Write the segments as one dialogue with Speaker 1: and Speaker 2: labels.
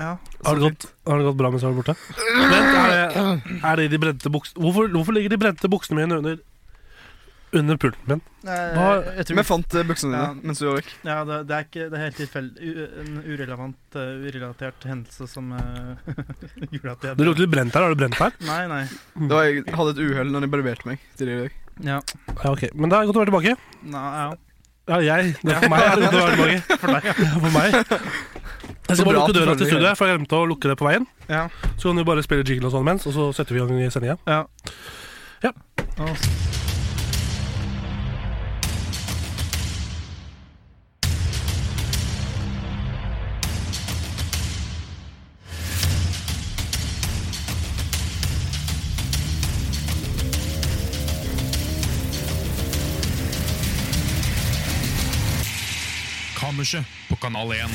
Speaker 1: Ja,
Speaker 2: Har det gått, har det gått bra mens jeg har vært borte? Vent, er det, er det de brente buksene hvorfor, hvorfor ligger de brente buksene mine under, under pulten min? Hva-
Speaker 3: Jeg, jeg tror
Speaker 1: Vi fant eh, buksene dine
Speaker 3: Ja.
Speaker 1: mens du var vekk.
Speaker 3: Eh, ja, det, det er ikke det er helt tilfeldig. u- En urelevant, eh, urelatert hendelse som uh, gjorde at jeg
Speaker 2: Det lukter litt brent her. Har du brent her?
Speaker 3: Nei, nei.
Speaker 1: Det var, jeg hadde et uhell når de barberte meg tidligere i dag.
Speaker 3: Ja.
Speaker 2: Ja, ok. Men det er godt å være tilbake.
Speaker 3: Nei, ja.
Speaker 2: Ja, jeg. Det er for meg. Det er godt å være tilbake.
Speaker 3: For deg.
Speaker 2: For meg. Jeg
Speaker 1: Så
Speaker 2: skal bare
Speaker 1: bra at
Speaker 2: lukke
Speaker 1: du
Speaker 2: døra
Speaker 1: følger
Speaker 2: til studioet, for jeg glemte å lukke det på veien.
Speaker 3: Ja.
Speaker 2: Så kan du bare spille jingle og sånn mens, og så setter vi i gang i sendinga.
Speaker 3: ja.
Speaker 2: Ja.
Speaker 3: Å,
Speaker 4: Kammerset på Kanal 1.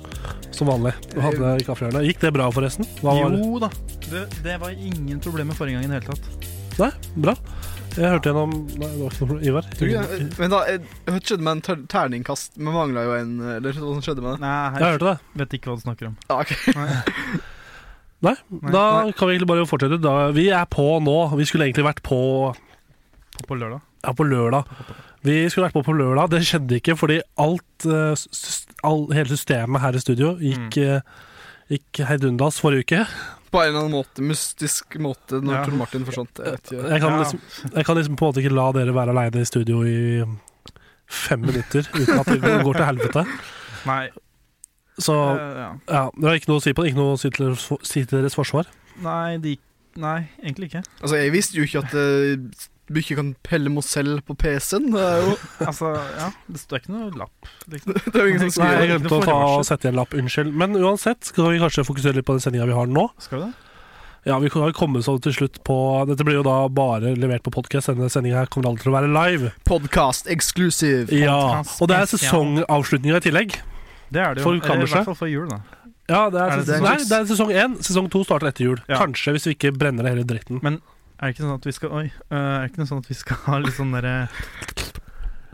Speaker 2: som vanlig. Du hadde kaffehjørnet. Gikk det bra, forresten? Hva var
Speaker 3: Jo da. Det, det var ingen problemer forrige gang i det hele tatt.
Speaker 2: Nei, bra. Jeg hørte gjennom Nei, det var ikke noe problem. Ivar?
Speaker 1: Tror ikke det- Men da, jeg, jeg vet ikke skjedde med en ter terningkast. Vi mangla jo en eh, Eller hva som skjedde med den?
Speaker 3: Nei,
Speaker 2: Jeg
Speaker 3: jeg
Speaker 2: hørte det.
Speaker 3: vet ikke hva du snakker om.
Speaker 1: Ja, ok.
Speaker 2: Nei,
Speaker 3: Nei.
Speaker 2: da
Speaker 1: Nei.
Speaker 2: kan vi egentlig bare fortsette. Da, vi er på nå. Vi skulle egentlig vært på
Speaker 3: På, på lørdag.
Speaker 2: ja, på lørdag. Vi skulle vært på på lørdag. Det skjedde ikke fordi alt, eh, s- s- all, hele systemet her i studio gikk,
Speaker 1: Mm.
Speaker 2: eh, gikk heidundas forrige uke.
Speaker 1: På en eller annen måte, mystisk måte, når
Speaker 3: Ja.
Speaker 1: Tor Martin forsvant. Jeg vet ikke.
Speaker 2: Jeg kan,
Speaker 3: Ja.
Speaker 2: liksom, jeg kan liksom på en måte ikke la dere være aleine i studio i fem minutter uten at det går til helvete.
Speaker 3: Nei.
Speaker 2: Så
Speaker 3: eh, ja.
Speaker 2: ja, det var ikke noe å si på det. Ikke noe å si til deres, for- si til deres forsvar.
Speaker 3: Nei, de Nei, egentlig ikke.
Speaker 1: Altså, jeg visste jo ikke at eh, du ikke kan pelle Mozell på PC-en. Det er jo,
Speaker 3: Altså, ja. Det står ikke noe lapp, liksom.
Speaker 1: det er jo ingen som
Speaker 2: Nei, jeg
Speaker 1: skriver.
Speaker 2: glemte å ta og sette igjen lapp, unnskyld. Men uansett skal vi kanskje fokusere litt på den sendinga vi har nå.
Speaker 3: Skal du det?
Speaker 2: Ja, vi har kommet så til slutt på Dette blir jo da bare levert på podkast. Denne sendinga kommer aldri til å være live.
Speaker 1: Podcast exclusive.
Speaker 2: Ja,
Speaker 3: Podcast
Speaker 2: Og det er
Speaker 3: spesial.
Speaker 2: sesongavslutninga i tillegg.
Speaker 3: Det er det jo.
Speaker 2: For
Speaker 3: Eller i
Speaker 2: kammerset.
Speaker 3: hvert fall for jul, da.
Speaker 2: Ja, det er,
Speaker 3: Er det
Speaker 2: sesong,
Speaker 1: sesong
Speaker 2: nei,
Speaker 1: seks?
Speaker 2: det er sesong én. Sesong to starter etter jul.
Speaker 3: Ja.
Speaker 2: Kanskje, hvis vi ikke brenner det hele dritten.
Speaker 3: Er det ikke sånn at vi skal Oi. eh, er det ikke noe sånn at vi skal ha litt sånn derre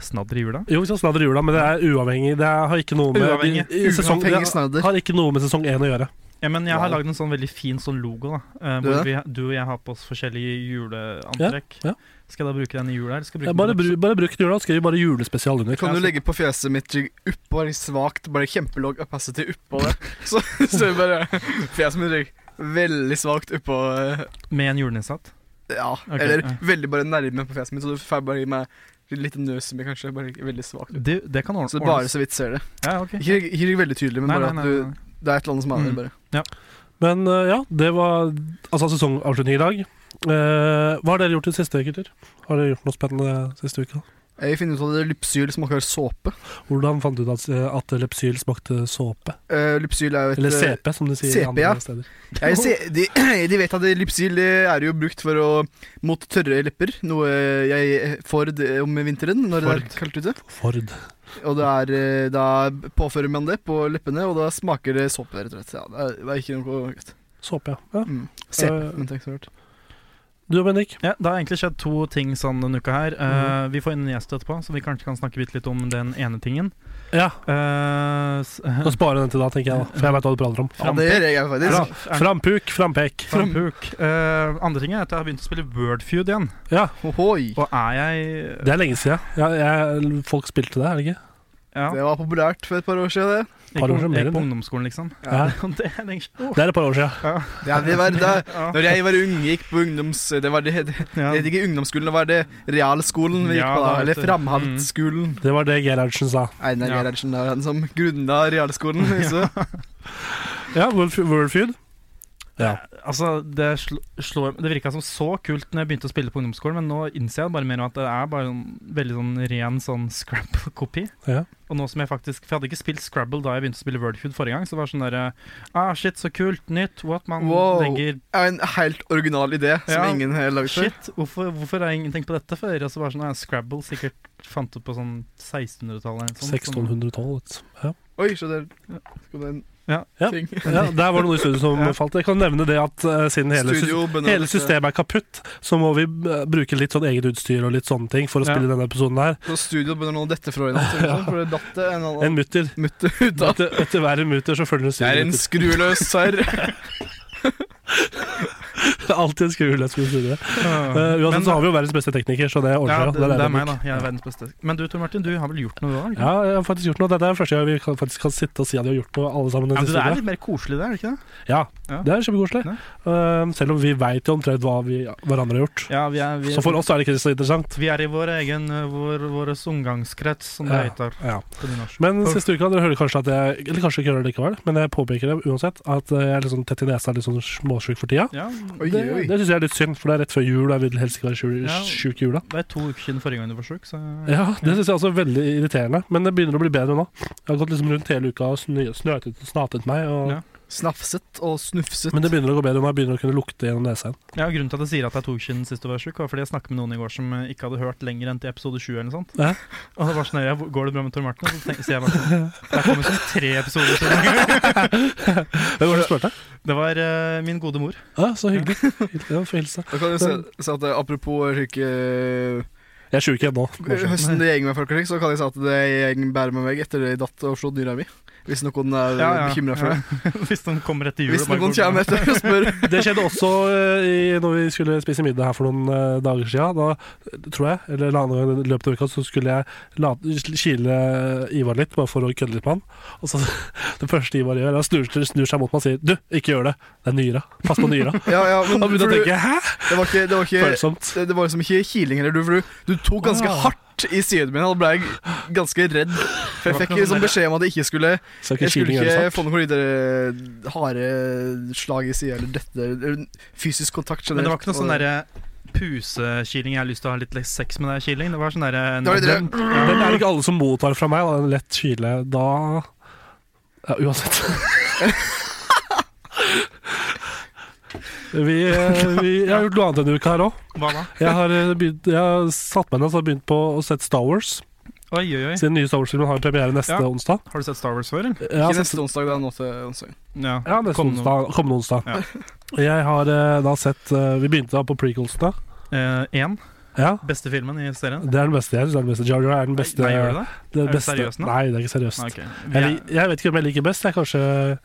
Speaker 3: snadder i jula?
Speaker 2: Jo, vi skal snadre jula, men det er uavhengig. Det har ikke noe med,
Speaker 3: Uavhengig.
Speaker 2: i- i sesong, det
Speaker 1: Uavhengig snadder.
Speaker 2: har ikke noe med sesong én å gjøre.
Speaker 3: Ja, men jeg har
Speaker 1: Wow.
Speaker 3: lagd en sånn veldig fin sånn logo, da. eh,
Speaker 1: Du
Speaker 3: hvor
Speaker 1: det?
Speaker 3: vi, du og jeg har på oss forskjellige juleantrekk.
Speaker 2: ja.
Speaker 3: Skal jeg da bruke den i jula, eller skal jeg
Speaker 2: Jeg
Speaker 3: bruke
Speaker 2: bare,
Speaker 3: den
Speaker 2: bru- bare bruk den jula, skriv bare julespesial under.
Speaker 1: Kan du legge på fjeset mitt jig opp, bare svakt, bare kjempelåg opacity oppå det? Så, så jeg bare Fjeset mitt jig veldig svakt oppå eh,
Speaker 3: med en julenissehatt?
Speaker 1: Ja,
Speaker 3: Ok,
Speaker 1: eller
Speaker 3: ja.
Speaker 1: veldig bare nærme på fjeset mitt, så du får bare gi meg litt nøs med, kanskje. Bare veldig svakt. opp.
Speaker 3: Det, det kan ordne- ordnes.
Speaker 1: Så bare så vidt ser det.
Speaker 3: Ja, ok.
Speaker 1: Ikke, ikke ligg veldig tydelig, men
Speaker 3: Nei,
Speaker 1: bare
Speaker 3: nei,
Speaker 1: at
Speaker 3: nei,
Speaker 1: du
Speaker 3: nei.
Speaker 1: Det er et eller annet som er der,
Speaker 3: Mm.
Speaker 1: bare.
Speaker 2: Men eh, ja, det var altså sesongavslutning i dag. Eh, hva har dere gjort i det siste, gutter? Har dere gjort noe spennende siste uka?
Speaker 1: Jeg finner ut at det er lypsyl smaker såpe.
Speaker 2: Hvordan fant du ut at, eh, at Lepsyl smakte såpe?
Speaker 1: Eh, lypsyl er jo et
Speaker 2: Eller
Speaker 1: eh,
Speaker 2: CP, som de sier
Speaker 1: CP,
Speaker 2: andre
Speaker 1: ja.
Speaker 2: steder.
Speaker 1: Jeg ser, de, de vet at Lypsyl det er jo brukt for å, mot tørre lepper, noe jeg er for det om vinteren når det er kaldt ute.
Speaker 2: Ford.
Speaker 1: Og det er, eh, da påfører man det på leppene, og da smaker det såpe, rett og slett. Ja, det er- det er ikke noe godt.
Speaker 2: Såpe, ja. ja.
Speaker 1: Mm. CP,
Speaker 3: Øh,
Speaker 2: Eh,
Speaker 1: men tenk så hørt.
Speaker 2: Du og Bendik?
Speaker 3: Ja, det har egentlig skjedd to ting sånn denne uka her. Eh,
Speaker 1: Mhm.
Speaker 3: Vi får inn en gjest etterpå, så vi kanskje kan snakke bitte litt om den ene tingen.
Speaker 2: Ja.
Speaker 3: Eh, s-
Speaker 2: Kan spare den til da, tenker jeg. da For jeg veit hva du prater om.
Speaker 1: Ja, det gjør jeg jo faktisk.
Speaker 3: Fra-
Speaker 2: Frampuk, frampek.
Speaker 3: Frampuk. Eh, andre ting er at jeg har begynt å spille Wordfeud igjen.
Speaker 2: Ja,
Speaker 1: Ohoi.
Speaker 3: Og er jeg
Speaker 2: det er lenge siden. Ja, jeg, folk spilte det, er det ikke?
Speaker 3: Ja.
Speaker 1: Det var populært for et par år siden, det.
Speaker 3: Jeg
Speaker 2: Par år
Speaker 3: gikk på-
Speaker 2: mer
Speaker 3: jeg
Speaker 2: enn
Speaker 3: gikk på ungdomsskolen, liksom.
Speaker 2: Ja.
Speaker 3: Det er lenge siden.
Speaker 2: Det er et par år siden.
Speaker 1: Ja, det var, da
Speaker 3: Ja.
Speaker 1: når jeg var ung, gikk på ungdoms... Det var det, det
Speaker 3: Ja.
Speaker 1: het ikke ungdomsskolen, det var det realskolen vi gikk
Speaker 3: Ja,
Speaker 1: på da.
Speaker 3: da, vet
Speaker 1: Eller
Speaker 3: du. Mm.
Speaker 1: Framhaldsskolen.
Speaker 2: Det var det Gerhardsen sa.
Speaker 1: Einar
Speaker 3: Ja.
Speaker 1: Gerhardsen er han som grunna realskolen. Så.
Speaker 2: Ja, World Fe- World Feud. Ja.
Speaker 3: Altså, det, sl slår, det virka som så kult når jeg begynte å spille på ungdomsskolen, men nå innser jeg bare mer om at det er bare en veldig sånn ren sånn scrap-kopi.
Speaker 2: Ja.
Speaker 3: Og nå som jeg faktisk For jeg hadde ikke spilt Scrabble da jeg begynte å spille Wordfood forrige gang, så det var sånn derre Ah, shit, så kult, nytt, what man
Speaker 1: Wow.
Speaker 3: legger
Speaker 1: Er En helt original idé som
Speaker 3: Ja.
Speaker 1: ingen har lagd før.
Speaker 3: Shit, hvorfor, hvorfor har jeg ingen tenkt på dette før? Og så var det sånn ah, Scrabble sikkert fant opp på sånn 1600-tallet. eller noe sånt.
Speaker 2: 1612, vet du. Ja.
Speaker 1: Oi, så der kom det en
Speaker 3: Ja.
Speaker 2: Ja.
Speaker 1: ting.
Speaker 2: ja, der var det noe i studio som
Speaker 3: Ja.
Speaker 2: falt. Jeg kan nevne det at eh, siden hele, sys
Speaker 1: Studio Bønner-
Speaker 2: hele systemet er kaputt, så må vi eh, bruke litt sånn eget utstyr og litt sånne ting for å
Speaker 3: Ja.
Speaker 2: spille denne episoden her.
Speaker 1: Så studio begynner nå å dette fra i natt, eller noe sånt, for det datt en
Speaker 2: En
Speaker 1: annen
Speaker 2: mutter.
Speaker 1: mutter ut av.
Speaker 2: Etter, etter hver mutter så følger det
Speaker 1: Det er en
Speaker 2: studiomutter.
Speaker 1: skruløs serr.
Speaker 2: Det er alltid en skrule skulle studie.
Speaker 3: Ah.
Speaker 2: Eh, uansett
Speaker 3: Men-
Speaker 2: så har vi jo verdens beste tekniker, så det
Speaker 3: ja,
Speaker 2: ordner
Speaker 3: det, det er meg, da.
Speaker 2: nok.
Speaker 3: Jeg er verdens beste. Men du Tor Martin, du har vel gjort noe, da?
Speaker 2: Ja, jeg har faktisk gjort noe. Dette er første gang vi kan, faktisk kan sitte og si at vi har gjort noe, alle sammen. den
Speaker 3: Ja, men
Speaker 2: siste
Speaker 3: det
Speaker 2: uka.
Speaker 3: er litt mer koselig, det, er det ikke det?
Speaker 2: Ja,
Speaker 3: Ja.
Speaker 2: det er kjempekoselig.
Speaker 3: Ja.
Speaker 2: Eh, selv om vi veit jo omtrent hva vi hverandre har gjort.
Speaker 3: Ja, vi er, vi,
Speaker 2: Så for oss er det ikke så interessant.
Speaker 3: Vi er i vår egen eh, vår, våres omgangskrets, som det
Speaker 2: Ja.
Speaker 3: heter
Speaker 2: Ja.
Speaker 3: på nynorsk.
Speaker 2: Men siste uka, dere hører kanskje at jeg Eller kanskje ikke hører det likevel, men jeg påpeker det uansett. At eh, jeg er litt sånn tett i nesa, litt sånn småsjuk for tida.
Speaker 3: Ja,
Speaker 1: Oi,
Speaker 2: Det,
Speaker 1: oi.
Speaker 2: det syns jeg er litt synd, for det er rett før jul, og jeg vil helst ikke være sjuk-
Speaker 3: Ja.
Speaker 2: sjuk i jula.
Speaker 3: det er to uker siden forrige gang du var sjuk, så
Speaker 2: Ja, det syns jeg også er veldig irriterende, men det begynner å bli bedre nå. Jeg har gått liksom rundt hele uka og snø- snøtet og snatet meg, og,
Speaker 3: Ja.
Speaker 1: Snafset og snufset.
Speaker 2: men det begynner å gå bedre nå. Jeg begynner å kunne lukte gjennom nesa igjen.
Speaker 3: Ja, Grunnen til at jeg sier at det er to uker siden sist du var sjuk, var fordi jeg snakket med noen i går som eh, ikke hadde hørt lenger enn til episode 7 eller noe sånt.
Speaker 2: Ja.
Speaker 3: Og det var sånn, ja, Går det bra med Tor Martin? Og så tenker, sier jeg bare sånn Det er kommet sånn tre episoder siden.
Speaker 2: Hvem var det du spurte?
Speaker 3: Det var eh, min gode mor.
Speaker 2: Ja, så hyggelig. Ja, Få hilse.
Speaker 1: Da kan jeg si- si at eh, Apropos hvilke
Speaker 2: Jeg er sjuk igjen nå.
Speaker 1: Høsten det gjenger med folk, så kan jeg si at det gjeng bærer med meg etter det jeg datt og slo dyra mi. Hvis noen er ja, bekymra for det.
Speaker 3: Hvis noen kommer etter jul
Speaker 1: Hvis
Speaker 3: og bare
Speaker 1: noen
Speaker 3: går-
Speaker 1: kommer etter og spør
Speaker 2: Det skjedde også eh, i, når vi skulle spise middag her for noen eh, dager siden. Da eh, tror jeg, eller en annen gang i løpet av uka, så skulle jeg la- kile eh, Ivar litt, bare for å kødde litt med han. Og så Det første Ivar gjør, er å snur, snur seg mot meg og sier 'du, ikke gjør det'. Det er nyra. Pass på nyra.
Speaker 1: Ja, ja, men
Speaker 2: Da
Speaker 1: for
Speaker 2: begynte
Speaker 1: du,
Speaker 2: jeg å tenke 'hæ?'
Speaker 1: det var ikke, det var ikke
Speaker 2: Følsomt.
Speaker 1: det, det var liksom ikke kiling heller, du, for du, du tok ganske
Speaker 2: Ah.
Speaker 1: hardt i siden min. og Da ble jeg ganske redd. For jeg
Speaker 3: Det var
Speaker 1: fikk
Speaker 3: ikke noe
Speaker 1: liksom
Speaker 3: mer.
Speaker 1: beskjed om at jeg ikke skulle
Speaker 2: Så ikke
Speaker 1: Jeg skulle
Speaker 2: kiling gjør det
Speaker 1: ikke
Speaker 2: sant.
Speaker 1: få noen videre eh, harde slag i sida eller dette eller Fysisk kontakt
Speaker 3: Men
Speaker 1: generelt.
Speaker 3: det var ikke noe sånn
Speaker 1: og-
Speaker 3: derre pusekiling 'jeg har lyst til å ha litt sex med deg', kiling. Det var sånn derre
Speaker 1: Det var litt
Speaker 3: den-
Speaker 2: Den er det ikke alle som mottar fra meg. Da. En lett kile da ja, Uansett. vi, eh, vi, jeg har gjort noe annet denne uka her òg.
Speaker 3: Hva da?
Speaker 2: Jeg har, eh, begynt, jeg har satt meg ned og så har jeg begynt på å sette Star Wars.
Speaker 3: Oi, oi, oi.
Speaker 2: Siden den nye Star Wars-filmen har premiere neste
Speaker 3: Ja.
Speaker 2: onsdag.
Speaker 3: Har du sett Star Wars før, eller?
Speaker 2: Jeg har
Speaker 1: Ikke
Speaker 2: sett,
Speaker 1: neste onsdag, det er nå til onsdag.
Speaker 3: Ja.
Speaker 2: ja, neste
Speaker 3: Kom nå.
Speaker 2: onsdag. Kommende onsdag. Jeg har eh, da sett eh, Vi begynte da på prequelsene. Ja,
Speaker 3: Én. Eh, Beste filmen i serien.
Speaker 2: det er den beste. Jeg synes det er den beste. Jar Jar er den beste.
Speaker 3: Nei, gjør du det?
Speaker 2: det
Speaker 3: Er du
Speaker 2: beste.
Speaker 3: seriøs nå?
Speaker 2: Nei, det er ikke seriøst.
Speaker 3: Nei, ok. Vi
Speaker 2: Jeg,
Speaker 3: er-
Speaker 2: lik- jeg vet ikke hvem jeg liker best. Jeg kanskje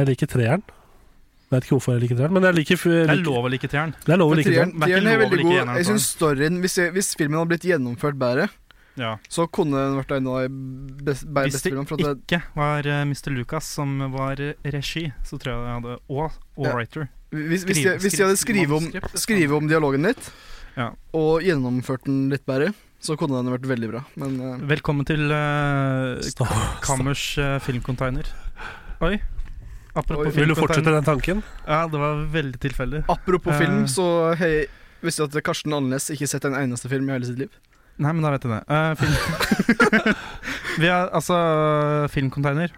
Speaker 2: Jeg liker treeren. Vet ikke hvorfor jeg liker treeren, men jeg liker jeg
Speaker 3: Det er
Speaker 2: liker-
Speaker 3: lov å like treeren.
Speaker 2: Det er lov
Speaker 1: Men
Speaker 2: å like treeren.
Speaker 1: Treeren
Speaker 3: Det er ikke
Speaker 1: treeren er
Speaker 3: lov å
Speaker 1: veldig
Speaker 3: like
Speaker 1: god.
Speaker 3: eneren,
Speaker 1: Jeg synes storyen hvis, jeg- hvis filmen hadde blitt gjennomført bedre,
Speaker 3: Ja.
Speaker 1: så kunne den vært en av de best- be-
Speaker 3: Hvis
Speaker 1: beste
Speaker 3: det
Speaker 1: filmene. For at det,
Speaker 3: ikke var eh, Mr. Lucas som var eh, regi, så tror jeg jeg hadde Og, og
Speaker 1: Ja.
Speaker 3: writer.
Speaker 1: hvis, hvis, de,
Speaker 3: skriv-
Speaker 1: hvis de hadde
Speaker 3: skriv-
Speaker 1: skrevet om,
Speaker 3: manuskript.
Speaker 1: skrive om dialogen litt,
Speaker 3: Ja.
Speaker 1: og gjennomført den litt bedre, så kunne den vært veldig bra. Men eh,
Speaker 3: Velkommen til eh,
Speaker 2: Star Wars.
Speaker 3: Kammers eh, filmcontainer. Oi. Apropos
Speaker 1: Oi,
Speaker 2: Vil du
Speaker 3: filmcontainer.
Speaker 2: fortsette den tanken?
Speaker 3: Ja, det var veldig tilfeldig.
Speaker 1: apropos
Speaker 3: Eh.
Speaker 1: film, så hei, visste du at Karsten Andenes ikke har sett en eneste film i hele sitt liv?
Speaker 3: Nei, men da vet jeg det. Eh, film. Vi har altså Filmcontainer.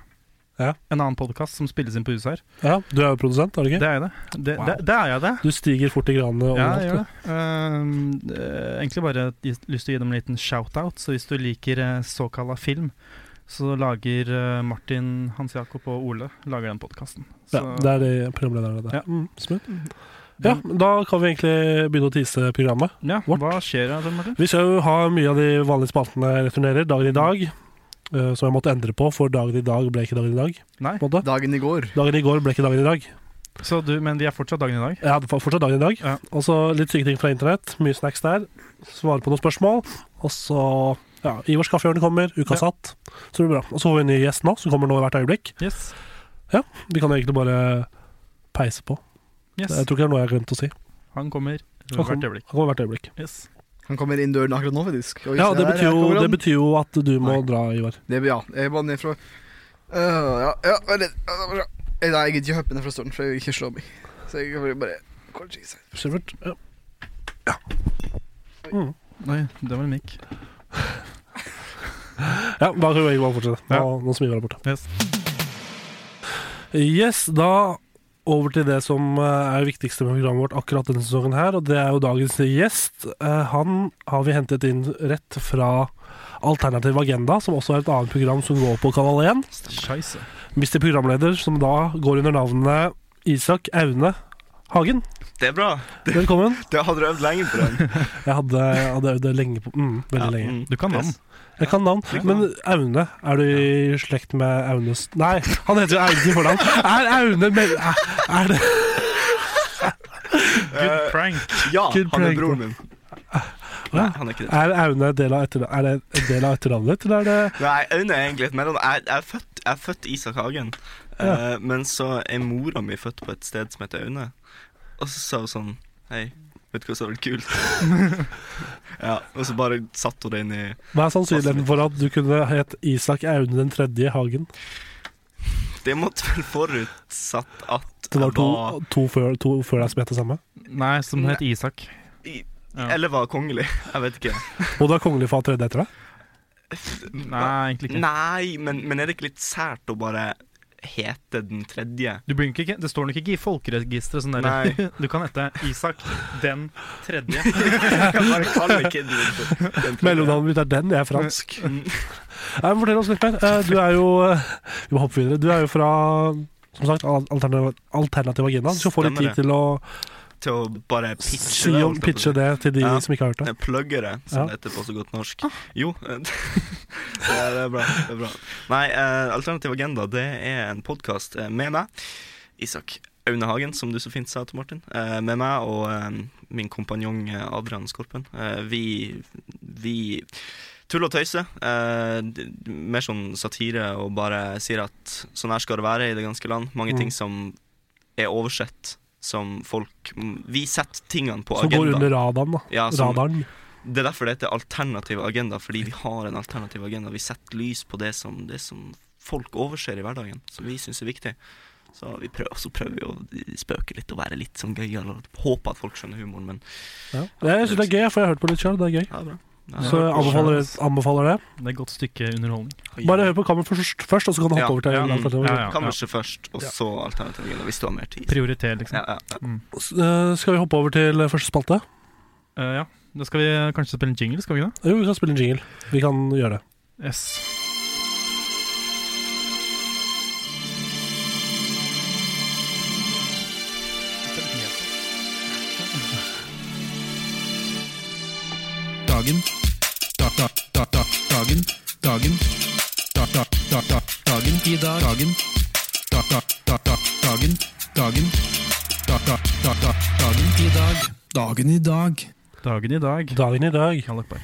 Speaker 2: Ja.
Speaker 3: En annen podkast som spilles inn på huset her.
Speaker 2: Ja, du er jo produsent, er du
Speaker 3: Det
Speaker 2: ikke?
Speaker 3: er jeg, det. Det,
Speaker 2: Wow.
Speaker 3: det, det er jeg, det.
Speaker 2: Du stiger fort i granene
Speaker 3: Ja,
Speaker 2: overalt.
Speaker 3: jeg
Speaker 2: du.
Speaker 3: gjør det. Ehm, eh, egentlig bare gi- lyst til å gi dem en liten shout-out. Så hvis du liker eh, såkalla film, så lager eh, Martin, Hans Jakob og Ole Lager den podkasten.
Speaker 2: ja, det er det programlederne der.
Speaker 3: Ja.
Speaker 2: Mm, smooth. ja, da kan vi egentlig begynne å tease programmet.
Speaker 3: Ja,
Speaker 2: Vårt.
Speaker 3: hva skjer da, Tor Martin?
Speaker 2: Vi skal jo ha mye av de vanlige spaltene jeg returnerer. Dagen i dag, eh, som jeg måtte endre på, for dagen i dag ble ikke dagen i dag.
Speaker 3: Nei.
Speaker 2: på en måte.
Speaker 1: Dagen i går.
Speaker 2: Dagen i går ble ikke dagen i dag.
Speaker 3: Så du, men vi er fortsatt dagen i dag.
Speaker 2: Jeg hadde fortsatt dagen i dag.
Speaker 3: Ja.
Speaker 2: Og så litt syke ting fra internett. Mye snacks der. Svare på noen spørsmål. Og så Ja, Ivars kaffehjørne kommer, uka satt. Så det blir bra. Og så får vi en ny gjest nå, som kommer nå hvert øyeblikk.
Speaker 3: Yes.
Speaker 2: Vi kan egentlig bare peise på.
Speaker 3: yes.
Speaker 2: Jeg tror ikke det er noe jeg har glemt å si.
Speaker 3: Han kommer
Speaker 2: Han kom-
Speaker 3: hvert øyeblikk.
Speaker 2: Han kommer hvert øyeblikk.
Speaker 3: Yes.
Speaker 1: Han kommer inn døren akkurat nå, faktisk. Og
Speaker 2: Ja,
Speaker 1: se
Speaker 2: det
Speaker 1: der,
Speaker 2: betyr,
Speaker 1: her
Speaker 2: jo,
Speaker 1: kommer
Speaker 2: det
Speaker 1: han.
Speaker 2: betyr jo at du må dra, Ivar.
Speaker 1: Det- Ja, jeg er bare ned fra Øh, Ja, ja, vent litt. Øh, Nei, jeg gidder ikke hoppe ned fra stolen, for jeg vil ikke slå meg. Så jeg kan bare Kort cheese.
Speaker 2: Skjøvert. Ja.
Speaker 3: Oi, det var en mikk.
Speaker 2: Ja, da kan vi bare fortsette. Nå,
Speaker 3: Ja.
Speaker 2: nå som Ivar er borte.
Speaker 3: Yes.
Speaker 2: Yes, da over til det som eh, er det viktigste med programmet vårt akkurat denne sesongen her, og det er jo dagens gjest. Eh, Han har vi hentet inn rett fra Alternativ Agenda, som også er et annet program som går på Kanal 1.
Speaker 3: Scheisse.
Speaker 2: Mr. Programleder, som da går under navnet Isak Aune Hagen.
Speaker 5: Det er bra.
Speaker 2: Velkommen.
Speaker 5: Det hadde du øvd lenge på den.
Speaker 2: Jeg hadde, hadde øvd det lenge på mm, Veldig
Speaker 5: Ja,
Speaker 2: lenge.
Speaker 5: mm.
Speaker 3: Du kan navn.
Speaker 5: Yes.
Speaker 2: Jeg kan navn. Men Aune, er du i slekt med Aunes Nei, han heter jo Aune i fornavn. Er Aune med, er, er det
Speaker 5: Eh,
Speaker 3: Good prank.
Speaker 5: ja,
Speaker 2: Good
Speaker 5: han er
Speaker 2: prank.
Speaker 5: broren min. Nei, han er ikke det.
Speaker 2: Er Aune en del av etter- er det en del av etternavnet ditt, eller er det
Speaker 5: Nei, Aune er egentlig et mellom... Jeg, jeg, er født, jeg er født Isak Hagen, Eh, men så er mora mi født på et sted som heter Aune. Og så sa hun sånn Hei, vet du hva som hadde vært kult? ja, og så bare satte hun det inn i
Speaker 2: Hva er sannsynligheten for at du kunne hett Isak Aune den tredje Hagen?
Speaker 5: Det måtte vel forutsatt at
Speaker 2: Det var
Speaker 5: jeg
Speaker 2: to, to, før, to før deg som het det samme.
Speaker 3: Nei, som het Isak.
Speaker 5: I-
Speaker 3: Ja.
Speaker 5: Eller var kongelig. Jeg vet ikke.
Speaker 2: Og du har kongelig far tredje etter deg?
Speaker 3: Nei, egentlig ikke.
Speaker 5: Nei, men, men er det ikke litt sært å bare hete den tredje?
Speaker 3: Du blir ikke, det står nok ikke i folkeregisteret sånn der.
Speaker 5: Nei.
Speaker 3: Du kan hete Isak den tredje.
Speaker 5: Bare kall meg kiden min for den tredje.
Speaker 2: Mellomnavnet mitt er den, jeg er fransk.
Speaker 5: Mm.
Speaker 2: Nei, men Fortell oss litt mer. Eh, Du er jo eh, Vi må hoppe videre. Du er jo fra som sagt, al- alternativ, alternativ agenda. Du skal få litt
Speaker 5: Stemmer
Speaker 2: tid til å
Speaker 5: Til å bare pitche
Speaker 2: si
Speaker 5: det.
Speaker 2: om,
Speaker 5: holdt jeg på å si.
Speaker 2: pitche det til de
Speaker 5: Ja.
Speaker 2: som ikke har hørt det.
Speaker 5: Jeg plugger det, som
Speaker 2: Ja.
Speaker 5: det heter på så godt norsk. Jo, eh, det er, det er bra. det er bra Nei, eh, Alternativ agenda det er en podkast med meg, Isak Aune Hagen, som du så fint sa til Martin, eh, med meg og eh, min kompanjong eh, Adrian Skorpen. Eh, Vi, vi tuller og tøyser. eh, d- d- Mer sånn satire og bare sier at sånn her skal det være i det ganske land. Mange
Speaker 2: Mm.
Speaker 5: ting som er oversett. Som folk Vi setter tingene på
Speaker 2: Som går
Speaker 5: agenda.
Speaker 2: under radaren. da
Speaker 5: Ja, som-
Speaker 2: Radaren.
Speaker 5: det er derfor det heter alternativ agenda, fordi vi har en alternativ agenda. Vi setter lys på det som, det som folk overser i hverdagen, som vi syns er viktig. Så vi prøver, så prøver vi å spøke litt og være litt sånn gøyale og håpe at folk skjønner humoren, men
Speaker 2: Ja. Jeg syns det er gøy, for jeg har hørt på det litt sjøl. Det er gøy.
Speaker 5: ja, det er bra. Ja,
Speaker 2: Så jeg anbefaler, anbefaler det.
Speaker 3: Det er et godt stykke underholdning.
Speaker 5: oi.
Speaker 2: Bare hør på Kammer først, først, og så kan du
Speaker 5: Ja.
Speaker 2: hoppe over til
Speaker 5: Ja, mm.
Speaker 2: alternativ agenda.
Speaker 3: Ja, ja.
Speaker 5: Kammerset først, og
Speaker 2: Ja.
Speaker 5: så alternativ agenda, hvis du har mer tid.
Speaker 3: Prioriter, liksom.
Speaker 5: Ja, ja, ja.
Speaker 2: S- eh, Skal vi hoppe over til første spalte?
Speaker 3: Eh, ja. Da skal vi kanskje spille en jingle, skal vi ikke det?
Speaker 2: Jo, vi kan spille en jingle. Vi kan gjøre det.
Speaker 3: Yes.
Speaker 4: Dagen. Da, da, da, da, dagen. Dagen. Da, da, da, da, dagen. I dag. Dagen. Da, da, da, da, dagen. Dagen. Da, da, da, da, dagen. I dag. Dagen i dag.
Speaker 3: Dagen i dag.
Speaker 2: Dagen i dag.
Speaker 3: Allah akbar.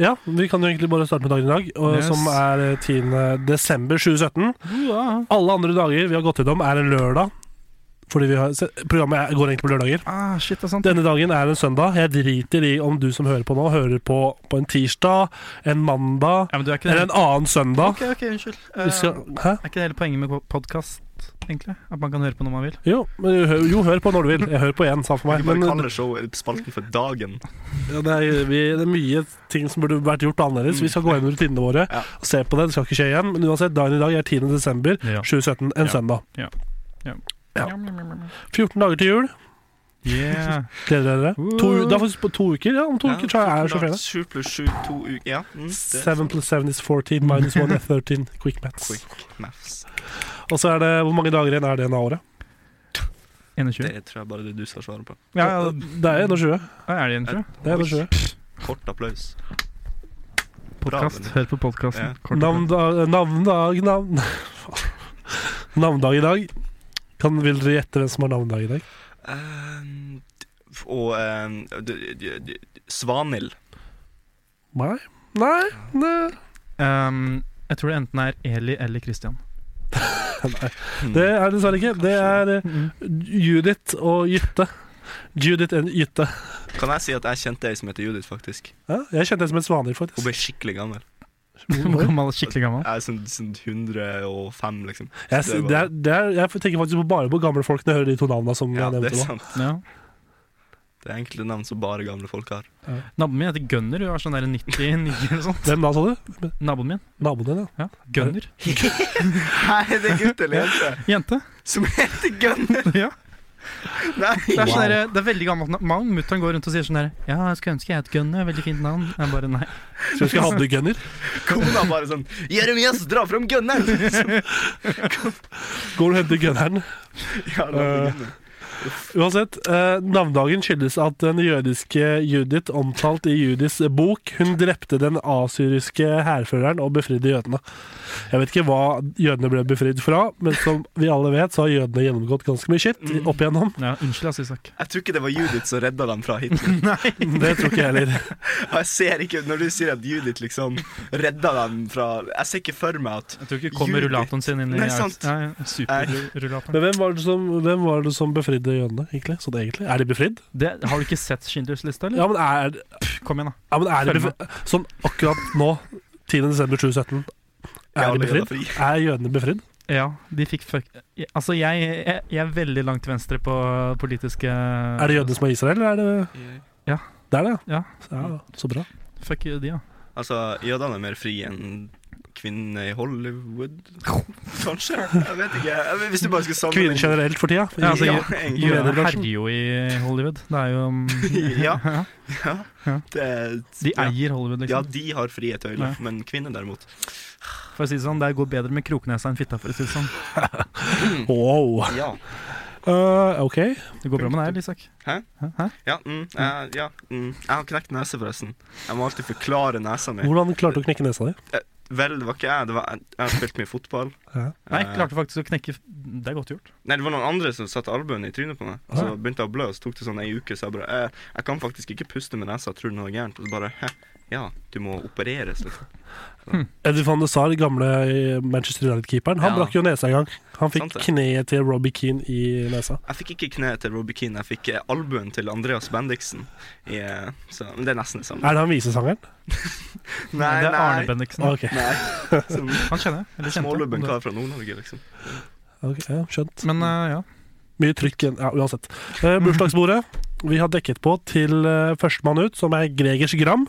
Speaker 2: Ja, vi kan jo egentlig bare starte med dagen i dag, og,
Speaker 3: Yes.
Speaker 2: som er eh, 10. desember 2017. Alle andre dager vi har gått gjennom, er en lørdag. Fordi vi har, se- programmet er- går egentlig på lørdager.
Speaker 3: Ah, shit, det er sant.
Speaker 2: Denne dagen er en søndag. Jeg driter i om du som hører på nå, hører på på en tirsdag, en mandag
Speaker 3: Ja, men du er ikke
Speaker 2: eller en annen søndag.
Speaker 3: Ok, ok, unnskyld. Eh,
Speaker 2: Vi skal, hæ?
Speaker 3: Er ikke det hele poenget med podkast, egentlig? At man kan høre på når man vil?
Speaker 2: Jo, men jo, hør- jo, hør på når du vil. Jeg hører på én, sa han for meg.
Speaker 5: Vi bare
Speaker 2: Men eh,
Speaker 5: kaller showet spalten for Dagen.
Speaker 2: ja, det, er, vi, det er mye ting som burde vært gjort annerledes. Vi skal gå gjennom rutinene våre
Speaker 5: Ja.
Speaker 2: og se på det. Det skal ikke skje igjen. Men uansett, dagen i dag er 10. desember
Speaker 3: Ja.
Speaker 2: 2017, en
Speaker 3: Ja.
Speaker 2: søndag. Ja.
Speaker 3: Mjau, mjau, mjau, mjau.
Speaker 2: 14 dager til jul.
Speaker 3: Yeah.
Speaker 2: Gleder dere dere? To,
Speaker 3: Woo!
Speaker 2: det er faktisk på to uker. Ja, om to
Speaker 5: Ja,
Speaker 2: uker tror jeg er
Speaker 5: klart.
Speaker 2: sjåførene.
Speaker 5: Sju pluss sju, to uker Ja. Mm, det er
Speaker 2: 7 pluss 7 is 14, minus 1 er 13. Quick maths.
Speaker 5: quick maths.
Speaker 2: Og så er det Hvor mange dager igjen er det igjen av året?
Speaker 3: 21.
Speaker 5: Det tror jeg bare det du skal svare på.
Speaker 3: Ja, ja,
Speaker 2: Det er 21.
Speaker 3: ja, er det 21?
Speaker 2: Det er 21.
Speaker 5: Kort applaus.
Speaker 3: Podkast.
Speaker 5: Dagen.
Speaker 3: Hør på podkasten.
Speaker 5: Ja.
Speaker 2: Navndag Navndag eh, navn, faen. Navndag i dag. Kan, vil dere gjette hvem som har navnedag i dag?
Speaker 5: Ehm, d- og ehm, d- d- d- Svanhild.
Speaker 2: Nei. Nei, nei.
Speaker 3: Ehm, jeg tror det enten er Eli eller Christian.
Speaker 2: Det er det dessverre ikke. Det er eh, Judith og Jytte. Judith and Jytte.
Speaker 5: Kan jeg si at jeg kjente ei som heter Judith, faktisk.
Speaker 2: Ja, jeg kjente det som et svaner,
Speaker 5: Hun
Speaker 2: faktisk. Mm.
Speaker 5: ble skikkelig gammel.
Speaker 3: Gammel, skikkelig gammel.
Speaker 5: Jeg er sånn, sånn 105, liksom.
Speaker 2: Jeg, s- det er, det er, jeg tenker faktisk på bare på gamle folk når jeg hører de to navnene som
Speaker 5: Ja,
Speaker 2: jeg
Speaker 5: det er
Speaker 2: nevnte nå.
Speaker 5: sant.
Speaker 3: Ja.
Speaker 5: Det er enkelte navn som bare gamle folk har.
Speaker 3: Naboen min heter Gunner. Hun er sånn der 99 eller sånt.
Speaker 2: Hvem da, sa du?
Speaker 3: Naboen min.
Speaker 2: Naboen din, ja.
Speaker 3: Ja. Gunner.
Speaker 5: Nei, det er gutt eller jente
Speaker 3: Jente.
Speaker 5: som heter Gunner!
Speaker 3: Ja.
Speaker 5: Nei.
Speaker 3: Det er, sånn der, det er veldig gammelt navn. Mutter'n går rundt og sier sånn der Ja, jeg skulle ønske jeg het Gunner. Veldig fint navn. Jeg bare nei.
Speaker 2: Skulle ønske jeg hadde gunner.
Speaker 5: Kona bare sånn Jeremias, dra fram gunneren!
Speaker 2: Går og henter gunneren.
Speaker 5: Ja, det er
Speaker 2: Eh,
Speaker 5: Gunnar.
Speaker 2: Uansett, eh, navnedagen skyldes at den jødiske Judith, omtalt i Judis bok, hun drepte den asyriske hærføreren og befridde jødene. Jeg vet ikke hva jødene ble befridd fra, men som vi alle vet, så har jødene gjennomgått ganske mye shit opp igjennom.
Speaker 3: Ja, unnskyld, ass, Isak.
Speaker 5: jeg tror ikke det var Judith som redda dem fra Hitler.
Speaker 2: Det tror ikke jeg heller.
Speaker 5: Og jeg ser ikke, Når du sier at Judith liksom redda dem fra Jeg ser ikke for meg at
Speaker 3: Jeg tror ikke du kom med
Speaker 5: Judith.
Speaker 3: rullatoren sin inn i
Speaker 5: Nei, sant.
Speaker 3: Ja, ja, Superrullatoren.
Speaker 2: Men hvem var det som, hvem var det som befridde jødene, egentlig? Sånn egentlig? Er de befridd?
Speaker 3: Det, har du ikke sett Schindlers liste, eller?
Speaker 2: Ja, men er,
Speaker 3: Kom igjen, da.
Speaker 2: ja, men er de
Speaker 3: Følg med.
Speaker 2: befridd? Sånn akkurat nå, 10. desember 2017, er de befridd?
Speaker 5: fri.
Speaker 2: Er jødene befridd?
Speaker 3: Ja, de fikk fuck... Altså, jeg, jeg, jeg er veldig langt til venstre på politiske
Speaker 2: Er det jødene som er Israel, eller er det
Speaker 3: Ja.
Speaker 2: Det er det,
Speaker 3: Ja.
Speaker 2: ja så bra.
Speaker 3: Fuck you, de, ja.
Speaker 5: Altså, jødene er mer fri enn kvinnene i Hollywood, kanskje? Jeg vet ikke. Jeg vet- Hvis du bare skal
Speaker 2: Kvinner
Speaker 5: sammenligne
Speaker 2: generelt for tida.
Speaker 3: Ja, altså,
Speaker 5: Ja,
Speaker 3: jø-
Speaker 5: egentlig.
Speaker 3: Jøder
Speaker 2: mediebransjen.
Speaker 3: herjer jo i Hollywood. Det er jo
Speaker 5: Ja. Ja.
Speaker 3: Ja.
Speaker 5: Det,
Speaker 3: De eier Hollywood,
Speaker 5: eh, ja,
Speaker 3: liksom.
Speaker 5: de har frie tøyler,
Speaker 3: Ja.
Speaker 5: men kvinner derimot
Speaker 3: For å si det sånn, Det går bedre med kroknesa enn fitta, for å si det sånn.
Speaker 2: Wow.
Speaker 5: Ja.
Speaker 2: Eh, ok.
Speaker 3: Det går bra med deg, Isak.
Speaker 5: Hæ?
Speaker 3: Hæ?
Speaker 5: Ja, mm, eh, ja mm. Jeg har knekt nese, forresten. Jeg må alltid forklare nesa mi.
Speaker 2: Hvordan klarte du å knekke nesa di?
Speaker 5: Vel, det var ikke jeg. Det var, jeg har spilt mye fotball.
Speaker 2: Ja.
Speaker 3: Nei,
Speaker 5: Eh,
Speaker 3: klarte faktisk å knekke f- Det er godt gjort.
Speaker 5: Nei, det var noen andre som satte albuen i trynet på meg. Og så begynte jeg å blø, og så tok det sånn ei uke. Så jeg bare eh, Jeg kan faktisk ikke puste med nesa, tror du noe er gærent? Og så bare Hæ, ja, du må opereres, liksom.
Speaker 2: Eddie van de Sar, gamle eh, Manchester United-keeperen, han
Speaker 5: Ja.
Speaker 2: brakk jo nesa en gang. Han fikk
Speaker 5: Sant det.
Speaker 2: kneet til Robbie Keane i nesa.
Speaker 5: Jeg fikk ikke kneet til Robbie Keane, jeg fikk eh, albuen til Andreas Bendiksen. I, eh, så, men det er nesten det samme.
Speaker 2: Er det han visesangeren?
Speaker 5: Nei,
Speaker 3: det er Arne
Speaker 5: nei.
Speaker 3: Bendiksen.
Speaker 2: Ok,
Speaker 5: nei. Som
Speaker 3: Han kjenner jeg. Eller kjente.
Speaker 5: smålubben
Speaker 3: jeg.
Speaker 5: kar fra Nord-Norge, liksom.
Speaker 2: ok, ja, skjønt.
Speaker 3: Men eh, ja.
Speaker 2: Mye trykk igjen. Ja, uansett. Eh, bursdagsbordet vi har dekket på til eh, førstemann ut, som er Gregers Gram.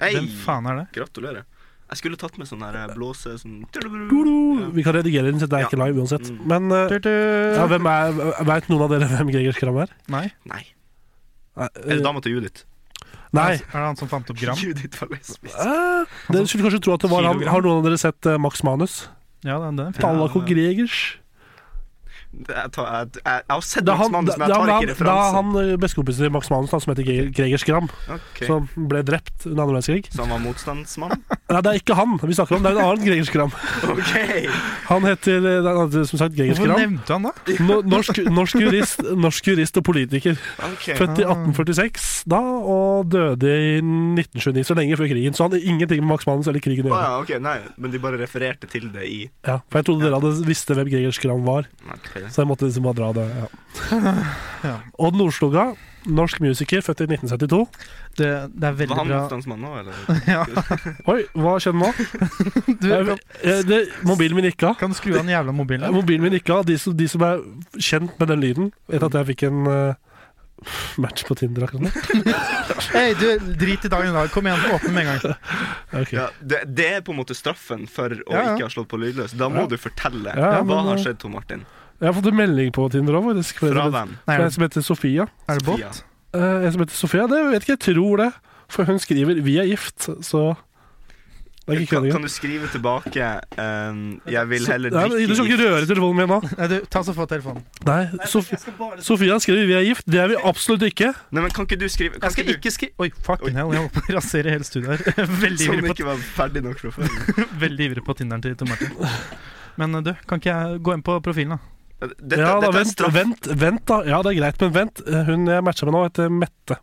Speaker 5: Hei!
Speaker 3: Hvem faen er det?
Speaker 5: Gratulerer. Jeg skulle tatt med sånn her eh, blåse sånn
Speaker 2: Guru!
Speaker 5: Ja.
Speaker 2: Vi kan redigere den, så det er
Speaker 5: Ja.
Speaker 2: ikke live uansett.
Speaker 5: Mm.
Speaker 2: Men eh,
Speaker 3: Mm.
Speaker 2: ja, hvem er, veit noen av dere hvem Gregers Gram er?
Speaker 3: Nei.
Speaker 5: Nei.
Speaker 2: Nei,
Speaker 5: Er det
Speaker 2: eh,
Speaker 5: dama til Judith?
Speaker 2: Nei.
Speaker 3: Er det han som fant opp Gram?
Speaker 5: Judith var lesbisk.
Speaker 2: Eh, Dere skulle kanskje tro at det var han.
Speaker 3: Kilogram.
Speaker 2: Har noen av dere sett eh, Max Manus?
Speaker 3: Ja, det er det.
Speaker 5: Ja,
Speaker 2: Tallako
Speaker 5: det-
Speaker 2: Gregers.
Speaker 5: Jeg, tar, jeg, jeg, jeg har sett
Speaker 2: Det er
Speaker 5: Max
Speaker 2: han,
Speaker 5: Manus,
Speaker 2: da,
Speaker 5: men jeg
Speaker 2: da,
Speaker 5: tar
Speaker 2: da,
Speaker 5: ikke
Speaker 2: da er
Speaker 5: referansen.
Speaker 2: han eh, bestekompisen til Max Manus, da, som heter Gre- Gregers Gram,
Speaker 5: Ok.
Speaker 2: som ble drept under andre verdenskrig.
Speaker 5: Så han var motstandsmann?
Speaker 2: Nei, det er ikke han vi snakker om, det er en annen Gregers Gram.
Speaker 5: OK!
Speaker 2: Han heter eh, det er han heter som sagt Gregers
Speaker 3: Hvorfor
Speaker 2: Gram.
Speaker 3: nevnte han da?
Speaker 2: No, norsk, norsk, jurist, norsk jurist og politiker.
Speaker 5: Ok.
Speaker 2: Født i 1846 da, og døde i 1929, så lenge før krigen. Så han hadde ingenting med Max Manus eller krigen å
Speaker 5: Å
Speaker 2: gjøre.
Speaker 5: ja, ok, nei, men de bare refererte til det i
Speaker 2: Ja, for jeg trodde dere hadde visste hvem Gregers Gram var. Så jeg måtte liksom bare dra det. Ja.
Speaker 3: Ja.
Speaker 2: Odd Nordstoga, norsk musiker, født i 1972.
Speaker 3: Det, det er
Speaker 5: Var
Speaker 3: veldig
Speaker 5: han
Speaker 3: bra.
Speaker 5: motstandsmann nå, eller?
Speaker 2: Oi, hva skjedde nå?
Speaker 3: Du,
Speaker 2: Jeg- jeg- det, mobilen min gikk av.
Speaker 3: kan du skru av den jævla mobilen?
Speaker 2: Eh, Mobilen min gikk av. De som, de som er kjent med den lyden, vet at jeg fikk en eh, match på Tinder akkurat nå.
Speaker 3: Hei, du, drit i dagen i dag. Kom igjen, åpne med en gang.
Speaker 2: Ok.
Speaker 5: Ja, det, det er på en måte straffen for å
Speaker 3: Ja, ja.
Speaker 5: ikke ha slått på lydløs. Da må
Speaker 2: Ja.
Speaker 5: du fortelle.
Speaker 2: Ja, ja,
Speaker 5: Hva
Speaker 2: men,
Speaker 5: har
Speaker 2: eh,
Speaker 5: skjedd, Tom Martin?
Speaker 2: Jeg har fått en melding på Tinder òg, faktisk. Fra
Speaker 5: Fra
Speaker 2: en som-
Speaker 5: hvem?
Speaker 2: fra
Speaker 3: Nei, er
Speaker 2: en
Speaker 3: det,
Speaker 2: som heter Sofia.
Speaker 3: er det
Speaker 5: Sofia.
Speaker 3: bot?
Speaker 2: Eh, en som heter Sofia, det vet ikke, jeg tror det. For hun skriver 'vi er gift', så Det er ikke
Speaker 5: Kan,
Speaker 2: kødd engang.
Speaker 5: kan du skrive tilbake ehm, 'Jeg vil
Speaker 2: Så-
Speaker 5: heller
Speaker 2: Nei, men
Speaker 5: drikke
Speaker 2: Du skal ikke
Speaker 5: gift'?
Speaker 2: røre telefonen min nå.
Speaker 3: Nei, du, ta så få telefonen.
Speaker 2: Nei, Sof Sofia skriver 'vi er gift'. Det er vi absolutt ikke.
Speaker 5: Nei, men kan ikke du skrive kan
Speaker 3: Jeg skal
Speaker 5: ikke du,
Speaker 3: ikke skrive Oi, fucking
Speaker 5: Oi.
Speaker 3: hell, jeg holdt på å rasere hele studioet her. Veldig
Speaker 5: Som
Speaker 3: ivrig, på,
Speaker 5: ikke var ferdig nok fra før.
Speaker 3: veldig ivrig på Tinderen til Tom Martin. Men eh, du, kan ikke jeg gå inn på profilen, da?
Speaker 5: Dette,
Speaker 2: ja da,
Speaker 5: dette er
Speaker 2: vent,
Speaker 5: straff.
Speaker 2: vent, vent da. Ja, det er greit, men vent. Eh, Hun jeg matcher med nå, heter Mette.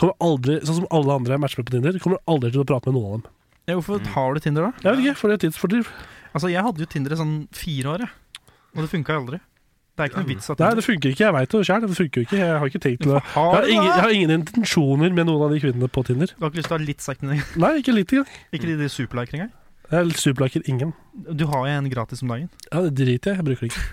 Speaker 2: Kommer aldri, sånn som alle andre jeg matcher med på Tinder, kommer aldri til å prate med noen av dem.
Speaker 3: Ja, hvorfor
Speaker 5: Mm.
Speaker 3: har du Tinder, da?
Speaker 2: Jeg vet ikke, for det er tidsfordriv.
Speaker 3: Altså, Jeg hadde jo Tinder i sånn fire år, jeg. Og det funka aldri. Det er ikke noe vits at
Speaker 2: Nei, det funker ikke. Jeg veit det sjøl. Det funker jo ikke. Jeg har ikke tenkt til det.
Speaker 3: Hvorfor
Speaker 2: Jeg
Speaker 3: har
Speaker 2: har,
Speaker 3: du
Speaker 2: ingen, jeg
Speaker 3: det?
Speaker 2: har ingen intensjoner med noen av de kvinnene på Tinder.
Speaker 3: Du har ikke lyst til å ha litt sex med deg?
Speaker 2: Nei, ikke litt engang.
Speaker 3: Ikke
Speaker 5: Mm.
Speaker 3: de, de superliker engang?
Speaker 2: Jeg superliker ingen.
Speaker 3: Du har jo en gratis om dagen.
Speaker 2: Ja, Det driter jeg Jeg bruker det ikke.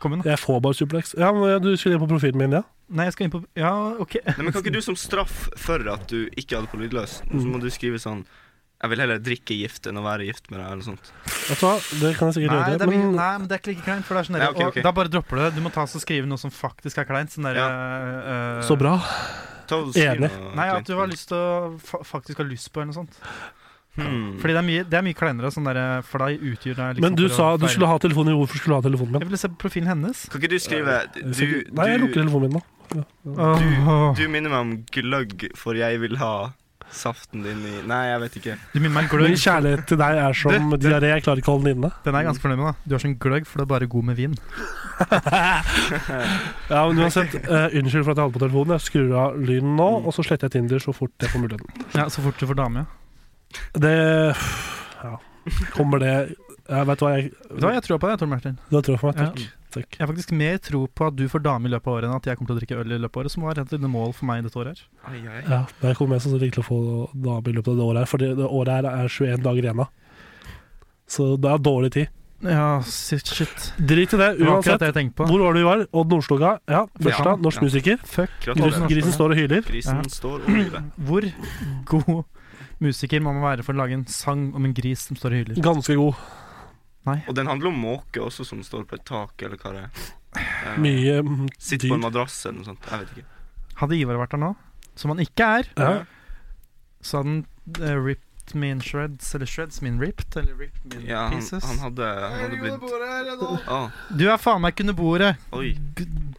Speaker 3: Kom igjen, da.
Speaker 2: Jeg får bare superlikes. Ja, men Du skulle inn på profilen min, ja?
Speaker 3: Nei, jeg skal inn på Ja, ok.
Speaker 5: Nei, men Kan ikke du som straff for at du ikke hadde på lydløs, så
Speaker 2: Mm.
Speaker 5: må du skrive sånn Jeg vil heller drikke gift enn å være gift med deg, eller noe sånt.
Speaker 2: Vet du hva, det kan jeg sikkert
Speaker 3: Nei,
Speaker 2: gjøre.
Speaker 3: det er, mye-
Speaker 2: Men
Speaker 3: nei, men det er ikke like kleint. For det er sånn der-
Speaker 5: Nei, ok,
Speaker 3: og
Speaker 5: ok.
Speaker 3: Da bare dropper du det. Du må ta og skrive noe som faktisk er kleint. Sånn der, eh, eh,
Speaker 2: så bra.
Speaker 5: Ta og skriv
Speaker 2: Enig.
Speaker 5: noe
Speaker 3: Nei, at
Speaker 5: kleint.
Speaker 3: du har lyst til å fa faktisk har lyst på, eller noe sånt.
Speaker 5: Hmm.
Speaker 3: Fordi det er mye, det er mye kleinere, sånn der, for deg utgjør det liksom
Speaker 2: Men du
Speaker 3: for å
Speaker 2: sa du
Speaker 3: feire.
Speaker 2: skulle ha telefonen min. Hvorfor skulle du ha telefonen min?
Speaker 3: Jeg ville se profilen hennes.
Speaker 5: Kan ikke du skrive
Speaker 2: Jeg
Speaker 5: Du,
Speaker 2: skal ikke- Nei, jeg lukker
Speaker 5: du,
Speaker 2: telefonen min nå.
Speaker 3: Åh.
Speaker 5: du minner meg om gløgg, for jeg vil ha saften din i Nei, jeg vet ikke.
Speaker 3: Du minner meg en
Speaker 2: Min
Speaker 3: gløgg.
Speaker 2: kjærlighet til deg er som
Speaker 3: Det- det-
Speaker 2: diaré. Jeg klarer ikke å holde den inne.
Speaker 3: Den er jeg ganske fornøyd med. da Du er sånn gløgg, for du er bare god med vin.
Speaker 2: Ja, men uansett, eh, Unnskyld for at jeg hadde på telefonen. Jeg skrur av lyden nå, og så sletter jeg Tinder så fort jeg får muligheten.
Speaker 3: Ja, Så fort du får dame, ja.
Speaker 2: Det Ja. Kommer det jeg Vet du hva jeg
Speaker 3: Vet du hva, Jeg tror på deg, Tor Martin.
Speaker 2: Du har trua på meg?
Speaker 3: Ja.
Speaker 2: Takk. takk.
Speaker 3: Jeg har faktisk mer tro på at du får dame i løpet av året, enn at jeg kommer til å drikke øl i løpet av året, som var et lite mål for meg dette året. her
Speaker 5: Ai, ai.
Speaker 2: Ja, jeg kommer jeg sannsynligvis til å få dame i løpet av det året her, for det det året her er 21 dager igjen av. Så det er dårlig tid.
Speaker 3: Ja, shit. shit.
Speaker 2: Drit i det,
Speaker 3: Det var akkurat
Speaker 2: uansett.
Speaker 3: det jeg tenkte på.
Speaker 2: Hvor var det vi var? Odd Nordstoga. Ja,
Speaker 5: Ja.
Speaker 2: Børstad, norsk
Speaker 5: Ja.
Speaker 2: musiker.
Speaker 3: Fuck.
Speaker 2: Grisen,
Speaker 5: Gratulerer.
Speaker 2: grisen står og hyler.
Speaker 5: Grisen
Speaker 3: Ja.
Speaker 5: står og lyver.
Speaker 3: Hvor god musiker må man være for å lage en sang om en gris som står og hyler?
Speaker 2: Ganske god.
Speaker 5: Og den handler om måke også, som står på et tak, eller hva det er. Eh,
Speaker 2: Mye mm,
Speaker 5: Sitter på en
Speaker 2: dyr.
Speaker 5: madrass eller noe sånt. Jeg vet ikke.
Speaker 3: Hadde Ivar vært der nå, som han ikke er,
Speaker 2: Ja.
Speaker 3: så hadde han eh, ripped me in shreds, eller shreds me in ripped, eller ripped me in
Speaker 5: Ja, han,
Speaker 3: pieces.
Speaker 5: han hadde, han hadde blitt Ah,
Speaker 3: Du er faen meg ikke under bordet!
Speaker 5: Oi.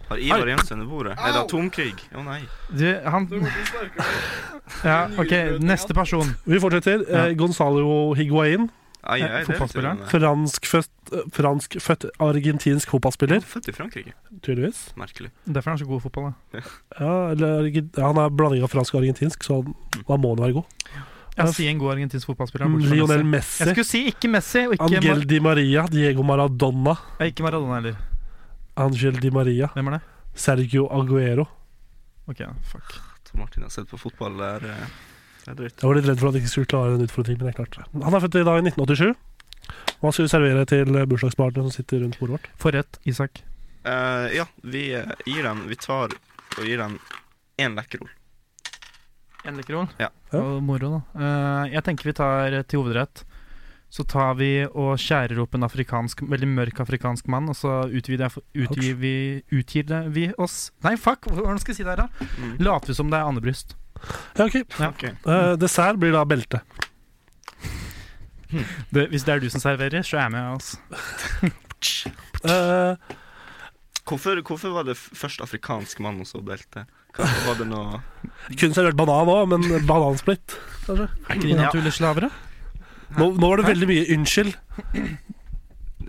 Speaker 5: Har Ivar Jensen under bordet? Er det atomkrig? Å nei.
Speaker 3: Du, han Ja, OK, neste person.
Speaker 2: Vi fortsetter.
Speaker 3: Ja.
Speaker 2: Eh, Gonzalo Higuain.
Speaker 5: Ai,
Speaker 3: Eh,
Speaker 5: ai, det vet du
Speaker 3: fotballspilleren?
Speaker 5: hvem er.
Speaker 2: Franskfødt, eh, franskfødt argentinsk fotballspiller,
Speaker 5: Født i Frankrike.
Speaker 2: tydeligvis.
Speaker 5: Merkelig.
Speaker 3: Derfor er han så god i fotball. Da.
Speaker 2: Ja, eller, argen- ja, han er blanding av fransk og argentinsk, så han, da må han være god.
Speaker 3: Jeg sier en god argentinsk fotballspiller. bortsett
Speaker 2: mm,
Speaker 3: fra
Speaker 2: Lionel
Speaker 3: Messi. Jeg
Speaker 2: Messi,
Speaker 3: skulle si ikke Messi, og ikke,
Speaker 2: Angel
Speaker 3: Mar
Speaker 2: Di Maria, Diego Maradona,
Speaker 3: ja, ikke Maradona heller.
Speaker 2: Angel Di Maria,
Speaker 3: Hvem er det?
Speaker 2: Sergio Aguero.
Speaker 3: OK, fuck.
Speaker 5: Tom Martin har sett på fotball der. eh, Det er drøyt.
Speaker 2: Jeg var litt redd for at jeg ikke skulle klare den utfordringen, men jeg klarte det. Han er født i dag i 1987. Og han skulle servere til eh, bursdagsbarnet som sitter rundt bordet vårt.
Speaker 3: Forrett, Isak.
Speaker 5: Eh, ja, vi eh, gir dem Vi tar og gir dem én lekkerol.
Speaker 3: En lekkerol.
Speaker 5: Ja.
Speaker 2: Ja.
Speaker 3: Og moro, da. Eh, jeg tenker vi tar eh, til hovedrett. Så tar vi og skjærer opp en afrikansk, veldig mørk afrikansk mann, og så utvider jeg, utgir, vi, utgir det vi oss Nei, fuck! Hvordan skal jeg si det her, da?
Speaker 5: Mm.
Speaker 3: Later vi som det er andebryst.
Speaker 2: Ja, ok.
Speaker 5: Ok.
Speaker 2: Eh, dessert blir da belte.
Speaker 3: Det, hvis det er du som serverer, så er jeg med. Altså.
Speaker 2: Eh,
Speaker 5: Hvorfor, hvorfor var det f- først afrikansk mann og så belte? Hva- Var det noe
Speaker 2: kun servert banan òg, men banansplitt.
Speaker 3: Er ikke de naturlige slavere?
Speaker 2: Nå, nå var det veldig mye unnskyld.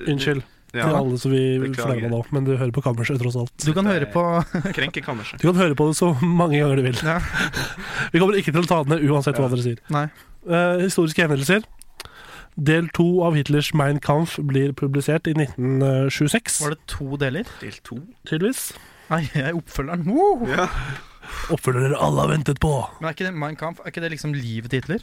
Speaker 2: Unnskyld til
Speaker 5: Ja,
Speaker 2: alle som vi
Speaker 5: Beklager.
Speaker 2: fornærma nå, men du hører på kammerset tross alt.
Speaker 3: Du kan høre på
Speaker 5: Krenkekammerset.
Speaker 2: Du kan høre på det så mange ganger du vil.
Speaker 3: Ja.
Speaker 2: Vi kommer ikke til å ta det ned uansett hva
Speaker 5: Ja.
Speaker 2: dere sier.
Speaker 3: Nei.
Speaker 2: Eh, historiske hendelser. Del to av Hitlers Mein Kampf blir publisert i 1926,
Speaker 3: Var det to deler?
Speaker 5: Del to.
Speaker 2: tydeligvis.
Speaker 3: Nei, jeg er oppfølgeren. Wow!
Speaker 5: Ja.
Speaker 2: Oppfølgere alle har ventet på.
Speaker 3: Men er ikke det Mein Kampf? Er ikke det liksom livets titler?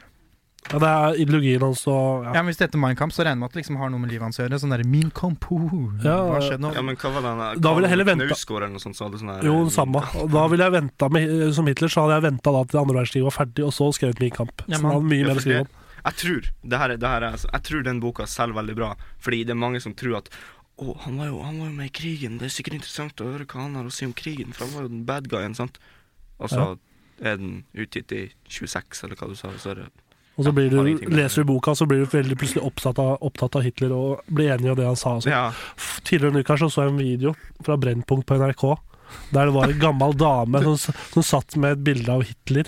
Speaker 2: Ja, det er ideologien hans og
Speaker 3: Ja.
Speaker 2: ja.
Speaker 3: men hvis det heter Mein Kampf, så regner jeg med at det liksom har noe med livet hans å gjøre. Sånn derre Min Kamp, ho, ho.
Speaker 2: Ja,
Speaker 3: Hva skjedde nå?
Speaker 5: Ja, men hva var den der?
Speaker 2: Da vil jeg heller vente.
Speaker 5: Knausgård eller noe sånt, så hadde sånn her
Speaker 2: Jo, det samme. Og Da ville jeg ventet med, Som Hitler så hadde jeg venta til andre verdenskrig var ferdig, og så skrevet Min kamp.
Speaker 3: Ja,
Speaker 2: Så
Speaker 3: men-
Speaker 2: han hadde mye
Speaker 5: Ja,
Speaker 2: mer
Speaker 5: for
Speaker 2: å skrive om.
Speaker 5: det- Jeg tror det her, er- det her er, altså, Jeg tror den boka selger veldig bra, fordi det er mange som tror at å, han var, jo, han var jo med i krigen, det er sikkert interessant å høre hva han har å si om krigen, for han var jo den bad guyen, sant? Og så er den utgitt i 26, eller hva du sa, så er det
Speaker 2: Og så blir du,
Speaker 5: Har ingenting med det.
Speaker 2: leser du boka, så blir du veldig plutselig opptatt av, opptatt av Hitler og blir enig i det han sa. og sånn.
Speaker 5: Ja,
Speaker 2: F- Tidligere denne uka så, så jeg en video fra Brennpunkt på NRK, der det var en gammel dame som, s- som satt med et bilde av Hitler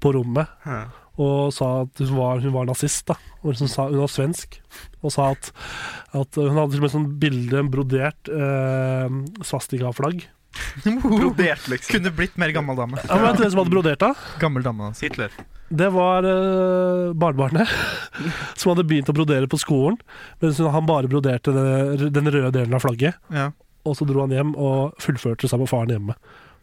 Speaker 2: på rommet
Speaker 5: hæ.
Speaker 2: og sa at hun var, hun var nazist. da. Og hun, sa, hun var svensk. Og sa at, at hun hadde til og med sånn bilde, en brodert eh, svastikaflagg.
Speaker 3: Brodert.
Speaker 5: Brodert, liksom.
Speaker 3: Kunne blitt mer gammel dame.
Speaker 2: Ja, men vet du hvem som hadde brodert da?
Speaker 3: Gammel dame, altså.
Speaker 5: Hitler.
Speaker 2: Det var eh, barnebarnet som hadde begynt å brodere på skolen, mens hun- han bare broderte det, den røde delen av flagget.
Speaker 3: Ja.
Speaker 2: Og så dro han hjem og fullførte sammen med faren hjemme.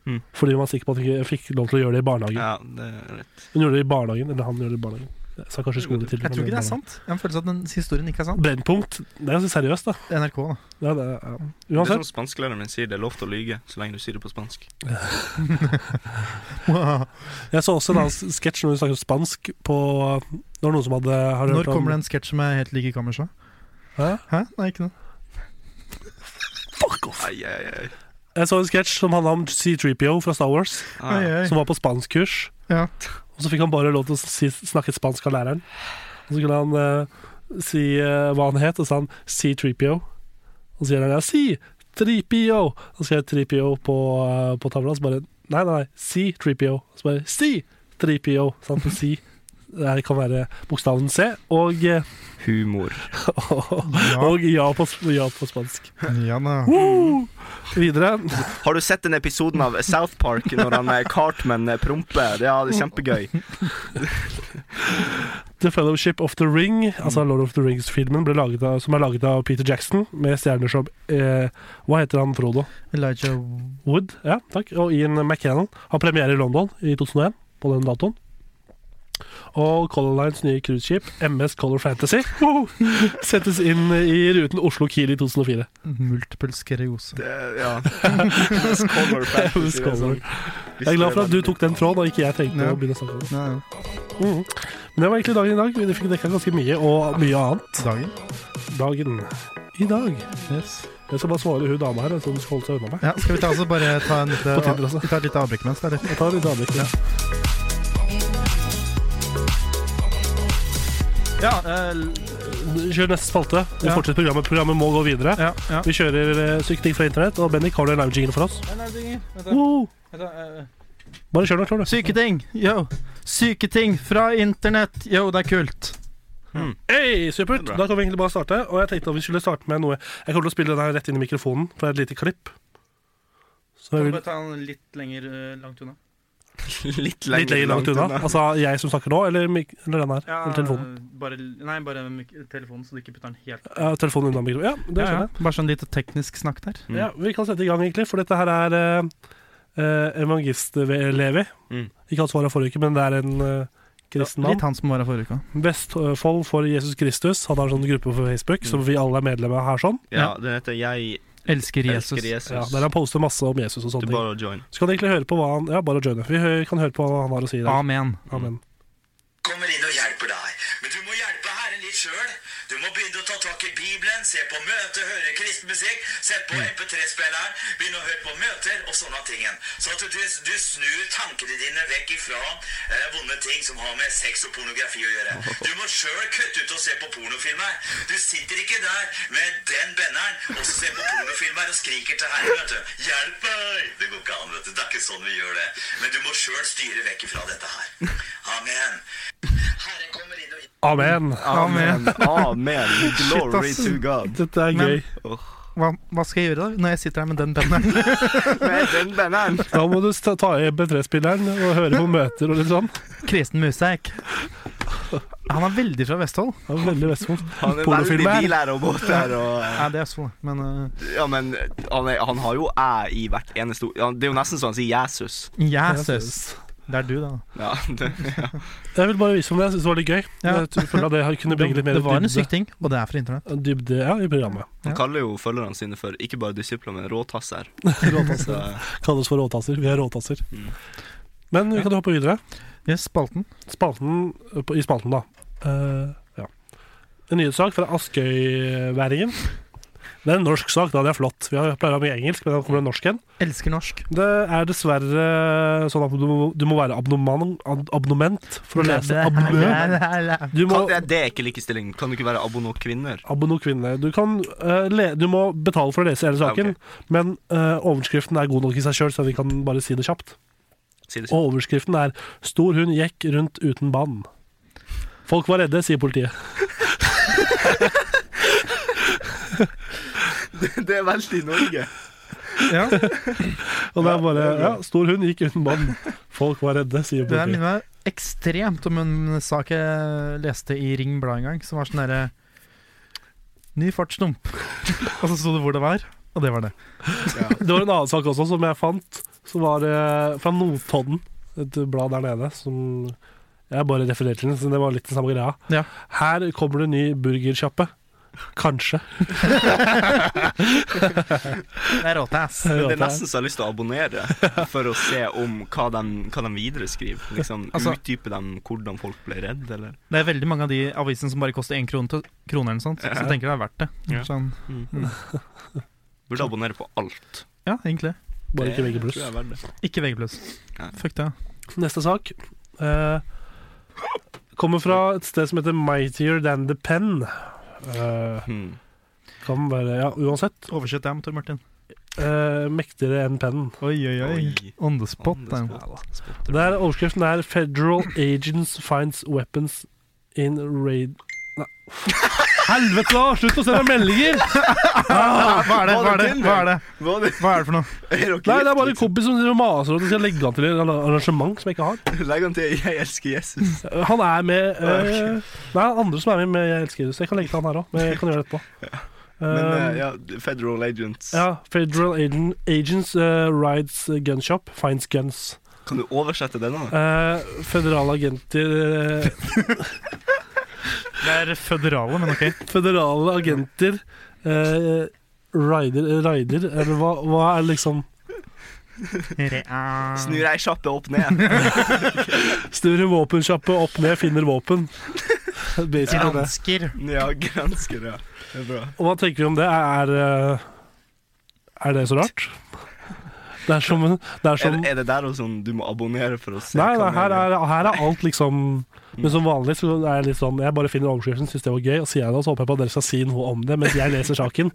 Speaker 5: Mm.
Speaker 2: Fordi man var sikker på at han ikke fikk lov til å gjøre det i barnehagen.
Speaker 5: Ja, det er rett.
Speaker 2: Hun gjorde det i barnehagen, eller han gjorde det i barnehagen. Jeg sa kanskje skoletilbud.
Speaker 3: Jeg tror ikke det
Speaker 2: men-
Speaker 3: er sant. Jeg har en følelse av at den historien ikke er sann.
Speaker 2: Brennpunkt. Det er ganske seriøst, da.
Speaker 3: Det er NRK, da.
Speaker 2: Ja, det, er- ja.
Speaker 5: Det er
Speaker 2: Uansett.
Speaker 5: som spansklæreren min sier, det er lov til å lyge så lenge du sier det på spansk.
Speaker 2: Jeg så også en annen sketsj når vi snakket spansk på Det var noen som hadde har
Speaker 3: Når
Speaker 2: hørt om-
Speaker 3: kommer det en sketsj som er helt lik i kammerset?
Speaker 2: Hæ?
Speaker 3: Hæ? Nei, ikke noe.
Speaker 5: Ai, ai, ai.
Speaker 2: Jeg så en sketsj som handla om C3PO fra Star Wars,
Speaker 5: Ah,
Speaker 3: Ai, ai.
Speaker 2: som var på spanskkurs.
Speaker 3: Ja.
Speaker 2: Og så fikk han bare lov til å si, snakke spansk av læreren. Og så kunne han eh, si eh, hva han het, og så sa han C3PO. Og så sier han ja, si 3PO. Og så skrev jeg 3PO på, eh, på tavla, så bare nei, nei, nei, si 3PO. Så bare si 3PO. Så han får si det her kan være bokstaven C, og, eh,
Speaker 5: Humor.
Speaker 3: Ja,
Speaker 2: og ja, på, ja på spansk.
Speaker 3: ja da.
Speaker 2: Woo! Videre.
Speaker 5: Har du sett den episoden av South Park når han eh, Cartman eh, promper? Ja, det er kjempegøy.
Speaker 2: The Fellowship of the Ring,
Speaker 5: Mm.
Speaker 2: altså Lord of the Rings-filmen, ble laget av, som er laget av Peter Jackson, med stjerner som eh, Hva heter han, Frodo?
Speaker 3: Elijah
Speaker 2: Wood, ja, takk. Og Ian McKennan har premiere i London i 2001, på den datoen. Og Color Lines nye cruiseskip, MS Color Fantasy, settes inn i ruten Oslo-Kiel i 2004.
Speaker 3: Multiple skeriose.
Speaker 5: Det, ja. MS Color Fantasy, det er sånn.
Speaker 2: Jeg er glad for at du tok den tråden, og ikke jeg tenkte
Speaker 3: Ja.
Speaker 2: å begynne å snakke om det.
Speaker 3: Ja, ja.
Speaker 2: Mhm. Men det var egentlig dagen i dag. Vi fikk dekka ganske mye, og mye annet.
Speaker 3: Dagen?
Speaker 2: Dagen i dag.
Speaker 3: Yes.
Speaker 2: Jeg skal bare svare hun dama her, som holdt seg unna meg.
Speaker 3: Ja, skal vi ta, altså, bare ta en lite,
Speaker 2: På Tinder altså. også.
Speaker 3: vi tar et lite avbrekk mens? Eller?
Speaker 2: Jeg tar litt avbrekk.
Speaker 3: Ja,
Speaker 2: eh, Kjør neste spalte. Vi
Speaker 3: Ja.
Speaker 2: fortsetter programmet. Programmet må gå videre.
Speaker 3: ja, ja.
Speaker 2: Vi kjører eh, sykt ting fra internett, og Bendik, har du en lounging for oss? Wow. eh, Bare kjør nå, klar du.
Speaker 3: Syke ting, yo. Syke ting fra internett, yo, det er kult.
Speaker 2: Hey, supert!
Speaker 5: Det er bra.
Speaker 2: Da kan vi egentlig bare starte. Og jeg tenkte at vi skulle starte med noe Jeg kommer til å spille den her rett inn i mikrofonen, for det er et lite klipp. Så jeg vil
Speaker 3: ta den litt lenger eh, langt unna?
Speaker 5: Litt lenger,
Speaker 2: litt lenger langt unna. Altså jeg som snakker nå, eller, mik eller den her. eller telefonen.
Speaker 3: nei, eh, bare telefonen, så du ikke putter den helt
Speaker 2: Ja, telefonen unna mikrofonen. Ja, det
Speaker 3: ja, ja.
Speaker 2: skjønner jeg.
Speaker 3: Bare sånn litt teknisk snakk der.
Speaker 5: Mm.
Speaker 2: Ja, vi kan sette i gang, egentlig, for dette her er eh, eh, evangelist-Levi.
Speaker 5: Mm.
Speaker 2: Ikke hans svar av forrige uke, men det er en eh, kristen mann.
Speaker 3: Litt han som var her forrige uka.
Speaker 2: Vestfold for Jesus Kristus. Han har en sånn gruppe på Facebook som vi alle er medlemmer av her. sånn
Speaker 5: Ja, den heter Jeg
Speaker 3: Elsker Jesus.
Speaker 5: elsker Jesus.
Speaker 2: ja, Der han poster masse om Jesus og
Speaker 5: Du
Speaker 2: sånne ting.
Speaker 5: bare join.
Speaker 2: Så kan du egentlig høre på hva han Ja, bare joine. Vi hø- kan høre på hva han har å si. Der.
Speaker 3: Amen.
Speaker 2: Amen.
Speaker 6: kommer inn og hjelper deg. Men du må hjelpe Herren litt sjøl. Du må begynne å ta tak i Bibelen, se på møter, høre kristen musikk, sett på MP3-spilleren, begynne å høre på møter og sånne tingen. Så at du, du snur tankene dine vekk ifra eh, vonde ting som har med sex og pornografi å gjøre. Du må sjøl kutte ut og se på pornofilmer. Du sitter ikke der med den benneren og så ser på pornofilmer og skriker til Herren, vet du. Hjelp meg! Det går ikke an, vet du. Det er ikke sånn vi gjør det. Men du må sjøl styre vekk ifra dette her. Amen. Herren kommer inn og
Speaker 2: Amen.
Speaker 3: Amen.
Speaker 5: Amen. Glory
Speaker 3: ass.
Speaker 5: to God.
Speaker 2: Dette er
Speaker 3: Men-
Speaker 2: gøy.
Speaker 3: Hva, hva skal jeg gjøre da, når jeg sitter her med den banneren?
Speaker 5: Med den banneren.
Speaker 2: Da må du ta ta i B3-spilleren og høre på møter og litt sånn.
Speaker 3: Kristen musikk. Han er veldig fra Vestfold.
Speaker 2: Det er veldig Vestfold.
Speaker 5: Han er veldig
Speaker 2: Pornofilmer.
Speaker 5: bilær og båter og eh,
Speaker 3: Ja, det er Østfold, men eh,
Speaker 5: Ja, men han, er, han har jo æ i hvert eneste ord. Han- Det er jo nesten så han sier Jesus.
Speaker 3: Jesus. Det er du, da.
Speaker 5: Ja, det, ja.
Speaker 2: Jeg vil bare vise om det. Jeg syns det var litt gøy.
Speaker 3: Ja.
Speaker 2: Jeg føler at det kunne bringe litt mer
Speaker 3: Det var en
Speaker 2: dybde,
Speaker 3: syk ting, og det er fra internett.
Speaker 2: dybde ja, i programmet.
Speaker 5: Han
Speaker 3: Ja.
Speaker 5: kaller jo følgerne sine for ikke bare disipler, men råtasser. Så,
Speaker 2: Råtasser. Kalles for råtasser. Vi er råtasser.
Speaker 5: Mm.
Speaker 2: Men vi kan hoppe videre.
Speaker 3: Yes, spalten.
Speaker 2: spalten, på- I spalten, da. Eh, ja. En nyhetssak fra Askøyværingen. Det er en norsk sak, da. Det er flott. Vi har pleier å ha mye engelsk, men da kommer det en norsk en.
Speaker 3: Elsker norsk.
Speaker 2: Det er dessverre sånn at du må, du må være abonnement, ab abonnement for å lese abonnement. Du
Speaker 5: kan,
Speaker 2: må
Speaker 5: det, det er ikke likestilling. Kan du ikke være abonno kvinner?
Speaker 2: Abonno kvinne. Du, kan, eh, le, du må betale for å lese hele saken,
Speaker 5: Ja, Ah, ok.
Speaker 2: men eh, overskriften er god nok i seg sjøl, så vi kan bare si det kjapt.
Speaker 5: Si det
Speaker 2: Og overskriften er 'Stor hund gikk rundt uten bånd'. Folk var redde, sier politiet.
Speaker 5: Det er veldig Norge.
Speaker 3: Ja, det
Speaker 2: Og det er bare ja, 'Stor hund gikk uten bånd'. Folk var redde, sier
Speaker 3: der minner
Speaker 2: politiet.
Speaker 3: meg ekstremt om en sak jeg leste i Ring Blad en gang, som var sånn derre Ny fartsdump. og så sto det hvor det var, og det var det.
Speaker 2: Det var en annen sak også som jeg fant, som var eh, fra Notodden. Et blad der nede som jeg bare refererte til, så det var litt den samme greia.
Speaker 3: Ja.
Speaker 2: Her kommer det ny burgersjappe. Kanskje.
Speaker 3: Det er råte, ass.
Speaker 5: Men det er nesten så jeg har lyst til å abonnere, for å se om hva de, hva de videre skriver. Liksom,
Speaker 3: Altså-
Speaker 5: Utdype dem hvordan folk ble redd, eller
Speaker 3: Det er veldig mange av de avisene som bare koster én krone, til- kroner eller noe sånt, så jeg tenker det er verdt det.
Speaker 5: Ja.
Speaker 3: Sånn,
Speaker 5: Mm.
Speaker 2: Mm.
Speaker 5: Burde abonnere på alt.
Speaker 3: ja, egentlig.
Speaker 2: Bare ikke
Speaker 5: Det
Speaker 2: VG+.
Speaker 5: tror jeg er verdt det.
Speaker 3: Ikke VG+.
Speaker 5: Nei.
Speaker 3: Fuck det.
Speaker 2: Neste sak eh, kommer fra et sted som heter Mightier Than The Pen. Eh,
Speaker 5: Hmm.
Speaker 2: kan være Ja, uansett.
Speaker 3: Oversett dem, Tor Martin.
Speaker 2: eh, mektigere enn pennen.
Speaker 3: Oi, oi, oi.
Speaker 5: Oi.
Speaker 3: On the spot.
Speaker 5: On the
Speaker 3: damn.
Speaker 5: spot.
Speaker 2: Der overskriften er 'Federal agents finds weapons in raid'. Nei. Helvete, da! Slutt å sende meg meldinger!
Speaker 3: Ah, Hva er det? Hva er det? Hva er det,
Speaker 5: Hva er det?
Speaker 3: Hva er det for noe?
Speaker 5: Er dere
Speaker 2: Nei, det er bare en
Speaker 5: gift,
Speaker 2: kompis som driver og maser om at jeg skal legge han til et arrangement som jeg ikke har.
Speaker 5: liksom? Legg den til 'Jeg elsker Jesus'.
Speaker 2: Han er med eh, Nei, andre som er med med 'Jeg elsker deg', så jeg kan legge til han her òg. Men jeg kan gjøre det etterpå.
Speaker 5: Men
Speaker 2: Um,
Speaker 5: eh, ja, Federal Agents.
Speaker 2: ja, Federal agent, agents eh, rides gun shop, finds guns.
Speaker 5: Kan du oversette denne? da?
Speaker 2: Eh, federale agenter eh,
Speaker 3: Det er føderale, men ok.
Speaker 2: Føderale agenter eh, Rider, eh, rider Eller hva, hva er liksom
Speaker 5: Snur ei kjappe opp ned.
Speaker 2: Snur en våpensjappe opp ned, finner våpen Basically det
Speaker 3: Gransker.
Speaker 5: Ja, gransker, ja. Det er bra.
Speaker 2: Og hva tenker vi om det? Er, eh, er det så rart? Det er som, det er
Speaker 5: Er,
Speaker 2: som
Speaker 5: er det der også sånn du må abonnere for å se?
Speaker 2: Nei, nei
Speaker 5: hva
Speaker 2: her,
Speaker 5: mer-
Speaker 2: er, her er alt liksom Men som vanlig så er jeg litt sånn Jeg bare finner overskriften, synes det var gøy Og sier jeg det, og så håper jeg på at dere skal si noe om det Mens jeg leser saken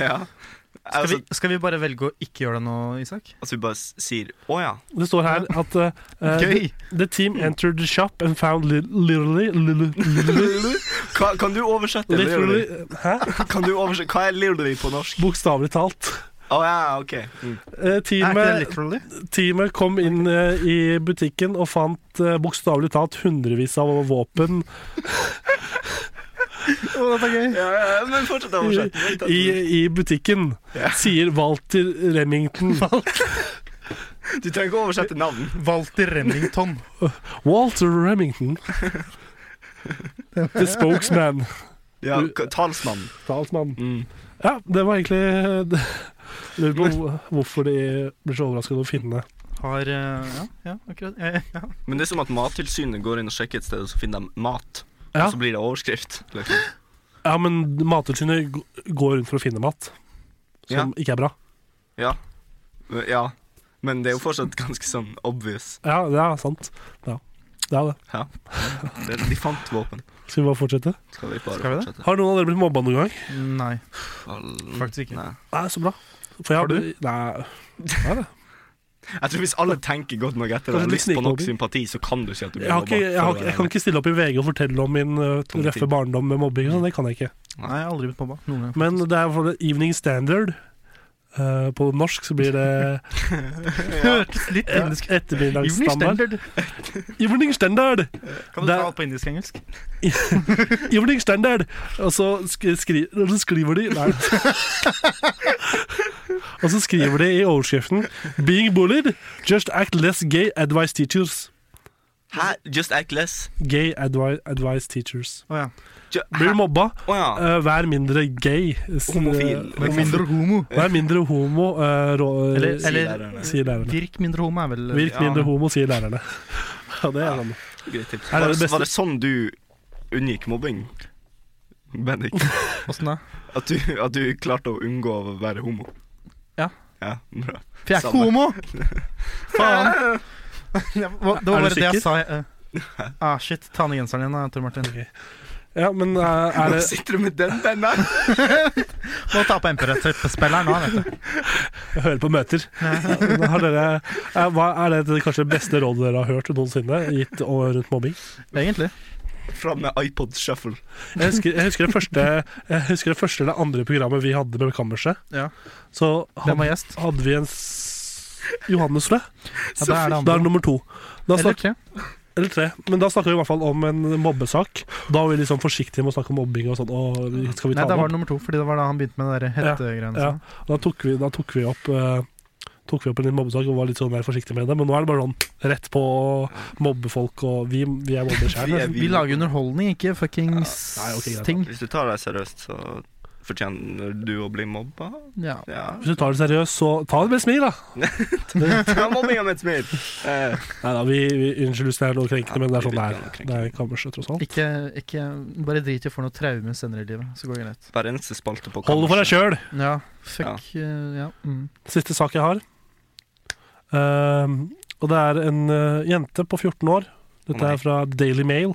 Speaker 5: ja.
Speaker 3: Skal vi,
Speaker 5: Altså,
Speaker 3: skal vi bare velge å ikke gjøre det nå, Isak?
Speaker 5: altså, vi bare s- sier 'å ja'.
Speaker 2: Det står her at eh, eh,
Speaker 3: Gøy!
Speaker 2: The team entered the shop and found li literally, literally,
Speaker 5: Hva, kan du oversette literally?
Speaker 2: literally Hæ?
Speaker 5: Kan du oversette? Hva er literally på norsk?
Speaker 2: Bokstavelig talt.
Speaker 5: Å ja, OK. Mm.
Speaker 2: Eh,
Speaker 3: Er ikke det
Speaker 2: teamet,
Speaker 3: literally?
Speaker 2: teamet kom inn eh, i butikken og fant eh, bokstavelig talt hundrevis av våpen
Speaker 5: Ja, ja, ja, men fortsett å
Speaker 2: i,
Speaker 5: oversette. Vent at-
Speaker 2: i, i butikken,
Speaker 5: Ja.
Speaker 2: sier Walter Remington.
Speaker 5: Du trenger ikke å oversette navn.
Speaker 3: Walter Remington.
Speaker 2: Walter Remington. The spokesman.
Speaker 5: Ja, k- Talsmann.
Speaker 2: Talsmann.
Speaker 5: Mm.
Speaker 2: Ja, det var egentlig eh, det. Lurer på hvor- hvorfor de ble så overrasket over finnene.
Speaker 3: Har eh, Ja, ja akkurat. Eh, Ja, ja.
Speaker 5: Men det er som at Mattilsynet går inn og sjekker et sted, og så finner de mat.
Speaker 2: Ja.
Speaker 5: Og så blir det overskrift. Liksom.
Speaker 2: Ja, men Mattilsynet g- går rundt for å finne mat, som ikke er bra.
Speaker 5: Ja. ja. Men det er jo fortsatt ganske sånn obvious.
Speaker 2: Ja, det er sant. Ja, det er det.
Speaker 5: Ja. De, de fant våpen.
Speaker 2: Skal vi bare fortsette?
Speaker 5: Skal vi bare
Speaker 3: Skal vi det?
Speaker 5: fortsette?
Speaker 2: Har noen av dere blitt mobba noen gang?
Speaker 3: Nei,
Speaker 5: Fall-
Speaker 3: faktisk ikke.
Speaker 5: Nei.
Speaker 2: Nei, så bra. For jeg
Speaker 3: Har du?
Speaker 2: Nei.
Speaker 5: Jeg tror hvis alle tenker godt nok etter
Speaker 2: Kanskje
Speaker 5: og har
Speaker 2: litt
Speaker 5: lyst på nok
Speaker 2: snikmobbing?
Speaker 5: sympati, så kan du si at du blir
Speaker 2: Jeg, har ikke, jeg, har, ikke- jeg kan ikke stille opp i VG og fortelle om min uh,
Speaker 5: Politikk.
Speaker 2: røffe barndom med mobbing. og sånn, Det kan jeg ikke.
Speaker 3: Nei, jeg har aldri blitt mobba. Noen gang.
Speaker 2: Men det er for det Evening Standard. Eh, på norsk så blir det
Speaker 3: Hørtes litt
Speaker 2: eh,
Speaker 3: indisk
Speaker 2: ettermiddagsstandard. Evening Standard!
Speaker 3: Kan du
Speaker 2: Det-
Speaker 3: ta alt på indisk-engelsk?
Speaker 2: Evening Standard! Og så, sk skri og så skriver de Nei. Og så skriver de i overskriften 'Being bullied, just act less gay advice teachers'.
Speaker 5: Hæ? Just act less?
Speaker 2: Gay advi advice teachers.
Speaker 3: Å ja.
Speaker 5: Ju-
Speaker 2: Blir du
Speaker 5: Hæ?
Speaker 2: mobba,
Speaker 5: Å ja.
Speaker 2: eh, vær mindre gay. S-
Speaker 5: Homofil. Liksom,
Speaker 2: eh,
Speaker 5: Mindre
Speaker 3: homo.
Speaker 2: Vær mindre homo, eh, rå,
Speaker 3: Eller,
Speaker 2: eh,
Speaker 3: eller
Speaker 5: lærerne.
Speaker 2: sier lærerne.
Speaker 3: Virk mindre homo er vel
Speaker 2: Virk
Speaker 5: ja.
Speaker 2: mindre homo, sier lærerne. Ja, det er han.
Speaker 5: Greit tips.
Speaker 2: Her er
Speaker 5: Var,
Speaker 2: det
Speaker 5: det
Speaker 2: beste-
Speaker 5: var det sånn du unngikk mobbing? Bendik.
Speaker 3: Åssen da?
Speaker 5: At du, at du klarte å unngå å være homo?
Speaker 3: Ja.
Speaker 5: Ja, bra.
Speaker 3: For jeg er ikke
Speaker 5: Samme.
Speaker 3: homo! Faen. Det var
Speaker 2: Er du
Speaker 3: bare det
Speaker 2: sikker?
Speaker 3: jeg sa. jeg, eh. Ah, shit. Ta ned genseren din, da, Tor Martin.
Speaker 2: Ja, men eh, er
Speaker 5: Nå
Speaker 2: det
Speaker 5: sitter du med den den der?
Speaker 3: Må ta på MP-spilleren nå, vet du.
Speaker 2: Jeg hører på møter. Har dere, er, hva, er det kanskje det beste rådet dere har hørt noensinne gitt og rundt mobbing?
Speaker 3: Egentlig.
Speaker 5: Fram med iPod shuffle.
Speaker 2: Jeg husker, jeg, husker det første, jeg husker det første eller andre programmet vi hadde med Kammerset.
Speaker 3: Ja.
Speaker 2: Så
Speaker 3: Hvem
Speaker 2: hadde,
Speaker 3: var gjest?
Speaker 2: hadde vi en s- Johannes, tror jeg.
Speaker 3: Ja, da er det
Speaker 2: Da er
Speaker 3: andre.
Speaker 2: det nummer to. Da
Speaker 3: Eller
Speaker 2: snak,
Speaker 3: tre.
Speaker 2: Eller tre. Men da snakker vi i hvert fall om en mobbesak. Da var vi liksom forsiktige med å snakke om mobbing og sånn. «Å, Skal vi
Speaker 3: Nei,
Speaker 2: ta
Speaker 3: det
Speaker 2: det
Speaker 3: var
Speaker 2: opp?
Speaker 3: nummer to, fordi det var da han begynte med den der hettegreiene.
Speaker 2: Ja,
Speaker 3: sine.
Speaker 2: Da tok vi, da tok vi opp eh, Tok vi opp en liten mobbesak og var litt sånn mer forsiktige med det. Men nå er det bare sånn rett på å mobbe folk, og vi, vi er mobber
Speaker 5: Vi
Speaker 2: sjøl.
Speaker 5: er-
Speaker 3: Vi lager underholdning, ikke fuckings
Speaker 2: Ja, nei, ok, greit.
Speaker 3: ting.
Speaker 5: Hvis du tar deg seriøst, så fortjener du å bli mobba.
Speaker 3: Ja.
Speaker 5: Ja.
Speaker 2: Hvis du tar det seriøst, så ta det med et smil, da.
Speaker 5: Ta mobbinga med et smil! Eh,
Speaker 2: Nei da, vi, vi unnskyld hvis det er noe krenkende, men
Speaker 5: Ja,
Speaker 2: det er
Speaker 5: vi
Speaker 2: sånn det
Speaker 5: vil ikke ha noe
Speaker 2: er. Det er kammerset, tross alt.
Speaker 3: Ikke, ikke Bare drit i å få noe traume senere i livet, så går det greit.
Speaker 5: hver eneste spalte på
Speaker 2: Hold det for deg sjøl!
Speaker 3: Ja, fuck eh, Ja. Mm.
Speaker 2: Siste sak jeg har. Ehm, og det er en eh, jente på 14 år.
Speaker 5: Å
Speaker 2: Dette
Speaker 5: nei.
Speaker 2: er fra Daily Mail.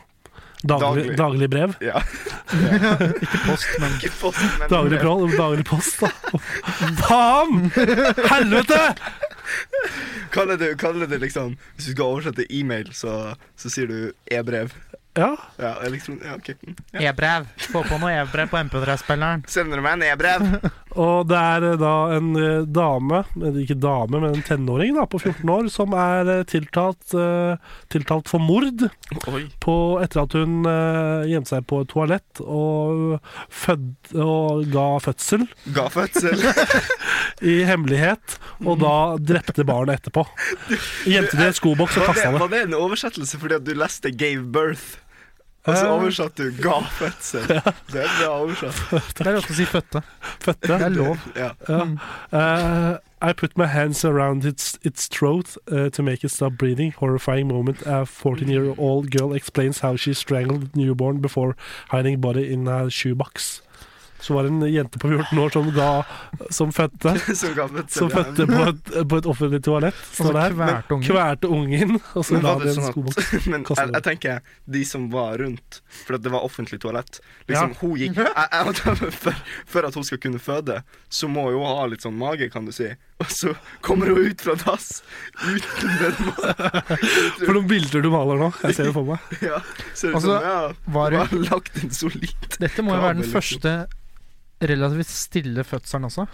Speaker 2: Daglig,
Speaker 5: Daglig.
Speaker 2: daglig brev.
Speaker 5: Ja.
Speaker 3: Post, men
Speaker 5: Ikke post, men- eh,
Speaker 2: Daglig, pro- daglig post, da. Faen! Helvete!
Speaker 5: Kaller du, kaller du liksom Hvis du skal oversette e-mail, så, så sier du e-brev.
Speaker 2: Ja,
Speaker 5: Ja, elektron... Ja, ok. Mm, Ja.
Speaker 3: E-brev. Få på noe e-brev på MP3-spilleren.
Speaker 5: Sender du meg en e-brev?
Speaker 2: Og det er eh, da en eh, dame, eller ikke dame, men en tenåring da, på 14 år, som er eh, tiltalt, eh, tiltalt for mord.
Speaker 5: Oi.
Speaker 2: på etter at hun eh, gjemte seg på et toalett og, fød, og ga fødsel
Speaker 5: Ga fødsel.
Speaker 2: i hemmelighet, og da drepte barnet etterpå. Gjemte det i en skoboks og
Speaker 5: Var det,
Speaker 2: kasta det.
Speaker 5: var det en oversettelse fordi at du leste 'gave birth'? Og så
Speaker 2: Eh.
Speaker 5: oversatte du 'ga fødsel'. Det er bra oversatt.
Speaker 3: Det er lov til å si fødte.
Speaker 2: Fødte.
Speaker 3: Det er lov.
Speaker 5: Ja.
Speaker 2: Ja. Eh, I put my hands around its, its throat eh, to make it stop breathing. Horrifying moment. A 14-year-old girl explains how she strangled newborn before hiding body in a shoebox. Så var det en jente på 14 år som ga Som fødte.
Speaker 5: Som ga fødsel.
Speaker 2: Som
Speaker 5: ja.
Speaker 2: fødte på et, på et offentlig toalett. Står
Speaker 3: Og så
Speaker 2: der.
Speaker 3: kvært unge.
Speaker 2: Kvelte ungen, og så
Speaker 5: Men
Speaker 2: la
Speaker 5: var
Speaker 2: det
Speaker 5: det
Speaker 2: i en
Speaker 5: sånn
Speaker 2: skoboks.
Speaker 5: at, men
Speaker 2: Kastet
Speaker 5: jeg,
Speaker 2: det.
Speaker 5: jeg tenker de som var rundt, for at det var offentlig toalett Liksom, hun gikk jeg, jeg, for, for at hun skal kunne føde, så må hun ha litt sånn mage, kan du si. Og så kommer hun ut fra dass uten den magen.
Speaker 2: For noen bilder du maler nå. Jeg ser det for meg.
Speaker 5: Ja, så er det
Speaker 3: Altså,
Speaker 5: sånn, ja,
Speaker 3: Var
Speaker 5: hun
Speaker 3: hun
Speaker 5: har lagt en solid
Speaker 3: Dette må jo være den
Speaker 5: Kabel,
Speaker 3: første relativt stille fødselen også.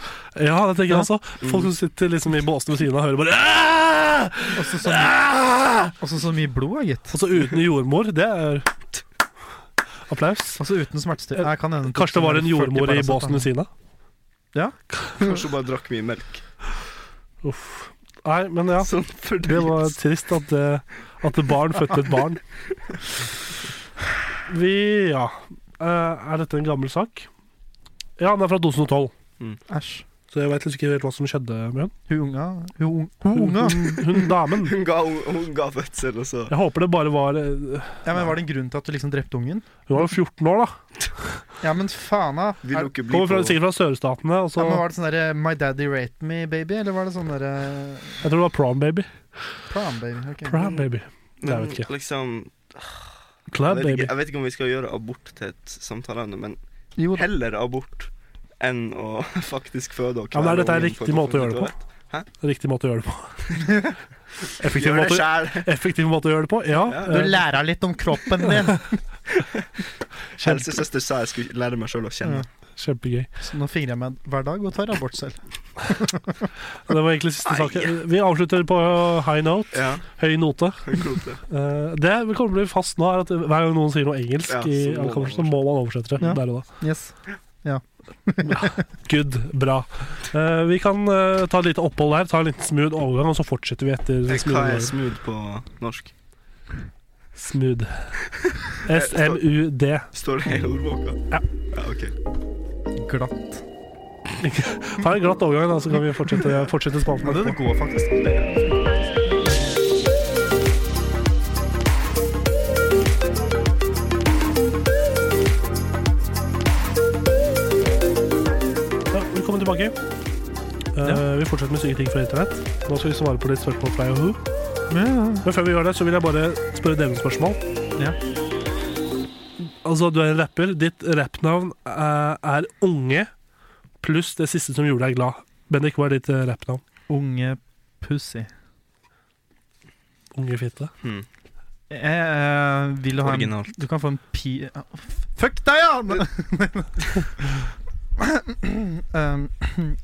Speaker 2: Ja, det tenker jeg
Speaker 3: Ja. Mm.
Speaker 2: også. Folk som sitter liksom i båsen ved siden av, hører bare «Aah!
Speaker 3: Også så,
Speaker 2: Aah!»
Speaker 3: også så mye blod, da, gitt.
Speaker 2: Og så uten jordmor. Det er applaus.
Speaker 3: Altså uten smertestillende. Nei, kan hende-
Speaker 2: Kanskje det var en
Speaker 3: 40
Speaker 2: jordmor i
Speaker 3: Paracet,
Speaker 2: båsen
Speaker 3: da.
Speaker 2: ved siden av.
Speaker 5: Kanskje hun bare drakk mye melk.
Speaker 2: Uff. Nei, men ja.
Speaker 5: Sånn
Speaker 2: Det var
Speaker 5: fordøyelse.
Speaker 2: trist at, det, at et barn fødte et barn. Vi Ja. Eh, Er dette en gammel sak? Ja, den er fra 2012.
Speaker 3: Æsj.
Speaker 2: Så jeg veit liksom ikke helt hva som skjedde med henne.
Speaker 3: Hun unga Hun, un- hun
Speaker 2: Hun,
Speaker 3: unga!
Speaker 2: hun, hun damen.
Speaker 5: Hun ga, hun, hun ga fødsel, og så
Speaker 2: Jeg håper det bare var eh,
Speaker 3: Ja, men Var det en grunn til at du liksom drepte ungen?
Speaker 2: Hun var jo 14 år, da.
Speaker 3: Ja, men faen, da.
Speaker 5: vil hun ikke bli
Speaker 2: Kommer fra,
Speaker 5: på
Speaker 2: sikkert fra sørstatene. Og
Speaker 3: Ja,
Speaker 2: så,
Speaker 3: men Var det sånn derre 'My daddy raped me, baby'? Eller var det sånn derre
Speaker 2: jeg tror det var prom baby.
Speaker 3: Prom, baby. ok.
Speaker 2: Prom baby. Jeg vet ikke.
Speaker 5: liksom, jeg
Speaker 2: Club
Speaker 5: vet ikke,
Speaker 2: baby.
Speaker 5: jeg vet ikke om vi skal gjøre abort til et samtaleemne, men
Speaker 3: Jo, da.
Speaker 5: heller abort enn å faktisk føde og
Speaker 2: Ja, men er dette
Speaker 5: ungen
Speaker 2: riktig
Speaker 5: på et
Speaker 2: måte å gjøre
Speaker 5: offentlig
Speaker 2: det på?
Speaker 5: toalett.
Speaker 2: Riktig måte å gjøre det på. Effektiv
Speaker 5: Gjør det
Speaker 2: måte,
Speaker 5: sjæl!
Speaker 2: effektiv måte å gjøre det på, ja.
Speaker 5: Ja.
Speaker 3: Du
Speaker 2: eh,
Speaker 3: lærer litt om kroppen din.
Speaker 5: Helsesøster sa jeg skulle lære meg sjøl å kjenne.
Speaker 2: Kjempegøy.
Speaker 3: Så nå fingrer jeg meg hver dag og tar abort selv.
Speaker 2: Det var egentlig siste sak. Vi avslutter på high note.
Speaker 5: Ja,
Speaker 2: Høy note.
Speaker 5: klokt det.
Speaker 2: Eh, Det vi kommer til å bli fast nå, er at hver gang noen sier noe engelsk,
Speaker 5: Ja, så
Speaker 2: i,
Speaker 5: må man
Speaker 2: ankomsten, så må man oversette det
Speaker 3: Ja.
Speaker 2: der og da.
Speaker 3: Yes.
Speaker 2: Good. Bra. Eh, Vi kan eh, ta et lite opphold der, ta en liten smooth overgang, og så fortsetter vi etter
Speaker 5: Hva er
Speaker 2: smooth.
Speaker 5: smooth på norsk?
Speaker 2: smooth. S-M-U-D.
Speaker 5: Står det i ordboka?
Speaker 2: Mm. Ja.
Speaker 5: ja ok.
Speaker 3: Glatt.
Speaker 2: Ta en glatt overgang, da, så kan vi fortsette, fortsette spalten.
Speaker 3: det går faktisk.
Speaker 2: Ja, velkommen tilbake. Eh, Vi fortsetter med syke ting fra internett. Nå skal vi svare på litt spørsmål fra Yahoo. Men før vi gjør det, så vil jeg bare spørre dere om spørsmål.
Speaker 3: Ja.
Speaker 2: Altså, du er en rapper. Ditt rappnavn eh, er Unge pluss det siste som gjorde deg glad. Bendik, hva er ditt eh, rappnavn?
Speaker 3: Unge pussy.
Speaker 2: Unge fitte.
Speaker 5: Hmm.
Speaker 3: Jeg eh, vil ha en
Speaker 5: Originalt.
Speaker 3: Du kan få en pi... Fuck deg, ja! Um,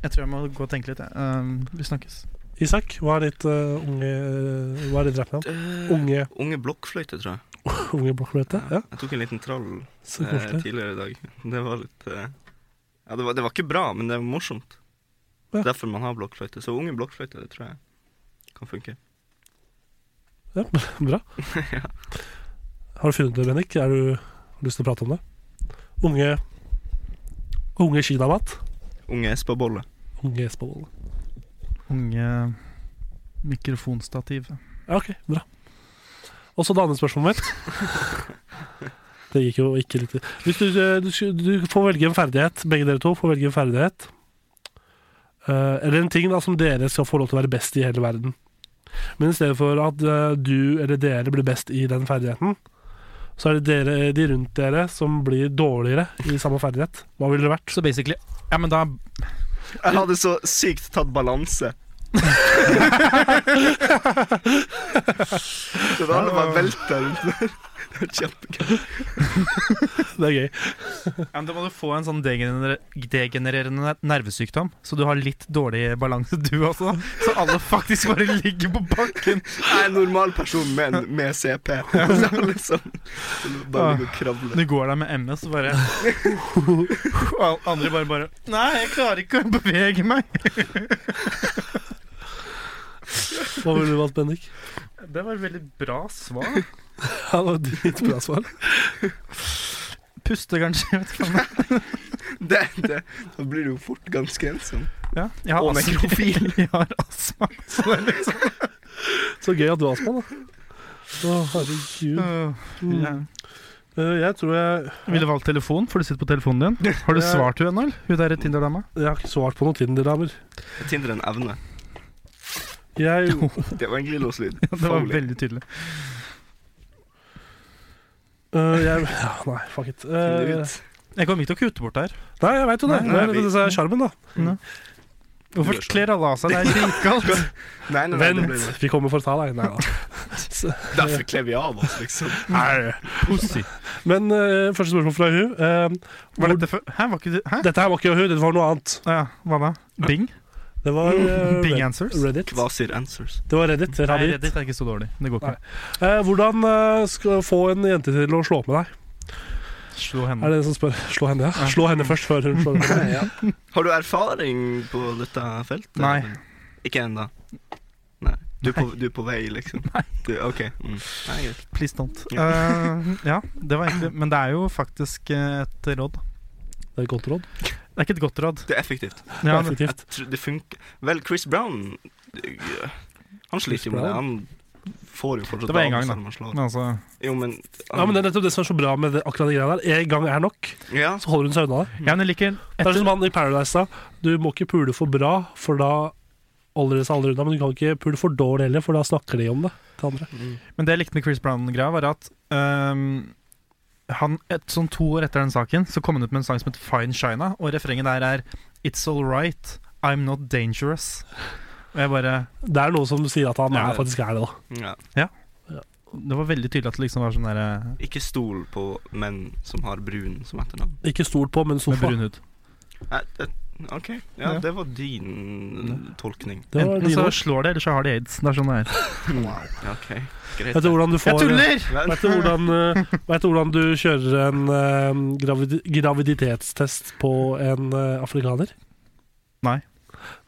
Speaker 3: jeg tror jeg må gå og tenke litt. jeg. Um, vi snakkes.
Speaker 2: Isak, hva er ditt eh, unge eh, Hva er ditt rappnavn? Unge,
Speaker 5: Eh, Unge blokkfløyte, tror jeg.
Speaker 2: unge blokkfløyte? Ja,
Speaker 5: Jeg tok en liten trall
Speaker 2: så
Speaker 5: eh,
Speaker 2: koselig.
Speaker 5: tidligere i dag. Det var litt eh, Ja, det var, det var ikke bra, men det var morsomt.
Speaker 2: Ja.
Speaker 5: Derfor man har blokkfløyte. Så unge blokkfløyte, det tror jeg kan funke.
Speaker 2: Ja, bra. Har du funnet det, Bennik? Er du har du lyst til å prate om det? Unge Unge kinamat?
Speaker 5: Unge Espa-bolle.
Speaker 2: Unge Espavoll.
Speaker 3: Unge mikrofonstativ.
Speaker 2: Ja, ok, bra. Og så det andre spørsmålet mitt. Det gikk jo ikke litt Hvis du, eh, du, skulle- du får velge en ferdighet, begge dere to får velge en ferdighet. Eh, eller en ting da som dere skal få lov til å være best i hele verden. Men i stedet for at eh, du eller dere blir best i den ferdigheten, så er det dere, de rundt dere som blir dårligere i samme ferdighet. Hva ville det vært?
Speaker 3: Så basically Ja, men da
Speaker 5: Jeg hadde så sykt tatt balanse. Så da hadde man velta rundt der. Det var kjempegøy.
Speaker 2: Det er gøy.
Speaker 3: Ja, men Da må du få en sånn degener degenererende nervesykdom, så du har litt dårlig balanse du også. Så alle faktisk bare ligger på bakken.
Speaker 5: Jeg er en normal person, men med CP. Så jeg liksom bare ligger og kravler.
Speaker 3: Du går der med MS og bare Og alle andre bare bare Nei, jeg klarer ikke å bevege meg.
Speaker 2: Hva ville du valgt, Bendik?
Speaker 3: Det var et veldig bra svar.
Speaker 2: Ja, det var ditt bra svar.
Speaker 3: Puste, kanskje. Jeg vet ikke om det-
Speaker 5: Det, det, da blir du jo fort ganske ensom.
Speaker 3: Ja, jeg har
Speaker 5: Og
Speaker 3: astma.
Speaker 5: nekrofil.
Speaker 3: Jeg har astma. Så det er liksom
Speaker 2: Så gøy at du har astma, da. Å, herregud.
Speaker 3: Øh,
Speaker 2: Mm.
Speaker 3: ja.
Speaker 2: Eh, jeg tror jeg
Speaker 3: Ville valgt telefon, for du sitter på telefonen din. Har du
Speaker 2: Ja.
Speaker 3: svart henne ennå, eller? Hun derre Tinder-dama?
Speaker 2: Jeg har ikke svart på noen Tinder-damer.
Speaker 5: Tinder er en evne.
Speaker 2: Jeg
Speaker 5: Det var egentlig låslyd.
Speaker 3: Det var veldig tydelig.
Speaker 2: Øh, jeg, ja, nei, fuck it. Øh,
Speaker 3: Jeg kommer ikke til å kutte bort det her.
Speaker 2: nei, jeg veit jo det.
Speaker 5: Nei,
Speaker 2: Det
Speaker 5: nei,
Speaker 2: er
Speaker 5: vi-
Speaker 2: det som er sjarmen, da.
Speaker 3: Hvorfor
Speaker 5: Gjør sånn.
Speaker 3: kler alle av seg? Det er dritkaldt.
Speaker 5: Nei, nei, nei, det
Speaker 2: Vent,
Speaker 5: blir det.
Speaker 2: vi kommer for å ta deg. Nei da.
Speaker 5: Derfor kler vi av oss, liksom.
Speaker 2: Nei.
Speaker 3: Pussy.
Speaker 2: Men øh, første spørsmål fra hun. Øh,
Speaker 3: Var dette for Hæ, var ikke det Hæ?
Speaker 2: dette her var ikke hun, dette var noe annet.
Speaker 3: Å ja, hva da? Bing?
Speaker 2: Det var
Speaker 5: Mm.
Speaker 2: øh,
Speaker 3: Bing
Speaker 2: Red-
Speaker 3: answers?
Speaker 2: Reddit.
Speaker 5: Kvasir answers.
Speaker 2: Det var Reddit.
Speaker 3: Nei,
Speaker 2: Reddit.
Speaker 3: Reddit er ikke så dårlig. Det går ikke.
Speaker 2: Eh, hvordan øh, skal få en jente til å slå opp med deg?
Speaker 3: Slå
Speaker 2: Er
Speaker 3: henne.
Speaker 2: det den som spør? Slå henne, ja.
Speaker 3: Ja.
Speaker 2: Slå henne først, før hun slår opp. med deg.
Speaker 5: Har du erfaring på dette feltet?
Speaker 3: Nei.
Speaker 5: Ikke ennå? Nei. Du er, på, du er på vei, liksom? Nei. Du, ok. Mm. Nei, greit.
Speaker 3: Please don't.
Speaker 5: Ja.
Speaker 3: Eh, ja, det var egentlig Men det er jo faktisk eh, et råd.
Speaker 2: Det er et godt råd.
Speaker 3: Det er ikke et godt råd.
Speaker 5: Det er effektivt.
Speaker 3: Ja, det,
Speaker 5: Jeg
Speaker 2: Effektivt.
Speaker 5: tror det funker Vel, Chris Brown øh, Han sliter jo med det. Han får jo fortsatt
Speaker 3: Det var en gang, da.
Speaker 5: balanse når man slår.
Speaker 3: men altså
Speaker 5: Jo, men
Speaker 2: Ja, men Det er nettopp det som er så bra med det, akkurat de greiene der. En gang er nok,
Speaker 5: Ja,
Speaker 2: så holder hun seg unna det.
Speaker 3: Ja, men jeg liker
Speaker 2: Det er
Speaker 3: etter,
Speaker 2: som han i Paradise da. Du må ikke pule for bra, for da holder det seg aldri unna. Men du kan ikke pule for dårlig heller, for da snakker de om det til andre.
Speaker 3: Men det jeg likte med Chris Brown-greia, var at ehm, han, et, sånn to år etter den saken Så kom han ut med en sang som het Fine China, og refrenget der er It's all right, I'm not dangerous. Og jeg bare
Speaker 2: Det er noe som sier at han
Speaker 5: Ja.
Speaker 2: er, faktisk er det, da.
Speaker 5: ja.
Speaker 3: Det var veldig tydelig at det liksom var sånn derre
Speaker 5: Ikke stol på menn som har brun som etternavn.
Speaker 2: Ikke stol på, men
Speaker 3: Med
Speaker 2: sofa.
Speaker 3: brun hud.
Speaker 5: Nei, det- OK. Ja,
Speaker 3: Ja.
Speaker 5: det var din tolkning.
Speaker 2: Det var
Speaker 3: Enten
Speaker 2: dine
Speaker 3: så
Speaker 2: ord.
Speaker 3: slår det, eller så har de aids. Det er sånn det er.
Speaker 5: Ja, OK. Greit.
Speaker 2: Vet du hvordan du får
Speaker 5: Men,
Speaker 2: Vet du hvordan, eh, vet du hvordan du kjører en eh, gravidi graviditetstest på en eh, afrikaner?
Speaker 3: Nei.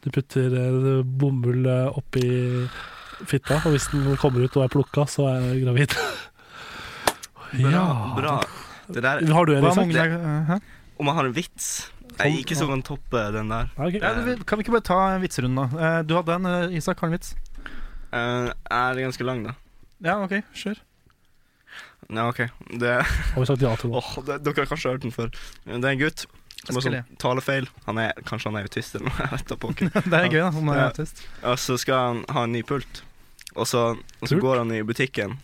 Speaker 2: Du putter eh, bomull eh, oppi fitta, og hvis den kommer ut og er plukka, så er jeg gravid.
Speaker 5: bra, bra. Det der
Speaker 2: Eh, Har du en,
Speaker 3: Hva om
Speaker 2: Isak?
Speaker 3: ungene er eh, hæ?
Speaker 5: Om jeg har en vits? Jeg ikke så kan toppe den der.
Speaker 2: Ja, ok.
Speaker 3: ja, vi- Kan vi ikke bare ta en vitserunde, da? Eh, Du hadde en, eh, Isak. Har du en vits?
Speaker 5: Eh, er det ganske lang, da?
Speaker 3: Ja, OK. Kjør.
Speaker 5: Ja, OK. Det,
Speaker 2: Har vi sagt ja til noe?
Speaker 5: åh, det, dere har kanskje hørt den før. Det er en gutt som har
Speaker 3: skal
Speaker 5: sånn talefeil. Han er, kanskje han er autist eller noe. Jeg vet da pokker.
Speaker 3: Det er gøy, da. Sånn, eh, Om det er
Speaker 5: Ja.
Speaker 3: autist.
Speaker 5: Og så skal han ha en ny pult, og så, og så
Speaker 2: Pult?
Speaker 5: går han i butikken,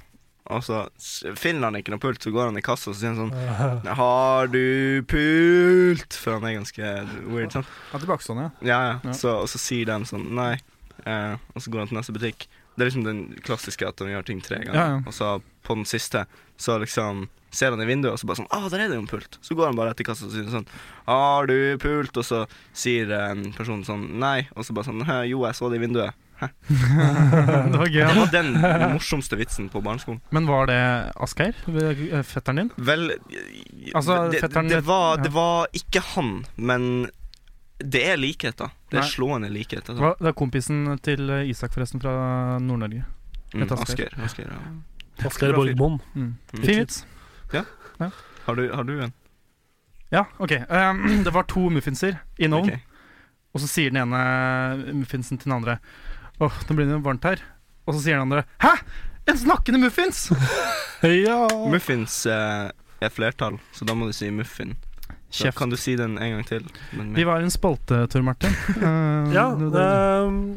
Speaker 5: og så s- finner han ikke noe pult, så går han i kassa og så sier han sånn
Speaker 2: Eh,
Speaker 5: Har du pult? For han er ganske weird, sånn. sant?
Speaker 3: Ja, tilbakestående, ja.
Speaker 5: Ja, ja.
Speaker 3: Ja.
Speaker 5: Så, og så sier de sånn nei, eh, og så går han til neste butikk. Det er liksom den klassiske at de gjør ting tre ganger.
Speaker 3: Ja, ja.
Speaker 5: Og så på den siste så liksom ser han i vinduet, og så bare sånn Å, der er det jo en pult. Så går han bare etter kassa og sier sånn Har du pult? Og så sier eh, personen sånn nei, og så bare sånn «Hæ, Jo, jeg så det i vinduet.
Speaker 3: det var gøy.
Speaker 5: Det
Speaker 3: Anna.
Speaker 5: var den morsomste vitsen på barneskolen.
Speaker 3: Men var det Asgeir? eh, Fetteren din?
Speaker 5: Vel,
Speaker 3: Altså,
Speaker 5: det,
Speaker 3: fetteren-
Speaker 5: det, var,
Speaker 3: ja.
Speaker 5: det var ikke han, men det er likheter. Det
Speaker 3: Nei.
Speaker 5: er slående likheter.
Speaker 3: Det var, det var kompisen til eh, Isak, forresten, fra Nord-Norge.
Speaker 5: Mm,
Speaker 3: heter Asgeir.
Speaker 5: Asgeir. Asgeir, ja.
Speaker 2: Asgeir Borgmoen.
Speaker 3: Mm.
Speaker 5: Mm.
Speaker 3: Fin vits.
Speaker 5: Har du, har du en?
Speaker 3: Ja, OK. Eh, det var to muffinser i en ovn.
Speaker 5: Ok.
Speaker 3: Og så sier den ene muffinsen til den andre Åh, nå blir det jo varmt her Og så sier den andre Hæ? En snakkende muffins?
Speaker 2: Ja.
Speaker 5: Muffins eh, er flertall, så da må du si muffin. Så
Speaker 3: Kjeft
Speaker 5: Kan du si den en gang til? Men
Speaker 3: Vi
Speaker 5: med
Speaker 3: var i en spalte, Tor Martin Eh,
Speaker 2: ja
Speaker 3: det- det-
Speaker 2: ehm,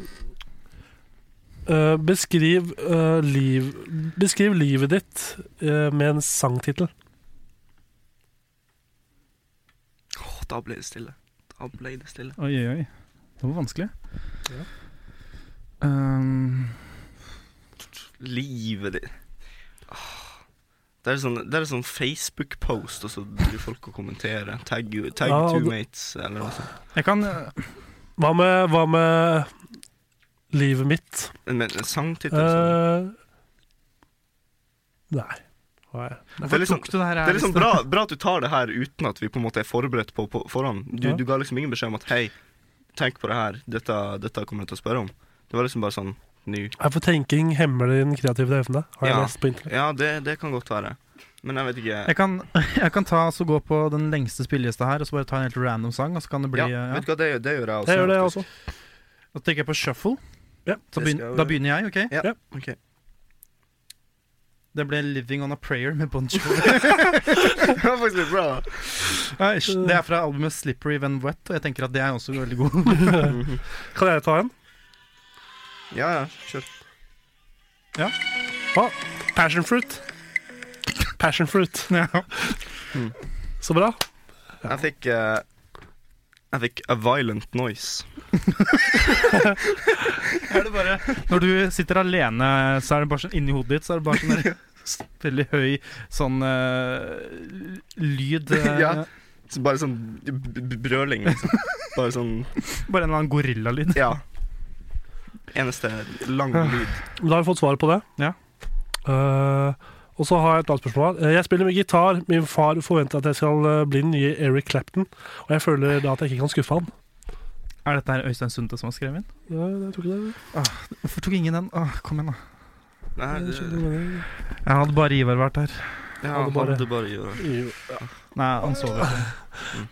Speaker 2: eh, beskriv, eh, liv, beskriv livet ditt eh, med en sangtittel.
Speaker 5: Åh, da ble det stille. Da ble det stille.
Speaker 3: Oi, oi, oi Det var vanskelig Ehm,
Speaker 5: Livet ditt Åh. Det er sånn, det er sånn Facebook-post, og så blir folk å kommentere. Tagg tag
Speaker 2: Ja, og
Speaker 5: two
Speaker 2: det-
Speaker 5: mates, eller noe sånt.
Speaker 3: Jeg kan eh,
Speaker 2: Hva med, hva med livet mitt?
Speaker 5: Men en sangtittel sånn.
Speaker 2: Eh, nei. Hva er
Speaker 5: Det er
Speaker 3: Hvorfor
Speaker 5: litt sånn-
Speaker 3: tok du det her?
Speaker 5: Det er liksom bra, bra at du tar det her uten at vi på en måte er forberedt på på forhånd. Du,
Speaker 2: Ja.
Speaker 5: du ga liksom ingen beskjed om at 'hei, tenk på det her, dette, dette kommer jeg til å spørre om'. Det var liksom bare sånn ny
Speaker 2: Er for tenking hemmer din kreative evne? Har jeg
Speaker 5: Ja.
Speaker 2: lest på internett.
Speaker 5: Ja, det, det kan godt være. Men jeg vet ikke
Speaker 3: jeg kan, jeg kan ta, så gå på den lengste spillelista her Og så bare ta en helt random sang Og så kan det bli
Speaker 5: ja,
Speaker 3: eh, ja.
Speaker 5: Vet du hva, det, gjør- det gjør jeg også.
Speaker 2: Jeg gjør det, jeg
Speaker 5: faktisk.
Speaker 2: også.
Speaker 3: Da tenker jeg på shuffle
Speaker 2: Ja,
Speaker 3: da,
Speaker 5: det skal
Speaker 3: begyn-
Speaker 5: jeg
Speaker 3: da
Speaker 5: gjøre.
Speaker 3: begynner jeg, ok?
Speaker 5: Ja,
Speaker 2: Ja.
Speaker 5: ok.
Speaker 3: Det ble Living on a Prayer med Bon Jovi
Speaker 5: det var faktisk litt bra.
Speaker 3: Nei, Det er fra albumet Slippery When Wet, og jeg tenker at det er også veldig god.
Speaker 2: Kan jeg ta en?
Speaker 5: Ja, ja, kjør.
Speaker 2: Ah, passion fruit. Passion fruit. Så bra.
Speaker 5: Jeg fikk eh, Jeg fikk A Violent Noise.
Speaker 3: er det bare, når du sitter alene, så er det bare sånn inni hodet ditt, så er det bare sånn der s- veldig høy sånn eh, lyd eh,
Speaker 5: Ja. Så bare sånn b- b- brøling, liksom. Bare sånn
Speaker 3: Bare en eller annen gorillalyd.
Speaker 5: Ja. Eneste lang lyd.
Speaker 2: Men Da har vi fått svar på det.
Speaker 3: Ja.
Speaker 2: Eh, og så har jeg et annet spørsmål. her. Eh, Jeg spiller med gitar. Min far forventer at jeg skal eh, bli den nye Eric Clapton, og jeg føler da at jeg ikke kan skuffe han.
Speaker 3: Er dette her Øystein Sunde som har skrevet den?
Speaker 2: Nei, jeg tror ikke det.
Speaker 3: Hvorfor tok ingen den? Åh, kom igjen, da.
Speaker 5: Nei,
Speaker 2: Jeg
Speaker 5: det,
Speaker 2: skjønner hva du mener.
Speaker 3: Jeg hadde bare Ivar vært her.
Speaker 5: ja,
Speaker 2: hadde bare-
Speaker 5: hadde bare gjort det.
Speaker 2: Jo.
Speaker 3: Nei, han sover.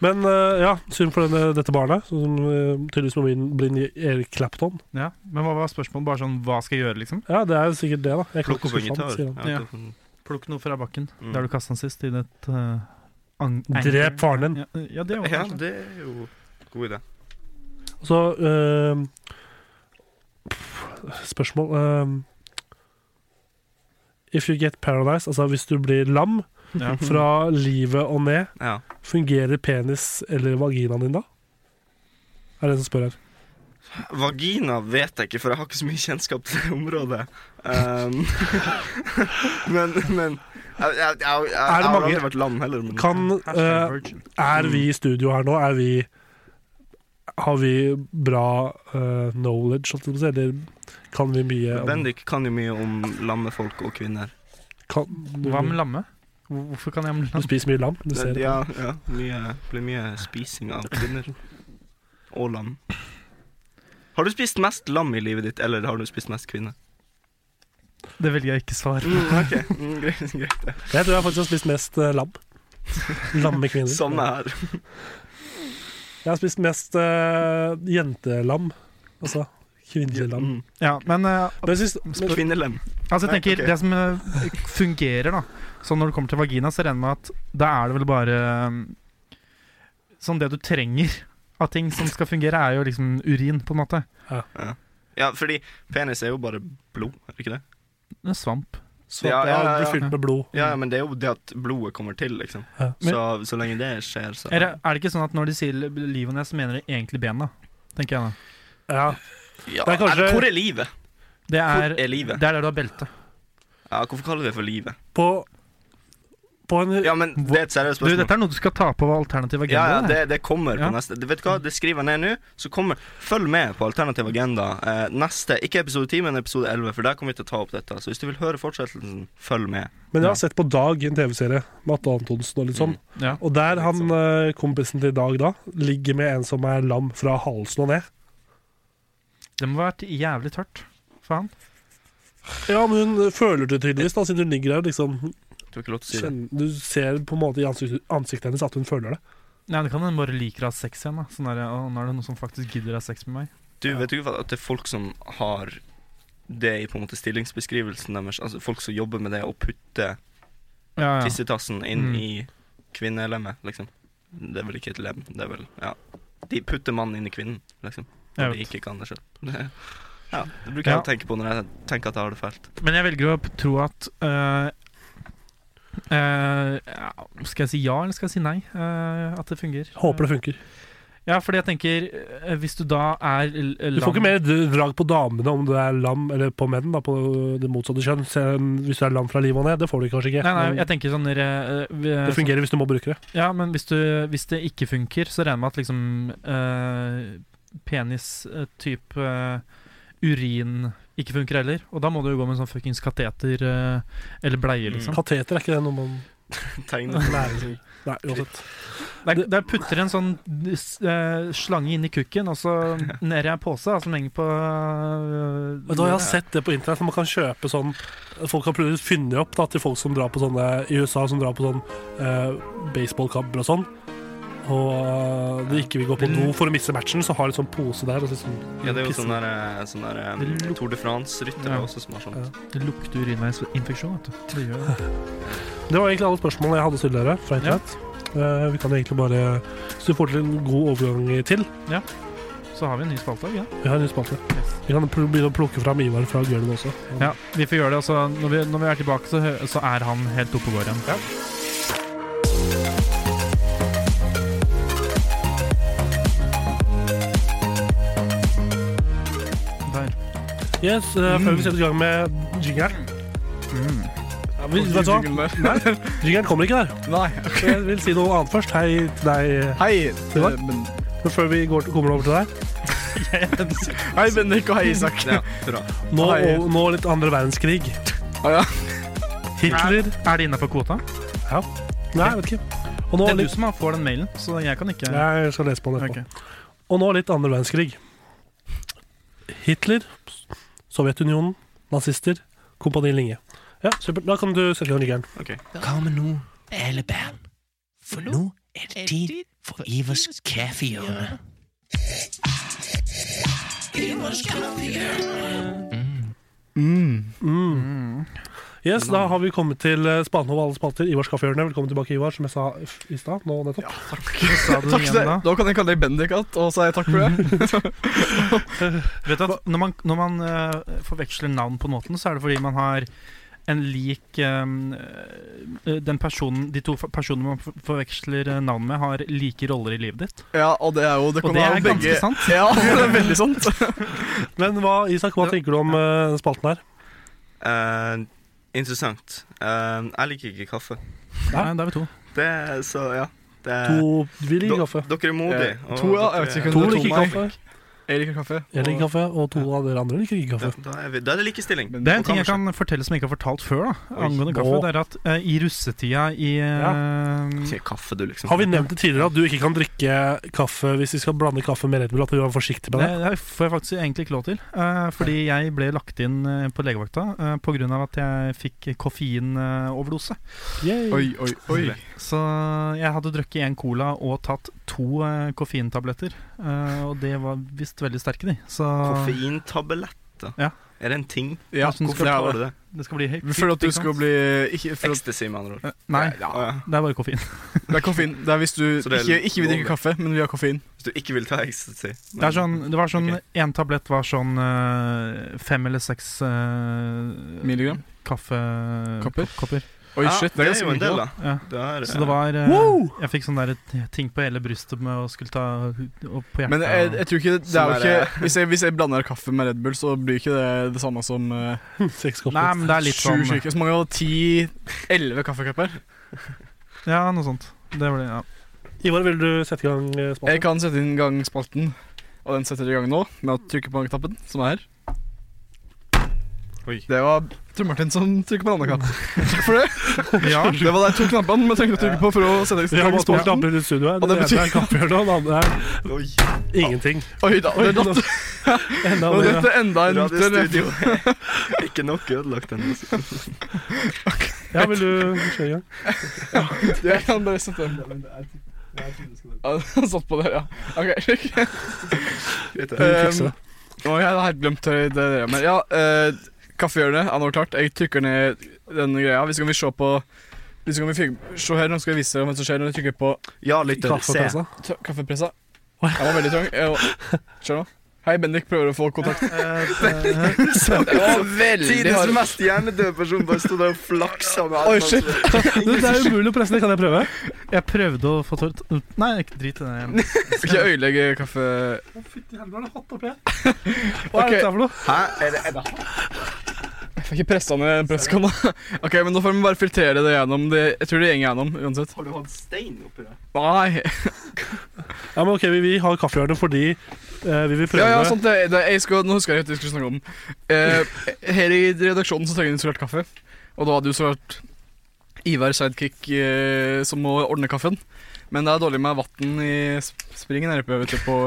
Speaker 2: Men eh, ja, synd for denne, dette barnet, som eh, tydeligvis må bli den- bli den nye Eric Clapton.
Speaker 3: Ja. Men hva var spørsmålet? Bare sånn hva skal jeg gjøre, liksom?
Speaker 2: Ja, det er jo sikkert det, da. Jeg kan
Speaker 5: Plukk
Speaker 2: ikke
Speaker 5: opp en
Speaker 2: skuffe han,
Speaker 5: gitar.
Speaker 2: sier han.
Speaker 5: Ja, sånn,
Speaker 3: Ja. Plukk noe fra bakken,
Speaker 5: Mm.
Speaker 3: der du kasta den sist, i ditt eh, ang-
Speaker 2: Drep faren din.
Speaker 3: Ja, ja, det var
Speaker 5: ja,
Speaker 3: kanskje-
Speaker 5: det er jo god idé.
Speaker 2: Og så eh, pff, Spørsmål eh, If you get paradise, altså hvis du blir lam
Speaker 3: ja.
Speaker 2: fra livet og ned,
Speaker 5: Ja.
Speaker 2: fungerer penis eller vaginaen din da? Er det en som spør her.
Speaker 5: Vagina vet jeg ikke, for jeg har ikke så mye kjennskap til det området. Um, men men jeg, jeg, jeg, jeg, jeg har
Speaker 2: mange-
Speaker 5: aldri vært lam heller. Men
Speaker 2: Kan
Speaker 3: Hashtag
Speaker 2: eh,
Speaker 3: virgin.
Speaker 2: Er vi
Speaker 3: Mm.
Speaker 2: i studio her nå? Er vi Har vi bra eh, knowledge, holdt jeg på å si? Eller kan vi mye om-
Speaker 5: Bendik kan jo mye om lamme folk og kvinner.
Speaker 2: kan,
Speaker 3: Hva med lamme? Hvor- Hvorfor kan jeg om
Speaker 2: Du
Speaker 3: lamme?
Speaker 2: spiser mye lam? Du ser det.
Speaker 5: Ja, ja mye, blir mye spising av kvinner. Og lam. Har du spist mest lam i livet ditt, eller har du spist mest kvinne?
Speaker 3: Det velger jeg ikke svar.
Speaker 5: Mm, ok, mm, greit, greit det.
Speaker 2: Jeg tror jeg faktisk har spist mest eh, lam. Lamme kvinner.
Speaker 5: Samme her.
Speaker 2: Jeg har spist mest eh, jentelam. Altså kvinnelig lam.
Speaker 5: Mm.
Speaker 3: Ja, men eh,
Speaker 2: Men jeg syns- men-
Speaker 5: Kvinnelem.
Speaker 3: altså, jeg
Speaker 5: Nei,
Speaker 3: tenker
Speaker 5: ok.
Speaker 3: det som eh, fungerer, da Så når det kommer til vagina, så regner jeg med at da er det vel bare um, Sånn det du trenger av ting som skal fungere, er jo liksom urin, på en måte.
Speaker 5: Ja, fordi penis er jo bare blod, er det ikke det?
Speaker 3: Det er Svamp.
Speaker 2: så
Speaker 5: Ja,
Speaker 2: at
Speaker 5: ja, ja,
Speaker 2: jeg blir
Speaker 5: ja.
Speaker 2: fylt med blod.
Speaker 5: Ja, men det er jo det at blodet kommer til, liksom.
Speaker 2: Ja.
Speaker 5: Så, så lenge det skjer, så
Speaker 3: Er det, er det ikke sånn at når de sier li- livet hennes, så mener de egentlig bena? Tenker jeg da.
Speaker 2: Ja.
Speaker 5: ja,
Speaker 2: det er kanskje-
Speaker 5: Hvor er livet?
Speaker 3: Det
Speaker 5: Hvor
Speaker 3: er,
Speaker 5: er livet?
Speaker 3: det er der du har belte.
Speaker 5: Ja, hvorfor kaller vi det for livet?
Speaker 2: På, på en
Speaker 5: Ja, men det er et seriøst
Speaker 3: Du,
Speaker 5: spørsmål.
Speaker 3: dette er noe du skal ta på alternativ
Speaker 5: ja,
Speaker 3: agenda.
Speaker 5: ja,
Speaker 3: det.
Speaker 5: det, det kommer på
Speaker 3: Ja.
Speaker 5: neste. Det- Vet du hva, det skriver jeg ned nå. Så kommer Følg med på Alternativ agenda eh, neste. Ikke episode 10, men episode 11, for der kommer vi til å ta opp dette. Så hvis du vil høre fortsettelsen, følg med.
Speaker 2: Men jeg har sett på Dag, en TV-serie med Atle Antonsen og litt sånn.
Speaker 3: Ja.
Speaker 2: Og der han eh, kompisen til Dag da ligger med en som er lam fra halsen og ned.
Speaker 3: det må ha vært jævlig tørt. Faen.
Speaker 2: Ja, men hun føler det tydeligvis, da, siden hun ligger der og liksom
Speaker 5: Du har ikke lov til å si det.
Speaker 2: kjenner, Du ser på en måte i ansiktet, ansiktet hennes at hun føler det.
Speaker 3: Nei, det kan hende hun bare liker å ha sex igjen. da Sånn der, å, Nå er det noen som faktisk gidder å ha sex med meg.
Speaker 5: Du vet jo ikke at det er folk som har det i på en måte stillingsbeskrivelsen deres. Altså folk som jobber med det å putte
Speaker 3: Ja, ja.
Speaker 5: tissetassen inn
Speaker 3: Mm.
Speaker 5: i kvinnelemmet, liksom. Det er vel ikke et lem, det er vel Ja. De putter mannen inn i kvinnen, liksom.
Speaker 3: Jeg
Speaker 5: Når de
Speaker 3: vet.
Speaker 5: ikke kan det sjøl. Ja, det bruker jeg
Speaker 3: Ja.
Speaker 5: å tenke på når jeg tenker at jeg har det fælt.
Speaker 3: Men jeg velger å p- tro at øh, øh, ja, Skal jeg si ja, eller skal jeg si nei? øh, at det fungerer.
Speaker 2: Håper det funker.
Speaker 3: Ja, fordi jeg tenker øh, Hvis du da er l-
Speaker 2: Du får ikke
Speaker 3: lam-
Speaker 2: mer d- drag på damene om du er lam, eller på menn, da, på det motsatte kjønn. Se, Hvis du er lam fra livet og ned, det får du kanskje ikke.
Speaker 3: Nei, nei,
Speaker 2: Men
Speaker 3: jeg tenker sånn øh, øh,
Speaker 2: det fungerer hvis du må bruke det.
Speaker 3: Ja, men hvis, du, hvis det ikke funker, så regner jeg med at liksom eh, penis eh, typ eh, urin ikke funker heller. Og da må du jo gå med en sånn fuckings kateter eh, eller bleie,
Speaker 5: Mm.
Speaker 3: liksom.
Speaker 2: Kateter er ikke det noe man
Speaker 5: Tegner
Speaker 2: Nei, nei uansett.
Speaker 3: Der, der putter en sånn eh, slange inn i kukken, og så ned i en pose da, som henger på eh,
Speaker 2: Men da, jeg har sett det på internett, for man kan kjøpe sånn Folk har prøvd å finne opp da, til folk som drar på sånne i USA, som drar på sånn eh, baseballkamper og sånn. Og eh, de ikke vil gå på do for å miste matchen, så har de sånn pose der. Og så sånn,
Speaker 5: Ja, det er jo
Speaker 2: Pissen.
Speaker 5: sånn der, eh, sånn der eh,
Speaker 3: Det lukter-
Speaker 5: Tour de France-ryttere
Speaker 3: Ja.
Speaker 5: også som har sånn.
Speaker 2: Ja.
Speaker 3: Det lukter urinveisinfeksjon, vet du. Det gjør det.
Speaker 2: Det var egentlig alle spørsmålene jeg hadde å stille dere. fra internett. Eh, vi kan egentlig bare Så du får til en god overgang til.
Speaker 3: Så har vi en ny spalte. Ja.
Speaker 2: Vi har en ny spalte.
Speaker 3: Yes.
Speaker 2: Vi kan pl- begynne å plukke fram Ivar fra gulvet også.
Speaker 3: ja, vi får gjøre det. Og så når, vi- når vi er tilbake, så, hø- så er han helt oppe og går igjen. Der.
Speaker 2: Yes, eh, Før
Speaker 3: Mm.
Speaker 2: vi setter i gang med jingeren ja, vi- Vet du hva? Nei, Jingeren kommer ikke der.
Speaker 1: Nei.
Speaker 2: Så Jeg vil si noe annet først. Hei til deg.
Speaker 1: Hei,
Speaker 2: Det var-
Speaker 1: eh, Ben-
Speaker 2: Men før vi går, kommer over til deg
Speaker 1: hei, Bendik og hei, Isak.
Speaker 5: Ja, bra.
Speaker 2: Nå,
Speaker 1: Hei.
Speaker 2: og, nå litt andre verdenskrig.
Speaker 1: Ah, ja.
Speaker 2: Hitler
Speaker 3: Er det innafor kvota?
Speaker 2: Nei, jeg vet ikke. Og nå
Speaker 3: Det er du
Speaker 2: litt
Speaker 3: som har- får den mailen, så jeg kan ikke
Speaker 2: Jeg skal lese på den etterpå.
Speaker 3: Ok.
Speaker 2: Og nå litt andre verdenskrig. Hitler, Sovjetunionen, nazister, Kompani Linge. Ja, supert. Da kan du sette i gang liggeren.
Speaker 7: Kom nå, alle barn. For nå er det tid for Ivers kaffehjørne.
Speaker 2: Mm. Yes, da har vi kommet til eh, Spaden over alle spalter. Ivars kaffehjørne. Velkommen tilbake, Ivar, som jeg sa f- i stad. Nå nettopp.
Speaker 3: Hva sa du
Speaker 1: Takk,
Speaker 3: igjen
Speaker 1: det.
Speaker 3: da?
Speaker 1: Da kan jeg kalle deg Bendik igjen, og si takk for det.
Speaker 3: Vet du at når man, når man eh, forveksler navn på den måten, så er det fordi man har en lik eh, eh, den personen, De to fa- personene man for- forveksler eh, navn med, har like roller i livet ditt.
Speaker 1: Ja, og det er jo det
Speaker 3: Og
Speaker 1: kan
Speaker 3: det
Speaker 1: være
Speaker 3: er
Speaker 1: jo
Speaker 3: ganske
Speaker 1: begge
Speaker 3: sant.
Speaker 1: Ja, det er veldig sant.
Speaker 2: Men hva, Isak, hva tenker du om eh, den spalten her?
Speaker 5: Eh, interessant. Eh, jeg liker ikke kaffe.
Speaker 2: Nei.
Speaker 3: Nei, da er vi to.
Speaker 5: Det er så, ja. Det er,
Speaker 2: To vi
Speaker 5: Do-
Speaker 2: liker kaffe.
Speaker 5: Dere er modige.
Speaker 1: Eh,
Speaker 5: og
Speaker 1: to, ja, jeg
Speaker 5: dere-
Speaker 1: vet ikke
Speaker 2: To
Speaker 1: det er to
Speaker 2: liker
Speaker 1: meg.
Speaker 2: kaffe.
Speaker 1: Jeg liker kaffe.
Speaker 2: Jeg liker kaffe, og to av dere andre liker ikke
Speaker 5: Da,
Speaker 2: kaffe.
Speaker 5: da, er vi, da er det likestilling.
Speaker 1: Men-
Speaker 3: Det er en
Speaker 5: Og
Speaker 3: ting jeg
Speaker 5: kammerset.
Speaker 3: kan fortelle som jeg ikke har fortalt før, da,
Speaker 5: Oi.
Speaker 3: angående kaffe. Det er at eh, i russetida i eh,
Speaker 5: Sier kaffe, du, liksom.
Speaker 2: Har vi nevnt det tidligere at du ikke kan drikke kaffe hvis vi skal blande kaffe med Red Bull? At vi var forsiktige med
Speaker 3: Det,
Speaker 2: det?
Speaker 3: det får jeg faktisk egentlig ikke lov til. eh, fordi jeg ble lagt inn eh, på legevakta uh, pga. at jeg fikk koffeinoverdose.
Speaker 2: Yay.
Speaker 1: Oi, oi, oi.
Speaker 3: så jeg hadde drukket én cola og tatt to eh, koffeintabletter. eh, og det var visst veldig sterke, de. Så
Speaker 5: Koffeintabletter?
Speaker 3: Ah. Ja.
Speaker 5: Er det en ting?
Speaker 1: Ja,
Speaker 3: Hvordan
Speaker 5: Hvorfor
Speaker 3: skal
Speaker 1: det er
Speaker 5: tar
Speaker 1: det.
Speaker 5: du det?
Speaker 3: det skal bli helt
Speaker 1: Vi føler at du
Speaker 3: ikke sant?
Speaker 1: skal bli ikke, for at,
Speaker 5: Ecstasy, med andre ord.
Speaker 3: Eh, Nei,
Speaker 5: Å, ja.
Speaker 3: det er bare koffein.
Speaker 1: Det er koffein. Det er hvis du
Speaker 5: Så det er
Speaker 1: ikke, ikke vil drikke
Speaker 5: lovlig.
Speaker 1: kaffe, men vi har koffein.
Speaker 5: Hvis du ikke vil ta ecstasy.
Speaker 3: Det, er sånn, det var sånn
Speaker 5: Ok.
Speaker 3: Én tablett var sånn eh, fem eller seks eh,
Speaker 1: Milligram. Kopper.
Speaker 3: kaffekopper. Kopper.
Speaker 1: Oi,
Speaker 5: Ja,
Speaker 1: shit.
Speaker 5: det er
Speaker 1: ganske
Speaker 5: jo en
Speaker 1: mye,
Speaker 5: del,
Speaker 1: da.
Speaker 5: da.
Speaker 3: Ja.
Speaker 5: Det er,
Speaker 3: Så det var eh,
Speaker 2: Wow!
Speaker 3: Jeg fikk sånn der t- ting på hele brystet med å skulle ta hu- opp på hjertet.
Speaker 1: Men eh, jeg, jeg tror ikke det, det er jo
Speaker 5: Sånn er
Speaker 1: ikke hvis jeg, hvis jeg blander kaffe med Red Bull, så blir ikke det det samme som uh,
Speaker 2: Seks
Speaker 3: Nei,
Speaker 2: kopper.
Speaker 3: men det er litt
Speaker 1: sju
Speaker 3: sånn
Speaker 1: syke. Så mange hadde ti, elleve kaffekopper.
Speaker 3: Ja, noe sånt. Det var det, ja.
Speaker 2: Ivar, vil du sette i gang eh,
Speaker 1: Jeg
Speaker 2: spalten?
Speaker 1: kan sette inn gangspalten, og den setter i gang nå med å trykke på gangknappen, som er her.
Speaker 5: Oi.
Speaker 1: Det var Tor Martin som trykker på den andre knappen. Takk for det.
Speaker 3: ja.
Speaker 1: Det var de to knappene vi trengte å trykke på for å sette i
Speaker 2: Vi har
Speaker 1: gang
Speaker 2: bare to
Speaker 1: spalten.
Speaker 2: knapper i studio her.
Speaker 1: Og
Speaker 2: Den
Speaker 1: det betyr-
Speaker 2: ene er kapphjørnet, og den andre er
Speaker 5: eh, Oi.
Speaker 2: ingenting.
Speaker 1: Oi da,
Speaker 2: Oi,
Speaker 1: det datt.
Speaker 2: Enda
Speaker 1: Og
Speaker 2: mer.
Speaker 1: dette er enda en liter
Speaker 5: Radiostudio. Ikke nok ødelagt ennå.
Speaker 2: Ja, vil du kjøre i gang?
Speaker 1: Jeg kan bare sette den. Ja, Han satt på der, ja. Ok.
Speaker 5: Greit,
Speaker 2: Du
Speaker 5: det.
Speaker 3: Eh,
Speaker 2: fikser
Speaker 1: Ehm,
Speaker 2: det.
Speaker 1: Å, jeg hadde helt glemt det det dere Men ja, uh, kaffehjørnet er nå klart. Jeg trykker ned den greia. Hvis kan vi se på Hvis kan vi fig- se her, nå skal jeg vise dere hva som skjer når jeg trykker på
Speaker 5: Ja, lytter,
Speaker 2: Kaffe og
Speaker 5: se.
Speaker 2: pølse.
Speaker 1: t- kaffepressa. Den var veldig trang. Jeg var- Skjønner nå. Hei, Bendik prøver å få kontakt. Det var veldig
Speaker 5: Tidens
Speaker 1: hardt.
Speaker 5: mest hjernedøde person bare sto der og flaksa med
Speaker 1: Oi, shit.
Speaker 2: Det det er umulig å presse ned. Kan jeg prøve?
Speaker 3: Jeg prøvde å få tårt Nei, ikke drit i det.
Speaker 1: Ikke ødelegge kaffe...
Speaker 2: Fytti helvete, er det hot oppi her? Hva
Speaker 1: Ok.
Speaker 2: er dette for noe?
Speaker 5: Hæ? Er det, er det?
Speaker 1: Jeg får ikke pressa ned presskanna. Ok, men nå får vi bare filtrere det gjennom. Det, jeg tror det gjenger gjennom uansett.
Speaker 5: Har du hatt stein oppi der?
Speaker 1: Nei.
Speaker 2: Ja, men ok, Vi, vi har kaffehjørnet fordi eh, vi vil prøve
Speaker 1: Ja, sånn. ja, sant det, det jeg skal, Nå husker jeg at vi skulle snakke om eh, Her i redaksjonen så trenger vi isolert kaffe Og da har du så vært Ivar sidekick eh, som må ordne kaffen Men det er dårlig med vatten i sp- springen her oppe vet du, På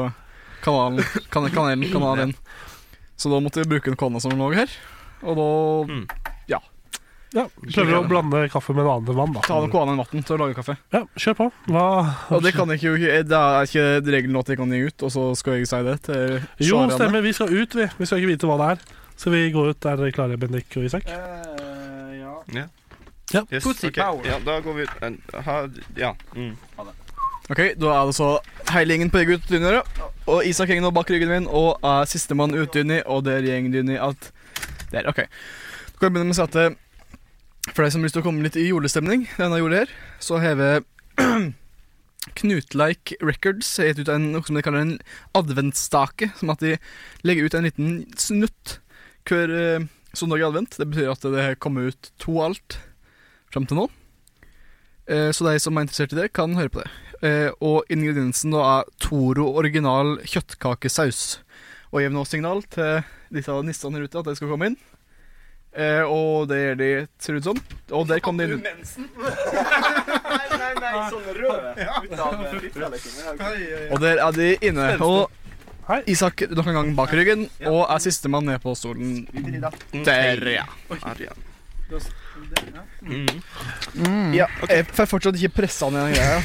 Speaker 1: kanalen, kan, kanalen, kanalen Så da måtte vi bruke en kona som lå her Og da
Speaker 5: Mm.
Speaker 2: Ja, prøver å blande kaffe med en annen vann, da.
Speaker 1: ta noe annet enn vatten til å lage kaffe
Speaker 2: Ja, kjør på. Hva
Speaker 1: Og det kan jeg ikke, jo- det er ikke regelen at jeg kan gi ut Og så skal jeg si det til
Speaker 2: Jo,
Speaker 1: svarene.
Speaker 2: stemmer. Vi skal ut, vi. Vi skal ikke vite hva det er. Så vi går ut. Er dere klare, Bendik og Isak? Eh,
Speaker 5: Yes,
Speaker 3: Pussy
Speaker 5: ok.
Speaker 3: power.
Speaker 5: Ja, da går vi ut. Eh, Ha, ja. Mm.
Speaker 1: Ok, da er det så hele gjengen på rygg ut dyna, da. Og Isak henger nå bak ryggen min og er sistemann ut dyna, og der gjeng dyna alt der. Ok. Da kan jeg begynne med å si at eh, for deg som har lyst til å komme litt i julestemning, denne jorda her, så har vi Knutleik Records har gitt ut en, noe som de kaller en adventsstake, som at de legger ut en liten snutt hver eh, søndag i advent. Det betyr at det har kommet ut to alt fram til nå. Eh, så de som er interessert i det, kan høre på det. Eh, og ingrediensen da er Toro original kjøttkakesaus. Og gir nå signal til disse nissene her ute at de skal komme inn. Eh, og det gjør de, ser det ut som. Og der kom de inn.
Speaker 5: Nei, nei, nei, sånn rød ut av fitta.
Speaker 1: Og der er de inne. Og
Speaker 2: Hei.
Speaker 1: Isak nok en gang bak ryggen, og er sistemann ned på stolen. Der, ja.
Speaker 5: Mm.
Speaker 1: ja Jeg får fortsatt ikke pressa ned den greia.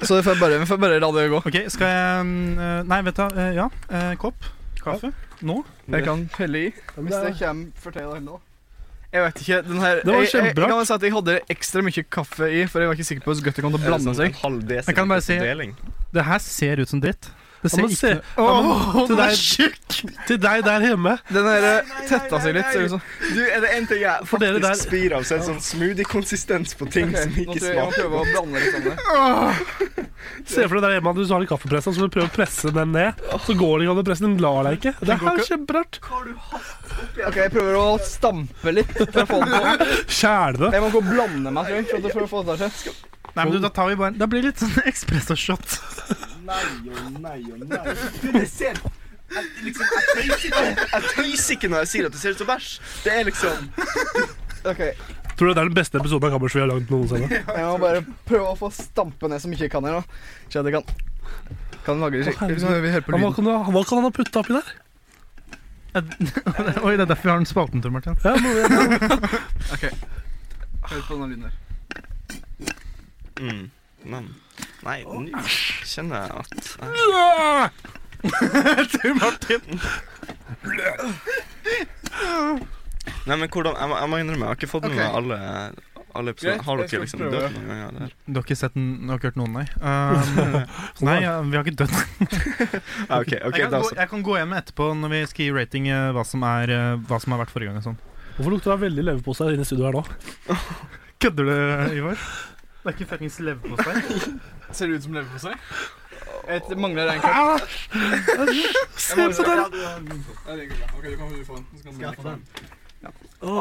Speaker 1: Så jeg får bare, jeg får bare la det gå.
Speaker 3: Ok, skal jeg mm, Nei, vet du hva. eh, Ja, eh, kopp. Kaffe. Nå?
Speaker 1: Jeg kan helle i. Hvis det kommer, fortell det nå. Jeg vet ikke, den her
Speaker 2: Det var
Speaker 1: jeg, jeg, jeg
Speaker 2: kjempebra.
Speaker 1: kan bare si at jeg hadde ekstra mye kaffe i, for jeg var ikke sikker på hvordan godt det kom til å blande seg.
Speaker 5: sånn Halv
Speaker 3: Jeg kan bare si-
Speaker 5: deling.
Speaker 3: Det her ser ut som dritt. Det
Speaker 2: Ja,
Speaker 3: ser
Speaker 2: men se,
Speaker 3: ikke
Speaker 2: Åh, til,
Speaker 3: den er
Speaker 2: deg, til deg der hjemme.
Speaker 1: Den her eh,
Speaker 5: nei,
Speaker 1: tetta
Speaker 5: nei,
Speaker 1: seg litt,
Speaker 5: nei.
Speaker 1: ser det sånn- ut som.
Speaker 5: Du, er det en ting jeg
Speaker 2: For dere
Speaker 5: faktisk
Speaker 2: der-
Speaker 5: spyr av, så er det sånn smoothie-konsistens på ting
Speaker 1: Ok,
Speaker 5: som
Speaker 1: nå
Speaker 5: ikke
Speaker 1: tror jeg jeg må
Speaker 5: smaker
Speaker 1: prøve å blande litt sammen. her.
Speaker 2: Se for deg der hjemme at du har en kaffepress, og så må du prøve å presse den ned. Så går det ikke an å presse den, den lar deg ikke. Det her er kjemperart.
Speaker 1: Ok, jeg prøver å stampe litt for å få det på.
Speaker 2: Kjæle det.
Speaker 1: Jeg må gå og blande meg, tror jeg, for at- for å få det til.
Speaker 3: Nei, men du, da tar vi bare Da blir det litt sånn ekspressorshot.
Speaker 5: Nei og nei og nei. Du, det ser jeg, liksom, jeg, tøyser ikke, jeg tøyser ikke når jeg sier at det ser ut som bæsj. Det er liksom
Speaker 1: Ok,
Speaker 2: Tror du det er den beste episoden av Kammerset vi har lagd noensinne?
Speaker 1: jeg må bare prøve å få stampe ned så mye jeg kan her nå. Se at jeg kan. Kan lage det skikkelig. Liksom, vi hører på
Speaker 2: Ja, Hva
Speaker 1: lyden.
Speaker 2: kan, du, hva kan han ha putta oppi der?
Speaker 3: Oi, det er derfor vi har den spalten, Tor Martin.
Speaker 2: Ja, må,
Speaker 1: Hør på denne lyden her.
Speaker 5: mm. Nei, nei nå kjenner jeg at eh. jeg Nei, men hvordan, jeg, må- jeg må innrømme, jeg har ikke fått med
Speaker 1: Ok.
Speaker 5: meg alle, alle episoder.
Speaker 1: Greit,
Speaker 5: Har
Speaker 1: jeg skal
Speaker 5: dere liksom
Speaker 1: prøve.
Speaker 5: dødd noen ganger? Der?
Speaker 3: Du har ikke sett den, du har ikke hørt noen, nei? Um, nei, ja, vi har ikke dødd.
Speaker 5: Ah, ok, ok,
Speaker 3: jeg, kan
Speaker 5: da
Speaker 3: gå,
Speaker 5: så.
Speaker 3: jeg kan gå hjem etterpå når vi skal gi rating eh, hva som, er, eh, hva som har vært forrige gang. og Sånn.
Speaker 2: Hvorfor lukter det veldig leverpose her inne i studio her nå?
Speaker 3: Kødder du, eh, Ivar? Det er ikke fuckings leverpostei.
Speaker 1: Ser det ut som leverpostei? Jeg mangler en kopp. Se på den! Ok, du kan få den. Så kan du få den.
Speaker 5: Å,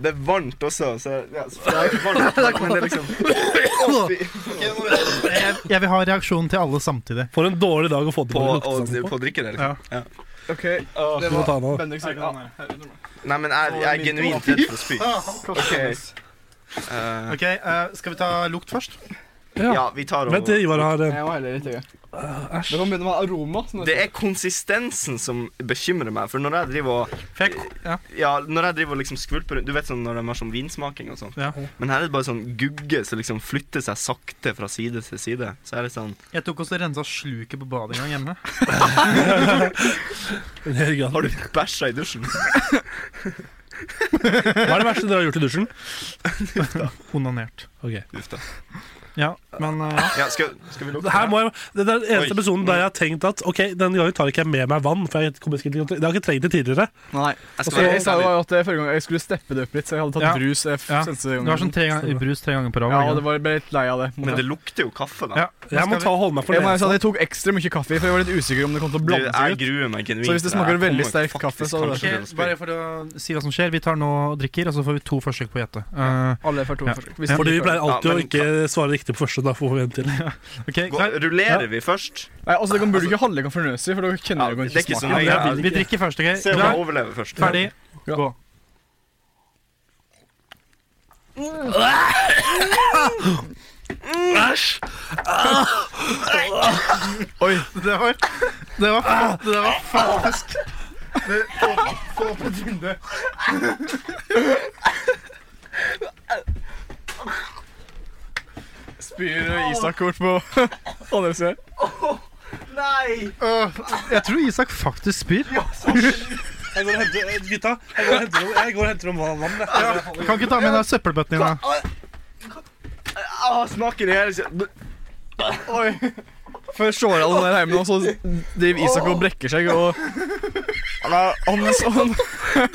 Speaker 5: det er varmt også. Så, ja, så det er ikke varmt, men det er liksom Å, fy. Ok, nå må vi-
Speaker 3: Jeg, jeg vil ha reaksjonen til alle samtidig.
Speaker 2: For en dårlig dag å få det
Speaker 5: på,
Speaker 2: på.
Speaker 5: å,
Speaker 2: luktesans på.
Speaker 5: på å drikke det, liksom. Ja.
Speaker 1: OK,
Speaker 2: Du
Speaker 1: det
Speaker 2: må ta
Speaker 1: var
Speaker 2: den av.
Speaker 1: Bendik sin. Ja,
Speaker 5: Nei, men jeg, jeg er genuint redd for å spy. Eh,
Speaker 3: Ok, eh, Skal vi ta lukt først?
Speaker 5: ja, vi tar og
Speaker 2: Vent, Ivar har eh,
Speaker 1: Jeg var heller ikke det. Det
Speaker 2: Æsj.
Speaker 1: kan begynne med aroma. Sånn
Speaker 5: Det er konsistensen som bekymrer meg, for når jeg driver og
Speaker 3: For jeg, ja.
Speaker 5: Ja, når jeg driver og liksom skvulper rundt Du vet sånn når de har sånn vinsmaking og sånn.
Speaker 3: Ja.
Speaker 5: Men her er det bare sånn gugge som liksom flytter seg sakte fra side til side. Så er det sånn
Speaker 3: Jeg tok også rensa sluket på badet en gang hjemme.
Speaker 2: en hel grad.
Speaker 5: Har du bæsja i dusjen?
Speaker 2: Hva er det verste dere har gjort i dusjen?
Speaker 3: Onanert.
Speaker 2: Ok.
Speaker 5: Uff da.
Speaker 3: Ja, men eh, ja.
Speaker 5: Ja, skal, skal vi
Speaker 2: Det
Speaker 5: lukke
Speaker 2: her må jeg, det er den eneste
Speaker 5: Oi.
Speaker 2: episoden der jeg har tenkt at Ok, den gangen tar ikke jeg med meg vann, for jeg kommer ikke til å Det har jeg ikke trengt det tidligere.
Speaker 1: Nei.
Speaker 5: Jeg skal
Speaker 1: Jeg,
Speaker 5: være
Speaker 1: jeg sa
Speaker 5: helt
Speaker 1: jo
Speaker 5: ærlig.
Speaker 1: at det forrige gang jeg skulle steppe det opp litt, så jeg hadde tatt
Speaker 3: Ja.
Speaker 1: brus. Jeg f-
Speaker 3: Ja.
Speaker 1: seneste gangen.
Speaker 3: Du har sånn tre ganger, brus tre ganger på rad.
Speaker 1: Ja,
Speaker 3: ikke
Speaker 1: og det var ble litt lei av det.
Speaker 5: Men det lukter jo kaffe, da.
Speaker 3: Ja,
Speaker 2: Jeg må
Speaker 3: skal vi-
Speaker 2: ta og holde meg for
Speaker 1: jeg, må si
Speaker 5: sånn
Speaker 1: at
Speaker 2: nesa.
Speaker 1: jeg tok ekstra mye kaffe, for jeg var litt usikker om det kom til å
Speaker 5: Du,
Speaker 1: blande
Speaker 5: jeg
Speaker 1: seg ut.
Speaker 5: gruer meg genuint.
Speaker 1: Så hvis det
Speaker 5: til
Speaker 1: smaker
Speaker 5: Jeg
Speaker 1: veldig
Speaker 5: kommer
Speaker 1: sterk
Speaker 5: faktisk
Speaker 1: kaffe, så er det-
Speaker 5: kanskje til å
Speaker 3: Ok,
Speaker 5: spy.
Speaker 3: bare for å si hva som skjer. Vi tar nå og drikker, og så får vi to forsøk på å gjette. Eh,
Speaker 1: Alle får to
Speaker 3: Ja.
Speaker 1: forsøk.
Speaker 3: Ja.
Speaker 2: Fordi vi pleier alltid
Speaker 5: Ja,
Speaker 2: å
Speaker 5: men-
Speaker 2: ikke svare riktig på første, da får vi en til.
Speaker 3: ok,
Speaker 5: Gå,
Speaker 3: klar?
Speaker 5: rullerer vi først?
Speaker 1: Nei, altså, det kan, burde du ikke handle kan fornøse i, for da kjenner
Speaker 5: Ja,
Speaker 1: du
Speaker 5: det er
Speaker 1: ikke
Speaker 5: ikke så
Speaker 1: smaken.
Speaker 5: nøye.
Speaker 1: Ja,
Speaker 3: Vi drikker først, ok?
Speaker 5: Se om jeg
Speaker 3: Klar,
Speaker 5: overlever først.
Speaker 3: ferdig,
Speaker 1: Ja.
Speaker 3: gå.
Speaker 1: Oi,
Speaker 3: Det var Det var, fa- det var faktisk det- få- Få på tynde.
Speaker 1: spyr Isak bort på andre siden.
Speaker 3: Øh, Jeg tror Isak faktisk spyr.
Speaker 2: Jeg går og henter, eh, gutta, jeg går og henter, jeg går og henter om vann.
Speaker 3: Kan ikke ta med den der søppelbøtten din, da.
Speaker 5: Ah, smaken i hele
Speaker 1: Oi. Før slår jeg den der hjemme, og så driver Isak og brekker seg, og han er han, han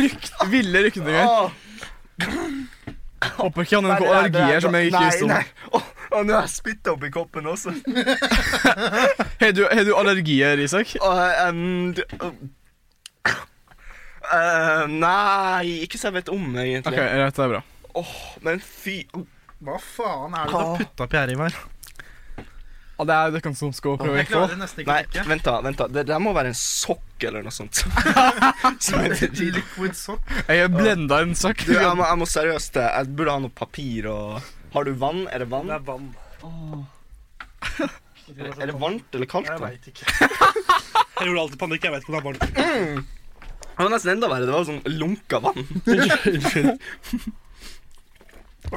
Speaker 1: rykt, ville rykninger.
Speaker 5: Åh,
Speaker 1: Håper ikke han har
Speaker 5: nei,
Speaker 1: noen
Speaker 5: nei, det er
Speaker 1: allergier som jeg ikke
Speaker 5: Nei,
Speaker 1: visste om.
Speaker 5: nei. Åh, åh, nå har jeg spytta oppi koppen også.
Speaker 1: Har du, har du allergier, Isak?
Speaker 5: Åh, em, du- Eh, nei, ikke så jeg vet om,
Speaker 1: Ok,
Speaker 5: egentlig.
Speaker 1: greit, det er bra.
Speaker 5: Men fy
Speaker 3: Hva faen er det du har putta oppi her, Ivar?
Speaker 1: Ja, det er det kan som skal prøve å
Speaker 3: Jeg
Speaker 1: gjette.
Speaker 3: klarer nesten ikke å
Speaker 5: Nei,
Speaker 3: drikke.
Speaker 5: vent, da. vent da Det der må være en sokk eller noe sånt. Som er dritt.
Speaker 3: Liquid sock.
Speaker 1: Jeg har blenda en sak.
Speaker 5: du, jeg må, jeg må seriøst det. Jeg burde ha noe papir og Har du vann? Er det vann?
Speaker 2: Det er vann.
Speaker 5: Er sånn det varmt eller kaldt? da?
Speaker 2: veit ikke. Jeg gjorde alltid panikk. Jeg vet ikke om det er
Speaker 5: Det var nesten enda verre. Det var sånn lunka vann.
Speaker 2: varmt. Unnskyld.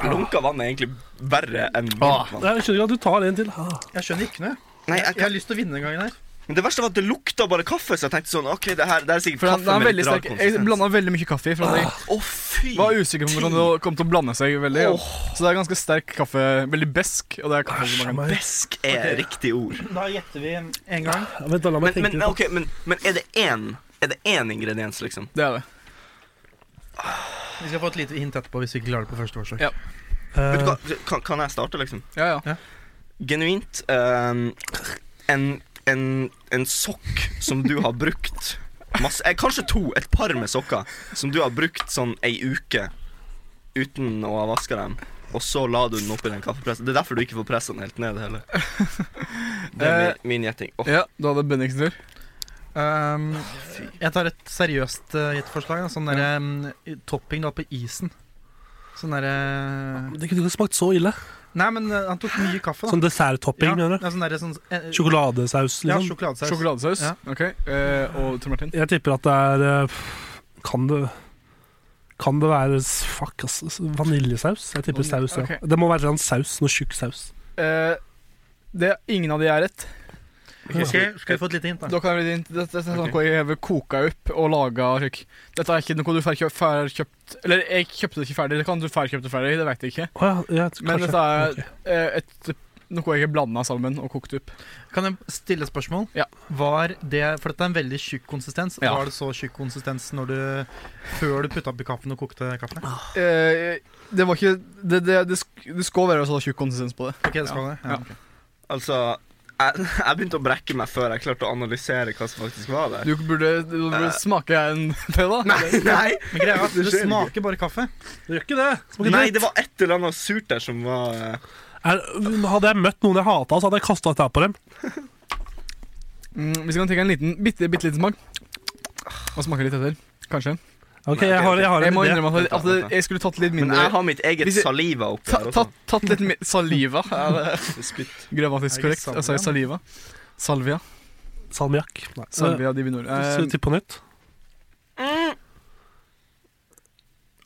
Speaker 5: Lunka vann er egentlig verre enn varmt vann.
Speaker 2: Jeg skjønner ikke at du tar en til. Ah.
Speaker 3: Jeg skjønner ikke noe.
Speaker 5: Nei, jeg,
Speaker 3: Jeg har lyst til å vinne en gang her.
Speaker 5: Men det verste var at det lukta bare kaffe, så jeg tenkte sånn OK, det her det er sikkert
Speaker 1: For den,
Speaker 5: kaffe
Speaker 1: den er
Speaker 5: med
Speaker 1: veldig
Speaker 5: litt rar
Speaker 1: sterk. Jeg
Speaker 5: konsistens.
Speaker 1: blanda veldig mye kaffe i. For at jeg
Speaker 5: Å, fy!
Speaker 1: var usikker på hvordan det kom til å blande seg veldig.
Speaker 5: Åh.
Speaker 1: Så det er ganske sterk kaffe. Veldig besk. Og det er kaffe som man kan
Speaker 5: Besk er riktig ord.
Speaker 3: Da gjetter vi en gang.
Speaker 2: Ja, Vent, da, la meg
Speaker 5: Men,
Speaker 2: tenke
Speaker 5: men,
Speaker 2: litt.
Speaker 5: ok, men, men er det én Er det én ingrediens, liksom?
Speaker 1: Det er det.
Speaker 3: Vi skal få et lite hint etterpå hvis vi ikke klarer det på første forsøk.
Speaker 1: Ja.
Speaker 5: Vet du
Speaker 2: Eh,
Speaker 5: hva, kan, kan jeg starte, liksom?
Speaker 1: Ja, ja.
Speaker 5: Genuint ehm, en, en, en sokk som du har brukt masse eh, Kanskje to, et par med sokker, som du har brukt sånn ei uke uten å ha vaska dem. Og så la du den oppi den kaffepressen. Det er derfor du ikke får pressa den helt ned heller. Det
Speaker 3: Eh,
Speaker 5: er min, min gjetting. Åh,
Speaker 1: Ja, Da hadde Bendik sin tur.
Speaker 3: Ehm, jeg tar et seriøst uh, gjettforslag. da. Sånn derre um, topping da på isen. Sånn derre
Speaker 2: Eh, Det kunne ikke smakt så ille.
Speaker 3: Nei, men eh, han tok mye kaffe, da.
Speaker 2: Sånn desserttopping,
Speaker 3: ja,
Speaker 2: mener du?
Speaker 3: ja, sånn derre sånn eh,
Speaker 2: Sjokoladesaus,
Speaker 3: Ja,
Speaker 2: liksom.
Speaker 3: sjokoladesaus.
Speaker 1: Sjokoladesaus.
Speaker 3: Ja.
Speaker 1: Ok. Eh, og Tor Martin.
Speaker 2: Jeg tipper at det er eh, pff, Kan det kan det være s- fuck, ass, s- vaniljesaus? Jeg tipper saus, ja.
Speaker 1: Ok.
Speaker 2: Det må være en saus, noe tjukk saus.
Speaker 1: Eh, det er ingen av de er rett.
Speaker 3: Ok, Skal vi få et lite hint, da?
Speaker 1: Da kan jeg bli din. Dette er sånn hva jeg har koka opp og laga slik. Dette er ikke noe du får kjøpt, får kjøpt Eller jeg kjøpte det ikke ferdig. Det kan du får kjøpt det ferdig, det vet jeg ikke.
Speaker 2: Å ja, ja, kanskje.
Speaker 1: Men dette er
Speaker 2: Ok.
Speaker 1: eh, et, noe jeg har blanda sammen og kokt opp.
Speaker 3: Kan jeg stille et spørsmål?
Speaker 1: Ja.
Speaker 3: Var det, For dette er en veldig tjukk konsistens.
Speaker 1: Ja.
Speaker 3: Var det så tjukk konsistens når du, før du putta oppi kaffen og kokte kaffen?
Speaker 1: Eh, det var ikke Det, det, det, sk det skal være så tjukk konsistens på det.
Speaker 3: Ok, det skal det. Ja.
Speaker 1: Ja.
Speaker 5: Altså, jeg, jeg begynte å brekke meg før jeg klarte å analysere hva som faktisk var der.
Speaker 1: Du burde, du burde
Speaker 3: Eh.
Speaker 1: smake en til, da.
Speaker 5: Nei, nei,
Speaker 3: Men greia er at
Speaker 5: Det
Speaker 3: det
Speaker 5: skjer
Speaker 3: smaker bare kaffe.
Speaker 2: Det gjør ikke det. Smaker
Speaker 5: nei,
Speaker 2: dritt.
Speaker 5: det var et eller annet surt der som var eh,
Speaker 2: Er, hadde jeg møtt noen jeg hata, så hadde jeg kasta dette her på dem.
Speaker 1: Mm, hvis jeg kan tenke en liten, bitte, bitte liten smak Og smake litt etter, kanskje.
Speaker 2: Ok,
Speaker 5: Nei,
Speaker 2: jeg
Speaker 5: ok,
Speaker 2: har, jeg har
Speaker 1: Jeg
Speaker 2: en
Speaker 1: må
Speaker 2: idé.
Speaker 1: innrømme at, at det- jeg skulle tatt litt
Speaker 5: Men jeg
Speaker 1: mindre sånn.
Speaker 5: har mitt eget
Speaker 1: eh, Hvis jeg-
Speaker 5: saliva oppi
Speaker 1: ta,
Speaker 5: her også.
Speaker 1: tatt, tatt litt mi- saliva. Er det
Speaker 5: Spytt.
Speaker 1: grammatisk
Speaker 3: Er det
Speaker 1: korrekt? Jeg sa
Speaker 3: salvia?
Speaker 1: saliva. Salvia.
Speaker 2: Salmiakk. Nei, eh,
Speaker 1: Salvia divinor.
Speaker 2: så
Speaker 1: Eh,
Speaker 2: Tipp på nytt.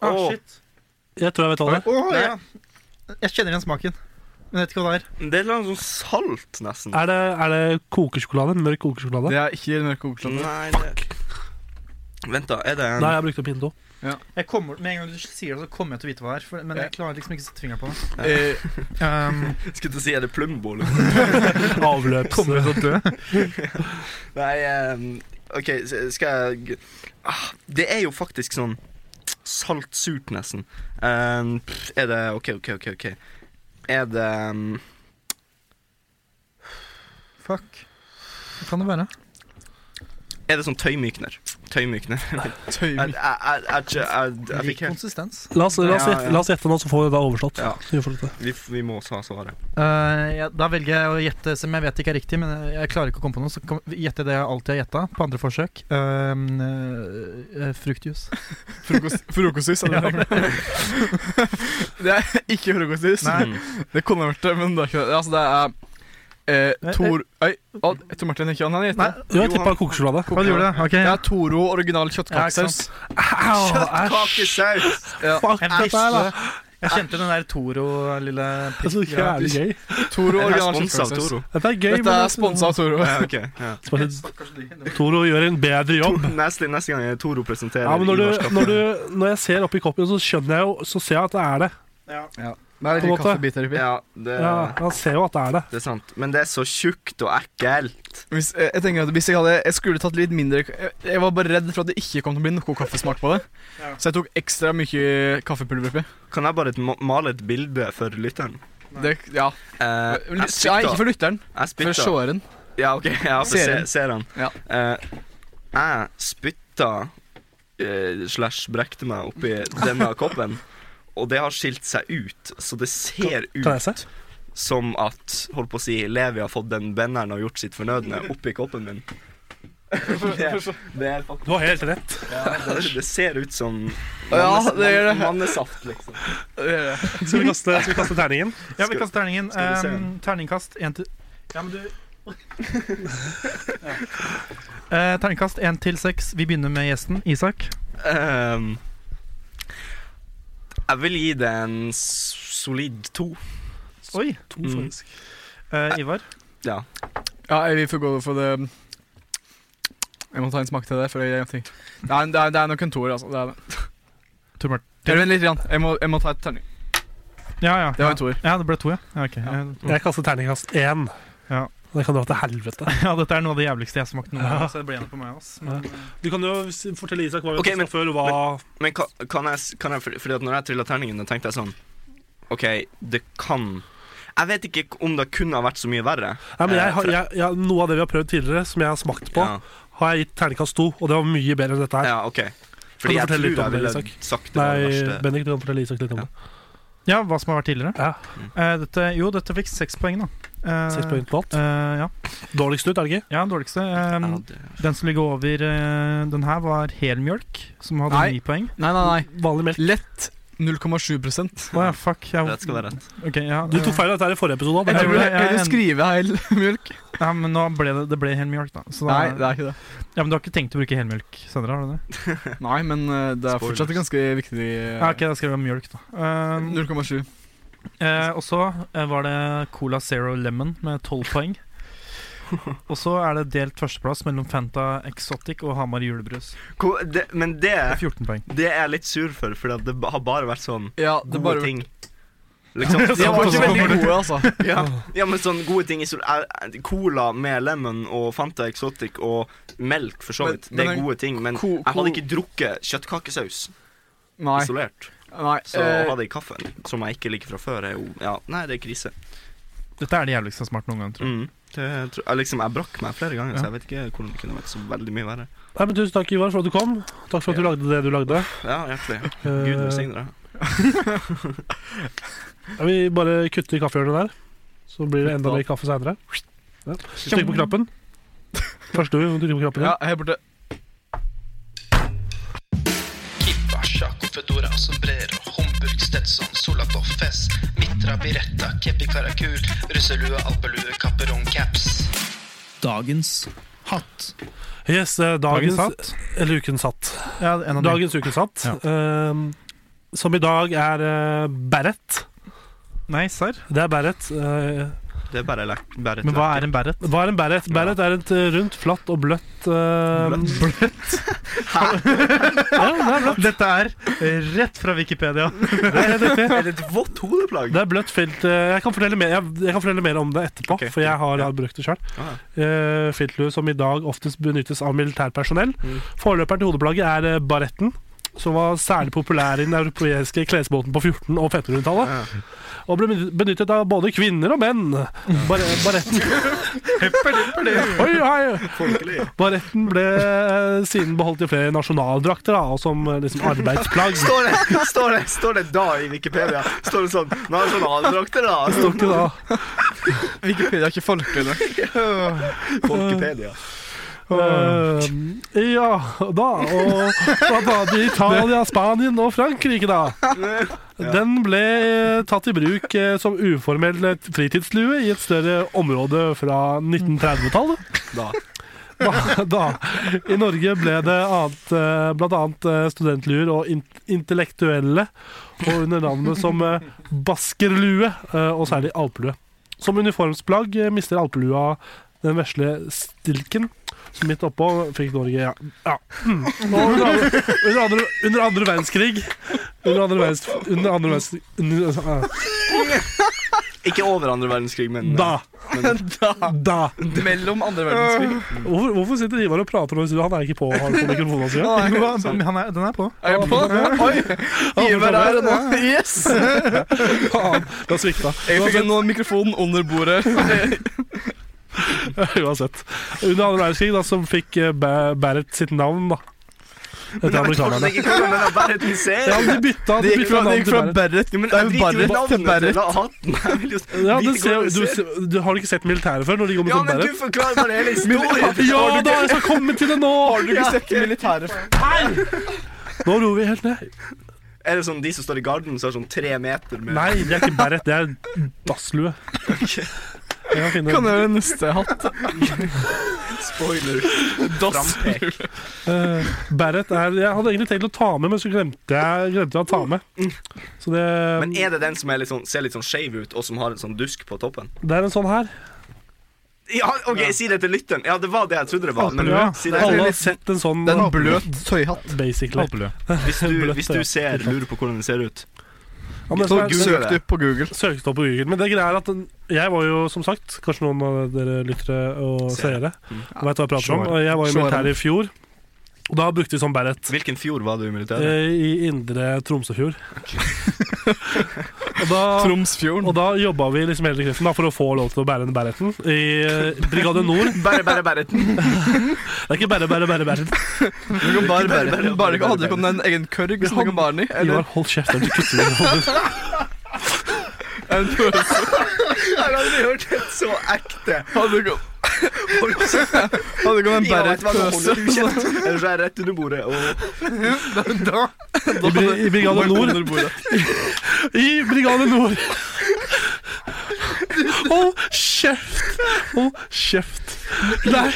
Speaker 3: Ah,
Speaker 5: Åh.
Speaker 3: shit.
Speaker 2: Jeg tror jeg vet hva det er.
Speaker 3: Åh,
Speaker 5: Nei.
Speaker 3: ja. Jeg kjenner igjen smaken, men vet ikke hva det er.
Speaker 5: Det er et eller annet sånn salt, nesten.
Speaker 2: Er det, er det kokesjokolade? Mørk kokesjokolade?
Speaker 1: det er ikke mørk kokosjokolade.
Speaker 5: Nei, det Vent, da. Er det en
Speaker 2: Nei, jeg brukte Pinto.
Speaker 3: Jeg kommer, med en gang du sier det, så kommer jeg til å vite hva det er. For, men jeg klarer liksom ikke å sette fingeren på det.
Speaker 1: Eh,
Speaker 3: Um,
Speaker 5: Skulle til å si er det Plumbo? Liksom.
Speaker 2: Avløps...
Speaker 3: kommer du til å dø?
Speaker 5: Nei, ehm, OK, s- skal jeg g- ah, Det er jo faktisk sånn salt-surt, nesten. Ehm, pff, er det OK, OK, OK. ok Er det ehm,
Speaker 3: Fuck. Hva kan det være?
Speaker 5: Er det sånn tøymykner? Tøymykner.
Speaker 1: tøy-
Speaker 5: Jeg, jeg, jeg, jeg, jeg, jeg, jeg fikk
Speaker 3: Lik
Speaker 5: helt
Speaker 3: konsistens.
Speaker 2: La oss, la, oss
Speaker 5: Ja,
Speaker 2: gjette,
Speaker 5: ja.
Speaker 2: la oss gjette nå, så får vi det da overstått.
Speaker 5: Ja.
Speaker 2: Så vi får dette.
Speaker 5: vi, f- vi må ta svaret.
Speaker 3: Eh, jeg, da velger jeg å gjette som jeg vet ikke er riktig, men jeg- jeg klarer ikke å komme på noe. Så kom- gjetter jeg det jeg alltid har gjetta på andre forsøk. Eh, eh, eh, fruktjuice.
Speaker 1: Frokost, frokosthus, er det det? Det er ikke frokosthus.
Speaker 5: Nei.
Speaker 1: Det kunne jeg vært det, men det er ikke det. Altså, det er eh, Tor... Oi, å, Tor Martin er ikke han, han
Speaker 3: Nei,
Speaker 1: heter det.
Speaker 2: Jo, jeg
Speaker 5: Johan.
Speaker 2: tippa kokesjokolade.
Speaker 3: hva gjorde du? Ok,
Speaker 1: Det er Toro original kjøttkakesaus.
Speaker 5: Kjøttkakesaus!
Speaker 2: Fuck,
Speaker 3: Jeg
Speaker 2: dette her, da.
Speaker 3: visste Jeg kjente den der Toro lille
Speaker 2: Det er så jævlig gøy.
Speaker 1: Toro
Speaker 5: Er det
Speaker 1: original
Speaker 5: sponset av
Speaker 1: kjøttkakesaus.
Speaker 5: Toro?
Speaker 2: Dette er gøy. men
Speaker 1: Dette
Speaker 2: det
Speaker 1: er sponsa av Toro.
Speaker 5: Ja, ok, ja.
Speaker 2: Toro gjør en bedre jobb.
Speaker 5: Neste, neste gang er Toro presenterer
Speaker 2: Ja, men når, du,
Speaker 5: Ivars kaffe.
Speaker 2: når, du, når jeg ser oppi koppen, så skjønner jeg jo Så ser jeg at det er det.
Speaker 1: Det er
Speaker 2: På en
Speaker 1: litt
Speaker 2: måte.
Speaker 1: kaffebiter oppi.
Speaker 5: Ja, det,
Speaker 2: Ja, jeg ser jo at det er det.
Speaker 5: det er sant. Men det er så tjukt og ekkelt.
Speaker 1: Hvis, eh, jeg tenker at hvis jeg hadde Jeg skulle tatt litt mindre Jeg, jeg var bare redd for at det ikke kom til å bli noe kaffesmak på det. Så jeg tok ekstra mye kaffepulver oppi.
Speaker 5: Kan jeg bare ma- male et bilde for lytteren?
Speaker 1: Det, ja.
Speaker 5: Eh,
Speaker 1: Nei,
Speaker 5: jeg
Speaker 1: ikke
Speaker 5: spytta.
Speaker 1: for lytteren, for
Speaker 5: Jeg spytta.
Speaker 1: seeren.
Speaker 5: Ja, ok, ja, for se,
Speaker 1: Seeren.
Speaker 5: ser han.
Speaker 1: Ja.
Speaker 5: Eh, jeg spytta eh, slash brekte meg oppi denne koppen, og det har skilt seg ut, så det ser
Speaker 2: Kan jeg
Speaker 5: ut
Speaker 2: se?
Speaker 5: som at holdt på å si, Levi har fått den benderen og gjort sitt fornødne oppi koppen min. Det, det er faktisk
Speaker 2: Du har helt rett.
Speaker 5: det, det ser ut som
Speaker 1: Ja,
Speaker 5: mannes-
Speaker 1: det gjør det.
Speaker 5: mannesaft, liksom.
Speaker 2: Skal vi kaste, skal vi kaste terningen?
Speaker 3: Ja, vi kaster terningen.
Speaker 5: skal vi se
Speaker 3: Ehm, terningkast én til Ja, men du ja. Eh, Terningkast én til seks. Vi begynner med gjesten, Isak.
Speaker 5: Ehm, jeg vil gi det en s- solid to.
Speaker 3: Oi.
Speaker 2: To,
Speaker 5: Mm.
Speaker 2: faktisk.
Speaker 3: Eh, Ivar.
Speaker 1: Ja, jeg vil få gå for det Jeg må ta en smak til det, for jeg tenker Det er, det er, det er nok en toer, altså. Det er det.
Speaker 3: Tor Martin.
Speaker 1: Eller Vent litt, grann. jeg må, jeg må ta et terning.
Speaker 3: Ja, ja.
Speaker 1: Det var en toer.
Speaker 3: Ja, det ble to, ja. Ja, ok. Eh, ja.
Speaker 2: Jeg kaster terningkast én.
Speaker 3: Ja.
Speaker 2: Det kan dra til helvete.
Speaker 3: ja, dette er noe av det jævligste jeg har smakt noen gang.
Speaker 2: Ja.
Speaker 3: Så det ble enig på meg også.
Speaker 2: Ja. Du kan jo s- fortelle Isak hva vi
Speaker 5: Ok,
Speaker 2: okay,
Speaker 5: men-
Speaker 2: før, og hva
Speaker 5: Men kan, kan jeg, s- kan jeg fordi- Fordi at når jeg trilla terningen, da tenkte jeg sånn OK, det kan Jeg vet ikke k- om det kunne ha vært så mye verre.
Speaker 2: Nei, men
Speaker 5: Eh,
Speaker 2: jeg, har-
Speaker 5: for-
Speaker 2: jeg, jeg, Noe av det vi har prøvd tidligere, som jeg har smakt på,
Speaker 5: Ja,
Speaker 2: har jeg gitt terningkast to, og det var mye bedre enn dette her.
Speaker 5: ja OK.
Speaker 2: du
Speaker 5: Fordi jeg
Speaker 2: fortelle
Speaker 5: tror
Speaker 2: litt om
Speaker 5: jeg
Speaker 2: det,
Speaker 5: ville
Speaker 2: Isak?
Speaker 5: sagt det var det
Speaker 2: Nei,
Speaker 5: verste.
Speaker 2: Bendik, du kan fortelle Isak litt om
Speaker 5: Ja.
Speaker 2: det.
Speaker 3: Ja, hva som har vært tidligere.
Speaker 2: Ja.
Speaker 3: Eh, dette, jo, dette fikk seks poeng, da. Eh,
Speaker 2: Seks poeng på alt.
Speaker 3: eh, ja.
Speaker 2: Dårligst ut, er det ikke?
Speaker 3: ja, dårligste. Eh,
Speaker 2: ehm,
Speaker 5: Ja, det-
Speaker 3: Den som ligger over eh, den her, var helmjølk, som hadde
Speaker 1: Nei.
Speaker 3: ni poeng.
Speaker 1: Nei, nei, nei.
Speaker 2: Vanlig melk.
Speaker 1: Lett 0,7 Jeg
Speaker 3: Å ja, fuck. Jeg,
Speaker 5: Rett skal være rett.
Speaker 3: Ok, ja,
Speaker 2: Du tok
Speaker 3: eh,
Speaker 2: feil av dette her i forrige episode. da.
Speaker 3: Jeg
Speaker 1: tror
Speaker 3: tror
Speaker 1: det
Speaker 3: jeg- jeg-
Speaker 1: Eller skrive heil mjølk.
Speaker 3: Ja, men nå ble det, det ble helmjølk, da. Så da
Speaker 1: Nei, det er ikke det.
Speaker 3: Ja, men du har ikke tenkt å bruke helmjølk senere? har du det?
Speaker 1: Nei, men eh, det er fortsatt
Speaker 5: Spoilers.
Speaker 1: ganske viktig. eh,
Speaker 3: Ja, ok, da skrev jeg mjølk, da. Um,
Speaker 1: 0,7.
Speaker 3: eh, og så eh, var det Cola Zero Lemon med tolv poeng. Og så er det delt førsteplass mellom Fanta Exotic og Hamar julebrus.
Speaker 5: Ko- det- Men
Speaker 3: Det er
Speaker 5: det
Speaker 3: 14 poeng.
Speaker 5: Det er jeg litt sur for, for det har bare vært sånn
Speaker 1: Ja, det
Speaker 5: gode
Speaker 1: bare
Speaker 5: ting. Liksom.
Speaker 1: De
Speaker 3: Sånn,
Speaker 1: var ikke veldig gode, altså.
Speaker 5: ja. ja, men sånn gode ting i sol... er- er- Cola med lemon og Fanta Exotic og melk, for så
Speaker 1: Men-
Speaker 5: vidt. Det
Speaker 1: men
Speaker 5: er
Speaker 1: en
Speaker 5: gode ting, men
Speaker 1: ko-
Speaker 5: jeg hadde
Speaker 1: ko-
Speaker 5: ikke drukket kjøttkakesaus
Speaker 1: Nei.
Speaker 5: isolert.
Speaker 1: nei
Speaker 5: Så å
Speaker 1: eh,
Speaker 5: ha det i kaffen, som jeg ikke liker fra før, er jo Ja, nei, det er krise.
Speaker 3: Dette er det jævligste jeg har smakt noen gang, tror jeg.
Speaker 5: Mm. Det tror- jeg, liksom, jeg brakk meg flere ganger, så jeg vet ikke hvordan det kunne vært så veldig mye verre.
Speaker 2: Nei, men Tusen takk, Ivar, for at du kom. Takk for at du lagde det du lagde.
Speaker 5: Ja, hjertelig. Gud
Speaker 2: Eh,
Speaker 5: velsigne deg.
Speaker 2: jeg vil bare kutte i kaffehjørnet der, så blir det enda mer kaffe seinere. Ja. Trykk på knappen. Først du. du trykker på knappen.
Speaker 1: Ja, jeg er borte.
Speaker 7: Kippa, Chaco, Fedora, Sombrero, Homburg, Stetson, Solapoff, Fess, Mitra, Biretta, Kepi, Karakul, russelue, alpelue, kapperong, caps.
Speaker 4: Dagens hatt.
Speaker 2: Yes, eh, dagens,
Speaker 3: Mm. Dagens hatt.
Speaker 2: Eller ukens hatt.
Speaker 3: Ja, en av de.
Speaker 2: Dagens ukens hatt, eh, som i dag er eh, beret.
Speaker 3: Nei, serr.
Speaker 2: Det er beret. eh,
Speaker 5: Det er bare, lek- bare et
Speaker 3: Men hva er
Speaker 5: lek.
Speaker 3: en beret?
Speaker 2: hva er en beret? Beret er et eh, rundt, flatt og bløtt eh,
Speaker 3: Dette er eh, rett fra Wikipedia.
Speaker 5: Er det et vått hodeplagg?
Speaker 2: Det er bløtt felt. eh, Jeg kan fortelle mer, jeg, jeg kan fortelle mer om det etterpå,
Speaker 5: Ok,
Speaker 2: for jeg har
Speaker 5: ja.
Speaker 2: har brukt det sjøl.
Speaker 5: Ah,
Speaker 2: Uh, Filtlue som i dag oftest benyttes av militærpersonell.
Speaker 5: Mm.
Speaker 2: Forløperen til hodeplagget er eh, baretten. Som var særlig populær i den europeiske klesbåten på 1400- og 1500-tallet.
Speaker 5: Ah, Ja.
Speaker 2: Og ble benyttet av både kvinner og menn. Bar baretten Oi, hei.
Speaker 5: Folkelig.
Speaker 2: Baretten ble eh, siden beholdt i flere nasjonaldrakter da, og som eh, liksom arbeidsplagg.
Speaker 5: Står det, står, det, står det da i Wikipedia? Står det sånn Nasjonaldrakter, da?
Speaker 2: Står ikke da
Speaker 1: Wikipedia er ikke folkelig.
Speaker 5: Folkepedia.
Speaker 2: Eh, ja da. Og blant annet i Italia, Spanien og Frankrike, da. Den ble eh, tatt i bruk eh, som uformell fritidslue i et større område fra 1930-tallet.
Speaker 5: Da.
Speaker 2: Da, da. I Norge ble det annet, eh, blant annet eh, studentluer og in intellektuelle, og under navnet som eh, baskerlue, eh, og særlig alpelue. Som uniformsplagg eh, mister alpelua den vesle stilken så midt oppå fikk Norge ja. ja. Mm. Og under, andre, under, andre, under andre verdenskrig Under andre verdenskrig Under andre verdenskrig under,
Speaker 5: Ikke over andre verdenskrig, men
Speaker 2: Da!
Speaker 1: Da.
Speaker 2: Da!
Speaker 1: Mellom andre verdenskrig.
Speaker 2: Hvorfor, hvorfor sitter Ivar og prater om det? Han er ikke på, han på mikrofonen sin.
Speaker 3: Jo, han han er, sånn- den er på.
Speaker 1: Er jeg på? Oi! Iver er det nå. Yes!
Speaker 2: Faen, det har svikta.
Speaker 1: Jeg fikk nå mikrofonen under bordet.
Speaker 2: Uansett. Under andre verdenskrig da, som fikk eh, Ba- Barrett sitt navn, da. Etter amerikanerne.
Speaker 5: ikke hvordan den er bare til serie.
Speaker 2: Ja, de bytta, de bytta navn til Barrett.
Speaker 1: Berret
Speaker 5: Jo, men
Speaker 1: Det er jo
Speaker 5: jeg driter jo i
Speaker 1: Barrett til
Speaker 5: navnet
Speaker 1: Barrett.
Speaker 5: til hatten. Jeg vil jo
Speaker 2: Ja,
Speaker 5: vite
Speaker 2: det ser,
Speaker 5: hvordan
Speaker 2: du,
Speaker 5: det ser ut.
Speaker 2: du, har du ikke sett militæret før? Når de går med
Speaker 5: Ja,
Speaker 2: sånn
Speaker 5: men du
Speaker 2: Barrett?
Speaker 5: forklarer bare hele historien.
Speaker 2: Ja da, jeg skal komme til det nå!
Speaker 1: Har du ikke sett det militære før?
Speaker 2: Nå roer vi helt ned.
Speaker 5: Er det sånn de som står i garden, som har sånn tre meter med
Speaker 2: Nei, det er ikke beret, det er dasslue. Jeg kan finne
Speaker 1: Kan jeg gjøre neste hatt?
Speaker 5: spoiler?
Speaker 1: Dass.
Speaker 5: Frampek.
Speaker 2: Eh, Beret er Jeg hadde egentlig tenkt å ta med, men så glemte jeg, glemte jeg å ta med. Så det,
Speaker 5: Men er det den som er litt sånn, ser litt sånn skeiv ut, og som har en sånn dusk på toppen?
Speaker 2: det er en sånn her.
Speaker 5: Ja, OK, si det til lytteren. Ja, det var det jeg trodde det var. Men
Speaker 2: Ja,
Speaker 5: si det.
Speaker 2: alle har sett en sånn
Speaker 1: Det er en bløt tøyhatt.
Speaker 2: basically.
Speaker 3: Alpelue.
Speaker 5: Hvis du,
Speaker 2: bløtt,
Speaker 5: hvis du
Speaker 2: ja.
Speaker 5: ser, lurer på hvordan det ser ut.
Speaker 2: Ja, men det
Speaker 1: Så
Speaker 2: som er-
Speaker 1: søkte du på Google.
Speaker 2: søkte opp på Google. Men det greia er at den- jeg var jo, som sagt, kanskje noen av dere lyttere og seere
Speaker 5: Seere.
Speaker 2: vet hva jeg prater om.
Speaker 3: Sure.
Speaker 2: Og Jeg var i
Speaker 1: Sure.
Speaker 2: militæret i fjor, og da brukte vi sånn beret.
Speaker 5: Hvilken fjord var du i militæret?
Speaker 2: eh, I indre Tromsøfjord. og da
Speaker 1: Tromsfjorden.
Speaker 2: Og da jobba vi liksom hele kreften da, for å få lov til å bære den bæreten i eh, Brigade Nord.
Speaker 5: Bare, bare, bare.
Speaker 2: Det er ikke bære, bære, bære, bære.
Speaker 1: Du kan bare
Speaker 5: Bare-
Speaker 1: bære.
Speaker 5: bare-
Speaker 1: Bare ikke hadde
Speaker 5: bare-
Speaker 1: du ikke en egen kørg som du kan bære den i? Eller
Speaker 2: Ivar, hold kjeft. eller Du kutter meg i hodet.
Speaker 1: en pøse?
Speaker 5: Jeg har aldri hørt et så ekte
Speaker 1: Hadde du ikke hadde du ikke en bæret-pøse?
Speaker 5: Eller så er jeg rett under bordet og
Speaker 2: I, Bri- I Brigade Nord. I Brigade Nord. Hold kjeft! Hold kjeft. Nei,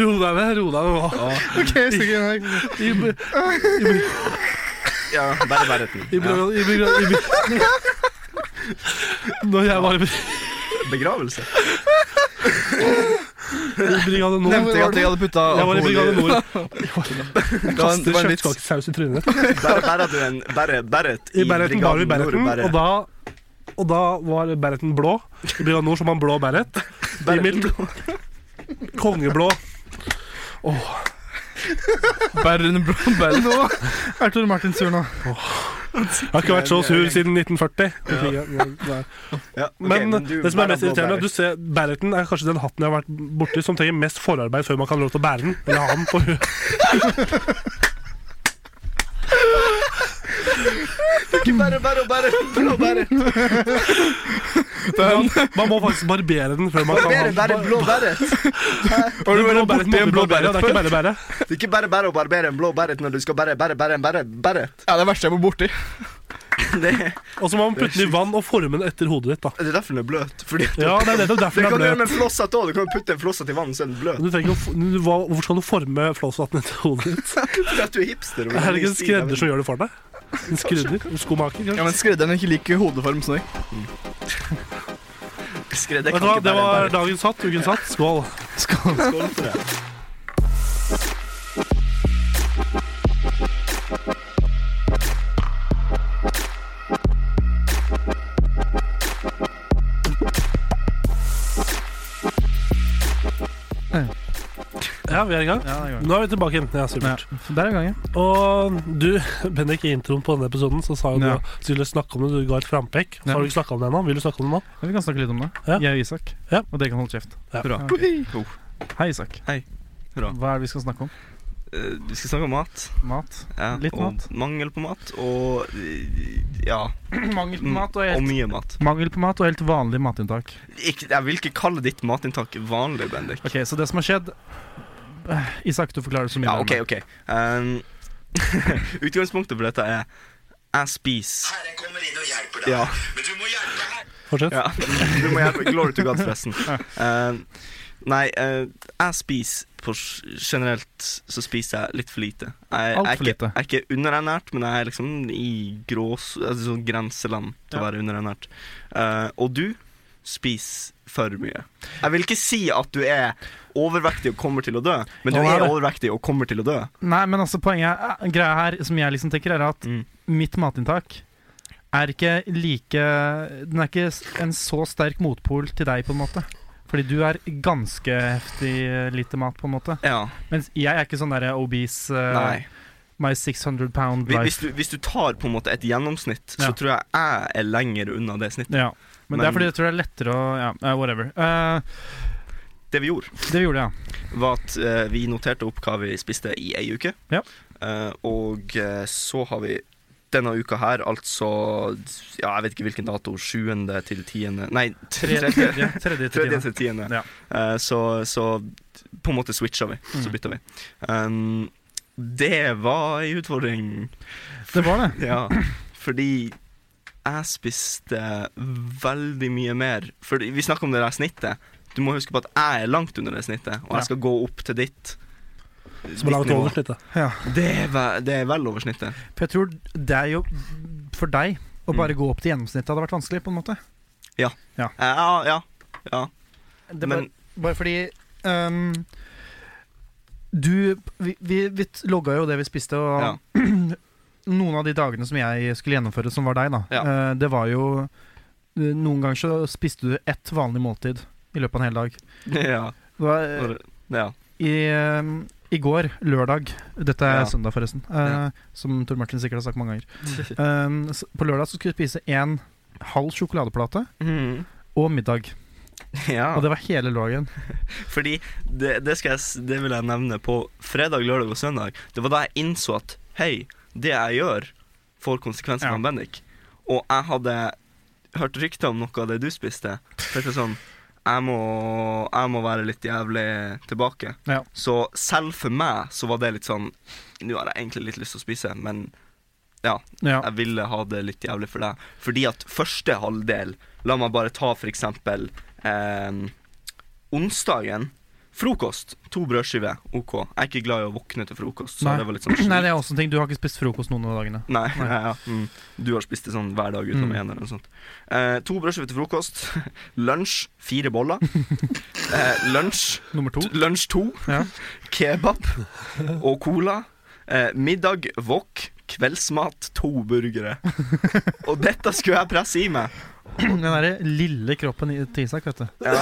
Speaker 2: ro deg ned. Ro deg ned. nå. I, Bri-
Speaker 5: Ja, bare verden.
Speaker 2: i,
Speaker 5: Ja.
Speaker 2: Brigade- i, Brigade- i, Bri- Når jeg var i Bri-
Speaker 5: Begravelse.
Speaker 2: i Brigade Nord
Speaker 1: Nevnte jeg at jeg hadde putta
Speaker 2: Jeg var i Brigade Nord.
Speaker 1: Det var en- det var en vits.
Speaker 2: Kjøttkakesaus i trynet.
Speaker 5: Bare, bare du en bare, bare et
Speaker 2: I Berretten var vi i
Speaker 5: Brigaden Nord,
Speaker 2: Berretten,
Speaker 5: bare-
Speaker 2: og da og da var Berretten blå. I Brigade Nord så var han blå Berret. I mitt kongeblå.
Speaker 1: Bæren blå bæren.
Speaker 3: Nå er Tor Martin sur nå.
Speaker 2: Jeg har ikke vært så sur siden 1940. Nei.
Speaker 5: Ja, ok,
Speaker 2: Men
Speaker 5: du
Speaker 2: det som er
Speaker 5: bærer
Speaker 2: mest
Speaker 5: blå
Speaker 2: irriterende,
Speaker 5: bærer.
Speaker 2: du ser Berreten er kanskje den hatten jeg har vært borti som trenger mest forarbeid før man kan ha lov til å bære den. Eller ha den på huet.
Speaker 5: Ikke bære, bære, bære, blå bære.
Speaker 2: Man, man må faktisk barbere den før man kan ha
Speaker 5: Bære,
Speaker 2: den.
Speaker 5: bære, blå bæret.
Speaker 2: Den blå
Speaker 1: vært
Speaker 2: bæreten
Speaker 1: borti en
Speaker 2: må du
Speaker 1: blå
Speaker 2: barbere,
Speaker 1: bæret
Speaker 2: Det er ikke bare bære.
Speaker 5: Ikke bare bære og barbere en blå bæret når du skal bære, bære, bære en bære, bæret.
Speaker 1: Ja, det verste jeg var borti.
Speaker 5: Det, er-
Speaker 2: Og så må man putte den i vann og forme den etter hodet ditt. da
Speaker 5: det er derfor den er bløt. Fordi at
Speaker 2: Ja, det er nettopp
Speaker 5: det
Speaker 2: derfor
Speaker 5: kan du
Speaker 2: den er
Speaker 5: gjøre
Speaker 2: bløt.
Speaker 5: med flosshatt òg. Du kan jo putte en flosshatt i vann, så er den bløt.
Speaker 2: Men du trenger ikke å f- du- hva- Hvorfor skal du forme flåsvatten etter hodet ditt?
Speaker 5: Fordi at du er hipster. og vil
Speaker 2: Er
Speaker 5: ha
Speaker 2: det
Speaker 5: ny
Speaker 2: ikke en
Speaker 5: stil,
Speaker 2: skredder
Speaker 5: jeg
Speaker 2: som gjør det for deg? En skredder? En skomaker?
Speaker 1: Ja,
Speaker 2: kanskje?
Speaker 1: men Skredderen er ikke lik hodeform som deg.
Speaker 5: vet. Skredder
Speaker 2: Vet
Speaker 5: kan
Speaker 2: du hva,
Speaker 5: ikke
Speaker 2: Det
Speaker 5: bære en
Speaker 2: var
Speaker 5: bæret.
Speaker 2: dagens hatt, ukens hatt. Skål.
Speaker 5: Skål for det.
Speaker 2: Ja, vi er i gang.
Speaker 3: Ja, det er i gang.
Speaker 2: Nå er vi tilbake igjen. Ja,
Speaker 3: Ja,
Speaker 2: supert.
Speaker 3: der er gangen.
Speaker 2: Og du, Bendik, i introen på denne episoden så sa jo du
Speaker 3: Ja.
Speaker 2: at du skulle snakke om det, du ga et frampekk. Så
Speaker 3: Ja.
Speaker 2: har du ikke snakka om det ennå. Vil du snakke om det nå?
Speaker 3: Ja, vi kan snakke litt om det.
Speaker 2: Ja.
Speaker 3: Jeg og Isak.
Speaker 2: Ja.
Speaker 3: Og dere kan holde kjeft.
Speaker 2: Ja.
Speaker 3: Bra.
Speaker 5: Oh.
Speaker 3: Hei, Isak.
Speaker 5: Hei. Hurra.
Speaker 3: Hva er det vi skal snakke om?
Speaker 5: Eh, Vi skal snakke om mat.
Speaker 3: Mat?
Speaker 5: Ja,
Speaker 3: Litt
Speaker 5: og
Speaker 3: mat.
Speaker 5: Mangel på mat og eh, Ja.
Speaker 3: Mangel
Speaker 5: mm, Og mye mat.
Speaker 3: Mangel på mat og helt vanlig matinntak.
Speaker 5: Ikke, jeg vil ikke kalle ditt matinntak vanlig, Bendik.
Speaker 3: Ok, Så det som har skjedd Eh, Isak, du forklarer det så mye.
Speaker 5: Ja,
Speaker 3: bedre.
Speaker 5: OK, OK. Um, utgangspunktet for dette er jeg spiser
Speaker 6: Herren kommer inn og hjelper deg.
Speaker 5: Ja.
Speaker 6: Men du må hjelpe her.
Speaker 2: Fortsett.
Speaker 5: ja. Du må hjelpe. Glory to God, forresten. Um, nei, eh, jeg spiser på s- Generelt så spiser jeg litt for lite.
Speaker 3: Alt
Speaker 5: Jeg, jeg,
Speaker 3: for
Speaker 5: er ikke-
Speaker 3: lite.
Speaker 5: Jeg er ikke underernært, men jeg er liksom i grås, altså sånn grenseland til å
Speaker 3: Ja.
Speaker 5: være underernært. Eh, og du spiser for mye. Jeg vil ikke si at du er overvektig og kommer til å dø, men du
Speaker 2: Hva er
Speaker 5: er
Speaker 2: det?
Speaker 5: overvektig og kommer til å dø.
Speaker 3: Nei, men altså poenget er, eh, Greia her, som jeg liksom tenker, er at
Speaker 5: Mm.
Speaker 3: mitt matinntak er ikke like Den er ikke s- en så sterk motpol til deg, på en måte. Fordi du er ganske heftig eh, lite mat, på en måte.
Speaker 5: Ja,
Speaker 3: Mens jeg er ikke sånn derre obese eh,
Speaker 5: nei
Speaker 3: My 600 pound
Speaker 5: Hvis- Hvis
Speaker 3: life.
Speaker 5: du, hvis du tar på en måte et gjennomsnitt,
Speaker 3: Ja.
Speaker 5: så tror jeg jeg er lenger unna det snittet.
Speaker 3: Ja. Men, det
Speaker 5: Men-
Speaker 3: er fordi jeg tror det er lettere å Ja, eh, whatever. Eh,
Speaker 5: Det vi gjorde,
Speaker 3: det vi gjorde, ja.
Speaker 5: var at eh, vi noterte opp hva vi spiste i ei uke.
Speaker 3: Ja.
Speaker 5: Eh, og eh, så har vi denne uka her, altså Ja, jeg vet ikke hvilken dato. 7. til 10. Nei, 3.
Speaker 3: Tredje, tredje, tredje, tredje.
Speaker 5: til 10.
Speaker 3: Ja.
Speaker 5: Eh, så, så på en måte switcha vi. Så
Speaker 3: Mm.
Speaker 5: bytta vi. Um, det var ei utfordring.
Speaker 3: Det var det.
Speaker 5: Ja, fordi jeg spiste veldig mye mer. Fordi vi snakker om det der snittet. Du må huske på at jeg er langt under det snittet, og
Speaker 3: Ja.
Speaker 5: jeg skal gå opp til ditt.
Speaker 2: Som er langt
Speaker 5: ditt nivå.
Speaker 2: over snittet.
Speaker 5: Det er, ve det er vel over snittet.
Speaker 3: For jeg tror det er jo For deg å bare gå opp til gjennomsnittet hadde vært vanskelig, på en måte.
Speaker 5: Eh, Ja, ja. ja.
Speaker 3: Det var,
Speaker 5: Men
Speaker 3: Bare fordi ehm, Du Vi, vi, vi t- logga jo det vi spiste, og
Speaker 5: Ja.
Speaker 3: noen av de dagene som jeg skulle gjennomføre, som var deg, da,
Speaker 5: Ja.
Speaker 3: eh, det var jo eh, Noen ganger så spiste du ett vanlig måltid i løpet av en hel dag.
Speaker 5: ja.
Speaker 3: Det var, eh,
Speaker 5: ja.
Speaker 3: i, ehm, I går, lørdag Dette er
Speaker 5: Ja.
Speaker 3: søndag, forresten, eh,
Speaker 5: Ja.
Speaker 3: som Tor Martin sikkert har sagt mange ganger. Ehm, s- på lørdag så skulle jeg spise en halv sjokoladeplate
Speaker 5: Mm.
Speaker 3: og middag.
Speaker 5: ja.
Speaker 3: Og det var hele lørdagen.
Speaker 5: Fordi det, det, skal jeg, s- det vil jeg nevne på fredag, lørdag og søndag. Det var da jeg innså at hei, det jeg gjør, får konsekvenser
Speaker 3: Ja.
Speaker 5: for Bendik. Og jeg hadde hørt rykter om noe av det du spiste. Tenkte sånn jeg må, jeg må være litt jævlig tilbake.
Speaker 3: Ja.
Speaker 5: Så selv for meg så var det litt sånn Nå har jeg egentlig litt lyst til å spise, men
Speaker 3: Ja.
Speaker 5: jeg ville ha det litt jævlig for deg. Fordi at første halvdel La meg bare ta for eksempel eh, Onsdagen Frokost, to brødskiver, ok Jeg er ikke glad i å våkne til frokost Så
Speaker 3: Nei.
Speaker 5: det var litt sånn
Speaker 3: Nei, det er også en ting. Du har ikke spist frokost noen av dagene.
Speaker 5: Nei, ja, ja. Mm. Du har spist det sånn hver dag utenom
Speaker 3: Mm.
Speaker 5: en eller noe sånt eh, To brødskiver til frokost Lunsj, fire boller eh, Lunsj
Speaker 3: Nummer to.
Speaker 5: T- Lunsj to.
Speaker 3: Ja.
Speaker 5: Kebab og cola. Eh, middag wok. Kveldsmat to burgere. Og dette skulle jeg presse i meg.
Speaker 3: Den derre lille kroppen i- til Isak, vet du.
Speaker 5: Ja.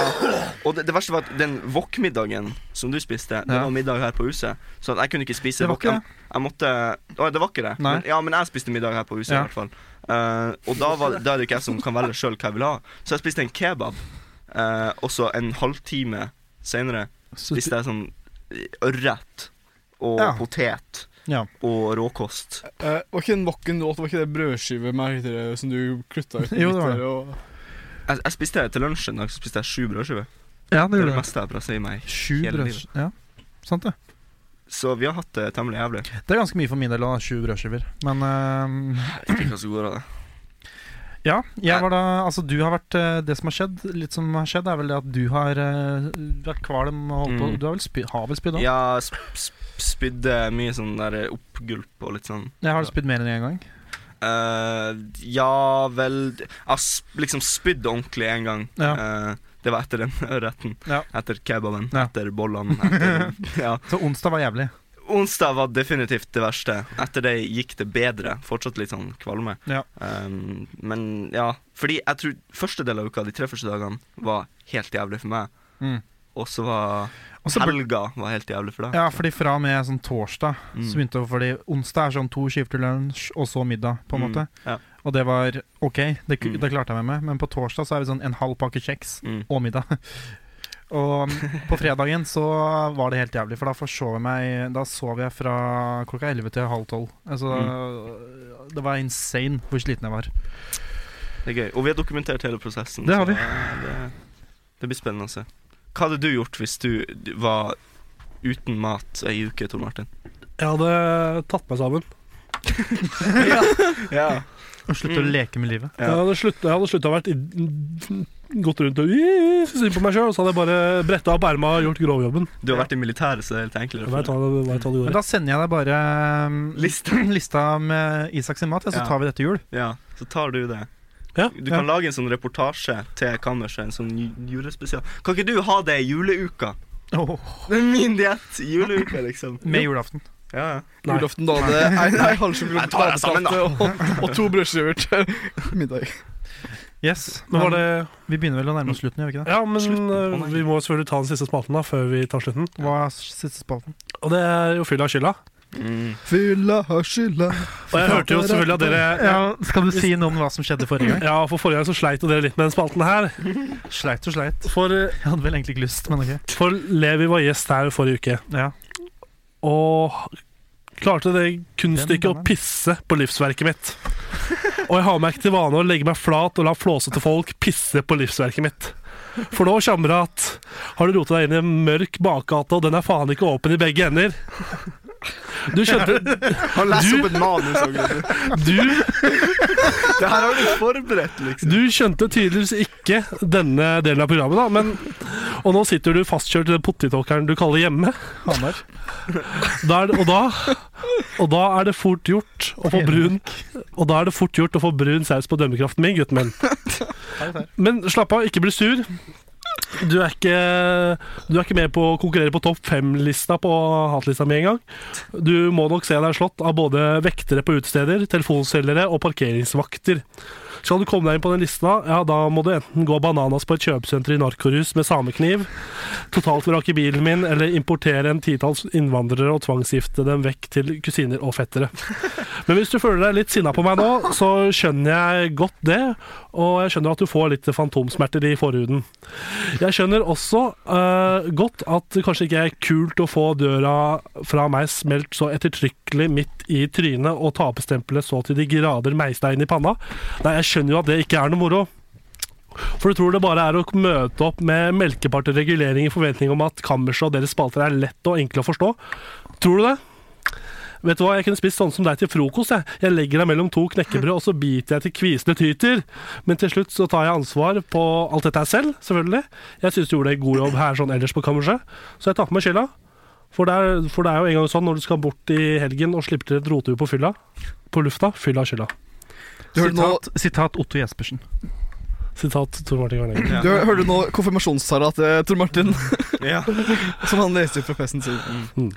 Speaker 5: Og det, det verste var at den wok-middagen som du spiste, det
Speaker 3: Ja.
Speaker 5: var middag her på huset. Så at jeg kunne ikke
Speaker 3: Det
Speaker 5: spise
Speaker 3: var
Speaker 5: wok.
Speaker 3: ikke
Speaker 5: Jeg, jeg måtte Å, det var ikke det?
Speaker 3: Nei.
Speaker 5: Men, ja, men jeg spiste middag her på huset,
Speaker 3: Ja.
Speaker 5: i hvert fall. Eh, og da, var, da er det ikke jeg som kan velge sjøl hva jeg vil ha. Så jeg spiste en kebab, eh, og så en halvtime seinere
Speaker 3: Så
Speaker 5: spiste jeg sånn ørret og
Speaker 3: Ja.
Speaker 5: potet
Speaker 3: Ja.
Speaker 5: og råkost.
Speaker 1: Eh, var ikke den wokken du åt, var ikke det brødskive med herre som du klutta ut?
Speaker 3: Jo, det var det.
Speaker 1: litt der, Og...
Speaker 5: Jeg, jeg spiste til lunsj en dag så spiste jeg sju brødskiver.
Speaker 3: ja, det
Speaker 5: Det er
Speaker 3: gjorde
Speaker 5: det
Speaker 3: det.
Speaker 5: meste jeg presser i meg.
Speaker 3: Sju
Speaker 5: hele
Speaker 3: brødskiver. Ja, sant det.
Speaker 5: Så vi har hatt det temmelig jævlig.
Speaker 3: Det er ganske mye for min del, da. Sju brødskiver. Men ehm,
Speaker 5: Jeg vet ikke hva som går av det.
Speaker 3: Ja, jeg var da, altså du har vært eh, Det som har skjedd, litt som har skjedd, er vel det at du har eh, vært kvalm og holdt på
Speaker 5: Mm.
Speaker 3: Du har vel spy, har vel spydd òg?
Speaker 5: Ja, sp sp spydde mye sånn der oppgulp og litt sånn.
Speaker 3: Jeg har spydd mer enn én gang.
Speaker 5: Eh, ja vel Jeg har sp liksom spydd ordentlig en gang. Eh, det var etter den retten.
Speaker 3: Ja.
Speaker 5: Etter kebaben,
Speaker 3: Ja.
Speaker 5: etter bollene. Etter, ja.
Speaker 3: Så onsdag var jævlig.
Speaker 5: Onsdag var definitivt det verste. Etter det gikk det bedre. Fortsatt litt sånn kvalme.
Speaker 3: Ja.
Speaker 5: Um, men ja, fordi jeg tror første del av uka, de tre første dagene, var helt jævlig for meg.
Speaker 3: Mm.
Speaker 5: Og så var
Speaker 3: Og så ble,
Speaker 5: helga var helt jævlig for deg.
Speaker 3: ja, fordi fra og med sånn torsdag
Speaker 5: Mm.
Speaker 3: så begynte det Fordi onsdag er sånn to skiver til lunsj, og så middag, på en
Speaker 5: Mm,
Speaker 3: måte.
Speaker 5: ja.
Speaker 3: Og det var OK, det, ku-
Speaker 5: Mm.
Speaker 3: det klarte jeg meg med. Men på torsdag så er vi sånn en halv pakke kjeks
Speaker 5: Mm.
Speaker 3: og middag. Og um, på fredagen så var det helt jævlig, for da forsov jeg meg Da sov jeg fra klokka 11 til halv tolv. Altså,
Speaker 5: Mm.
Speaker 3: Det var insane hvor sliten jeg var.
Speaker 5: Det er gøy. Og vi har dokumentert hele prosessen.
Speaker 3: Det har vi.
Speaker 5: så, eh, Det, det blir spennende å se. Hva hadde du gjort hvis du d- var uten mat ei uke, Tor Martin?
Speaker 2: Jeg hadde tatt meg sammen.
Speaker 5: Ja.
Speaker 3: Og slutte
Speaker 5: Mm.
Speaker 3: å leke med livet.
Speaker 5: Ja.
Speaker 2: Jeg hadde slutt- jeg hadde slutta å vært i- gått rundt og «Ih, synes synd på meg sjøl, og så hadde jeg bare bretta opp erma og gjort grovjobben.
Speaker 5: Du har vært i militæret, så det er
Speaker 2: Jeg
Speaker 5: litt enklere.
Speaker 2: vet
Speaker 5: for deg.
Speaker 2: hva det, vet hva det
Speaker 3: Men
Speaker 2: går i.
Speaker 3: da sender jeg deg bare um,
Speaker 5: Lista.
Speaker 3: lista med Isak sin mat, ja, så
Speaker 5: Ja.
Speaker 3: tar vi dette jul.
Speaker 5: Ja, så tar du det.
Speaker 2: Ja,
Speaker 5: Du kan lage en sånn reportasje til kammerset, en sånn ju- julespesial. Kan ikke du ha det i juleuka? Det er min diett! Juleuka, liksom.
Speaker 3: Med julaften.
Speaker 5: Ja, ja.
Speaker 2: Nei.
Speaker 1: Julaften, da hadde jeg en halv sjokolade
Speaker 5: Jeg tar deg sammen, da.
Speaker 1: og, og to brødskiver til middag.
Speaker 3: Yes.
Speaker 2: Men var det
Speaker 3: Vi begynner vel å nærme oss slutten, gjør vi ikke det?
Speaker 2: Ja, men
Speaker 5: Slutten. Å,
Speaker 2: eh,
Speaker 5: nei.
Speaker 2: vi må selvfølgelig ta den siste spalten da, før vi tar slutten.
Speaker 3: Hva er siste spalten?
Speaker 2: Og det er jo fylla og skylda.
Speaker 5: Mm.
Speaker 1: Fylla har skylda
Speaker 2: Og jeg hørte jo selvfølgelig at dere
Speaker 3: Ja, skal du si noe om hva som skjedde forrige gang?
Speaker 2: Ja, for forrige gang så sleit jo dere litt med den spalten her.
Speaker 3: Sleit og sleit.
Speaker 2: For, eh,
Speaker 3: Jeg hadde vel egentlig ikke lyst, men ok.
Speaker 2: for Levi var gjest her forrige uke,
Speaker 3: Ja.
Speaker 2: og klarte det kunststykket
Speaker 3: Den
Speaker 2: å pisse på livsverket mitt. Og jeg har meg ikke til vane å legge meg flat og la flåsete folk pisse på livsverket mitt. For nå, kamerat, har du rota deg inn i en mørk bakgate, og den er faen ikke åpen i begge ender. Du skjønte
Speaker 5: Han leser
Speaker 2: Du-
Speaker 5: opp et manus. og greier.
Speaker 2: Du
Speaker 5: Det her har du forberedt, liksom.
Speaker 2: Du skjønte tydeligvis ikke denne delen av programmet, da, men Og nå sitter du fastkjørt i den potetåkeren du kaller hjemme.
Speaker 3: Hamar.
Speaker 2: Da er det, og, da, og da er det fort gjort å få brun Og da er det fort gjort å få brun saus på dømmekraften min, gutten min. Men slapp av, ikke bli sur. Du er ikke, du er ikke med på å konkurrere på topp fem-lista på hatlista mi engang. Du må nok se deg slått av både vektere på utesteder, telefonselgere og parkeringsvakter. Skal du komme deg inn på den lista, ja, da må du enten gå bananas på et kjøpesenter i narkorus med samekniv, totalt vrake bilen min, eller importere en titalls innvandrere og tvangsgifte dem vekk til kusiner og fettere. Men hvis du føler deg litt sinna på meg nå, så skjønner jeg godt det, og jeg skjønner at du får litt fantomsmerter i forhuden. Jeg skjønner også eh, godt at det kanskje ikke er kult å få døra fra meg smelt så ettertrykkelig midt i trynet og taperstempelet så til de grader meisla inn i panna. Nei, jeg skjønner jo at det ikke er noe moro. For du tror det bare er å møte opp med melkepart og regulering i forventning om at kammerset og deres spalter er lett og enkle å forstå. Tror du det? Vet du hva, jeg kunne spist sånn som deg til frokost. Jeg, jeg legger deg mellom to knekkebrød, og så biter jeg til kvisende tyter. Men til slutt så tar jeg ansvar på alt dette her selv, selvfølgelig. Jeg syns du gjorde en god jobb her sånn ellers på kammerset, så jeg tar på meg skylda. For det, er, for det er jo en gang sånn når du skal bort i helgen og slipper til et rotehue på fylla, på lufta, fylla skylda.
Speaker 1: Du hørte nå,
Speaker 3: Sitat, sitat Otto Jespersen.
Speaker 2: Sitat Tor Martin Kvarnegger.
Speaker 1: du hør- hørte nå konfirmasjonstala til Tor Martin,
Speaker 5: Ja.
Speaker 1: som han leste ut fra PC-en sin.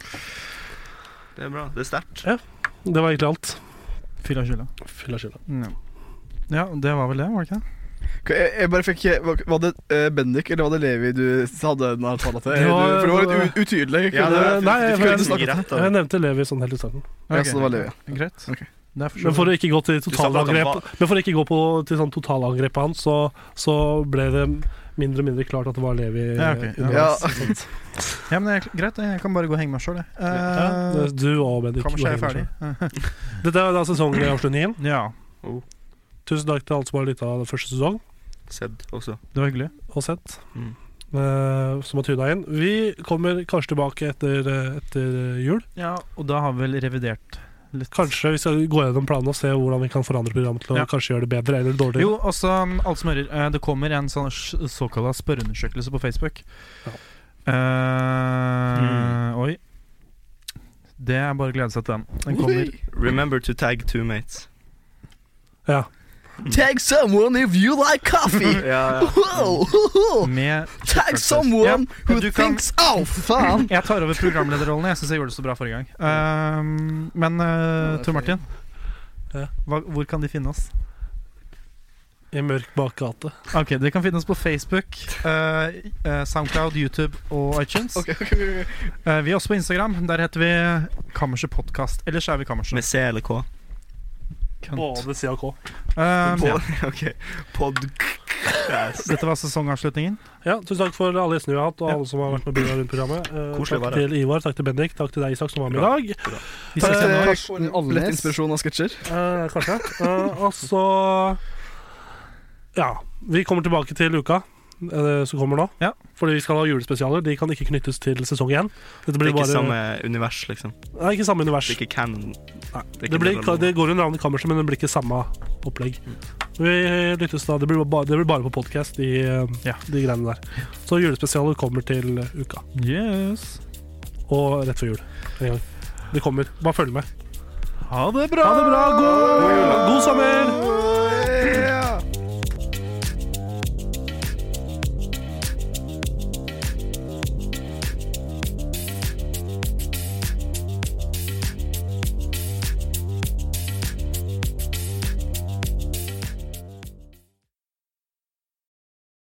Speaker 5: Det er bra. Det er sterkt.
Speaker 2: Det var egentlig alt.
Speaker 3: Fylla skylda.
Speaker 2: Fylla skylda.
Speaker 3: Ja. ja, det var vel det, var det ikke det?
Speaker 1: Jeg, jeg bare fikk Var det eh, Bendik eller var det Levi du hadde den her talen til? Eh,
Speaker 2: Det var-
Speaker 1: Du- for det var litt u- utydelig.
Speaker 5: Ja,
Speaker 1: kunne-
Speaker 5: det-
Speaker 2: Nei,
Speaker 1: du
Speaker 2: jeg,
Speaker 1: fikk jo
Speaker 2: jeg,
Speaker 1: ikke
Speaker 5: Nesten
Speaker 1: snakke
Speaker 5: gir rett, da.
Speaker 2: jeg nevnte Levi sånn helt i starten.
Speaker 1: Ja, så det var Levi.
Speaker 3: Greit.
Speaker 1: Ok.
Speaker 3: Det er for så
Speaker 2: Men for å ikke gå til
Speaker 5: sa bare at han
Speaker 2: totalangrep Men for å ikke gå på, til sånn totalangrepet hans, så, så ble det mindre og mindre klart at det var Levi. eh,
Speaker 3: Ja, ok.
Speaker 2: underveis.
Speaker 1: Ja.
Speaker 3: vidt. Ja, men det er kl- greit, jeg kan bare gå og henge meg sjøl, jeg.
Speaker 2: Ja,
Speaker 3: Eh,
Speaker 2: det- du og Bendik.
Speaker 3: Kammerset er ferdig.
Speaker 2: Dette er da sesongavslutningen.
Speaker 3: ja.
Speaker 2: Tusen takk til alle som har lytta av første sesong
Speaker 5: Sedd også.
Speaker 3: Det var hyggelig.
Speaker 2: og sett.
Speaker 5: Mm.
Speaker 2: eh, som har tuna inn. Vi kommer kanskje tilbake etter, eh, etter jul.
Speaker 3: Ja, og da har vi vel revidert litt.
Speaker 2: Kanskje vi skal gå gjennom planene og se hvordan vi kan forandre programmet til å
Speaker 3: Ja.
Speaker 2: kanskje gjøre det bedre eller dårligere.
Speaker 3: Jo, også um, alt som hører. eh, Det kommer en sånn sj- såkalla spørreundersøkelse på Facebook.
Speaker 2: Ja.
Speaker 1: Mm.
Speaker 3: Eh, Oi. Det er bare å glede seg til den. Den kommer.
Speaker 5: Remember to tag two mates.
Speaker 2: Ja.
Speaker 1: Tag someone if you like coffee!
Speaker 5: Ja,
Speaker 1: Wow, ho, ho.
Speaker 3: Med
Speaker 1: Tag someone
Speaker 3: Ja,
Speaker 1: who
Speaker 3: du kan-
Speaker 1: thinks Au, for faen!
Speaker 3: Jeg tar over programlederrollen. Jeg syns jeg gjorde det så bra forrige gang. Ehm, men eh, Tor Martin,
Speaker 2: Ja.
Speaker 3: hva, hvor kan de finne oss?
Speaker 2: I mørk bakgate.
Speaker 3: Ok, De kan finne oss på Facebook, eh, eh, Soundcloud, YouTube og iTunes.
Speaker 1: Ok, ok, ok.
Speaker 3: Eh, vi er også på Instagram. Der heter vi Kammerset Podcast. Ellers er vi
Speaker 5: Med
Speaker 3: Kammerset.
Speaker 5: C eller
Speaker 2: Um,
Speaker 5: K?
Speaker 3: Kønt.
Speaker 2: Både C og K.
Speaker 3: Ehm, ja.
Speaker 5: OK. Podcast.
Speaker 3: Dette var sesongavslutningen.
Speaker 2: Ja, Tusen takk for alle gjestene vi har hatt, og alle som har vært med og bidratt rundt programmet. Eh,
Speaker 5: Koselig
Speaker 2: takk
Speaker 5: å være
Speaker 2: til Ivar, takk til Bendik, takk til deg, Isak, som var med i
Speaker 5: Bra.
Speaker 2: dag.
Speaker 3: Vi ses igjen.
Speaker 1: Eh,
Speaker 2: Karsten Alnes.
Speaker 1: Lett inspirasjon av sketsjer.
Speaker 2: Eh, kanskje. Eh, og så Ja. Vi kommer tilbake til uka eh, som kommer nå.
Speaker 3: Ja.
Speaker 2: Fordi vi skal ha julespesialer. De kan ikke knyttes til sesong én. Dette
Speaker 5: Det
Speaker 2: blir
Speaker 5: er ikke
Speaker 2: bare
Speaker 5: samme univers, liksom.
Speaker 2: Nei, ikke samme univers.
Speaker 5: Det er ikke canon.
Speaker 2: det,
Speaker 5: ikke
Speaker 2: blir,
Speaker 5: Marvel.
Speaker 2: det går under navnet Kammerset, men det blir ikke samme opplegg.
Speaker 5: Mm.
Speaker 2: Vi eh, lyttes da. Det blir bare, det blir bare på podkast, de, eh,
Speaker 3: Ja.
Speaker 2: de greiene der. Så julespesialer kommer til uka.
Speaker 3: Yes.
Speaker 2: Og rett før jul. En gang. Det kommer. Bare følg med.
Speaker 3: Ha det bra!
Speaker 2: Ha det bra. God, god sommer!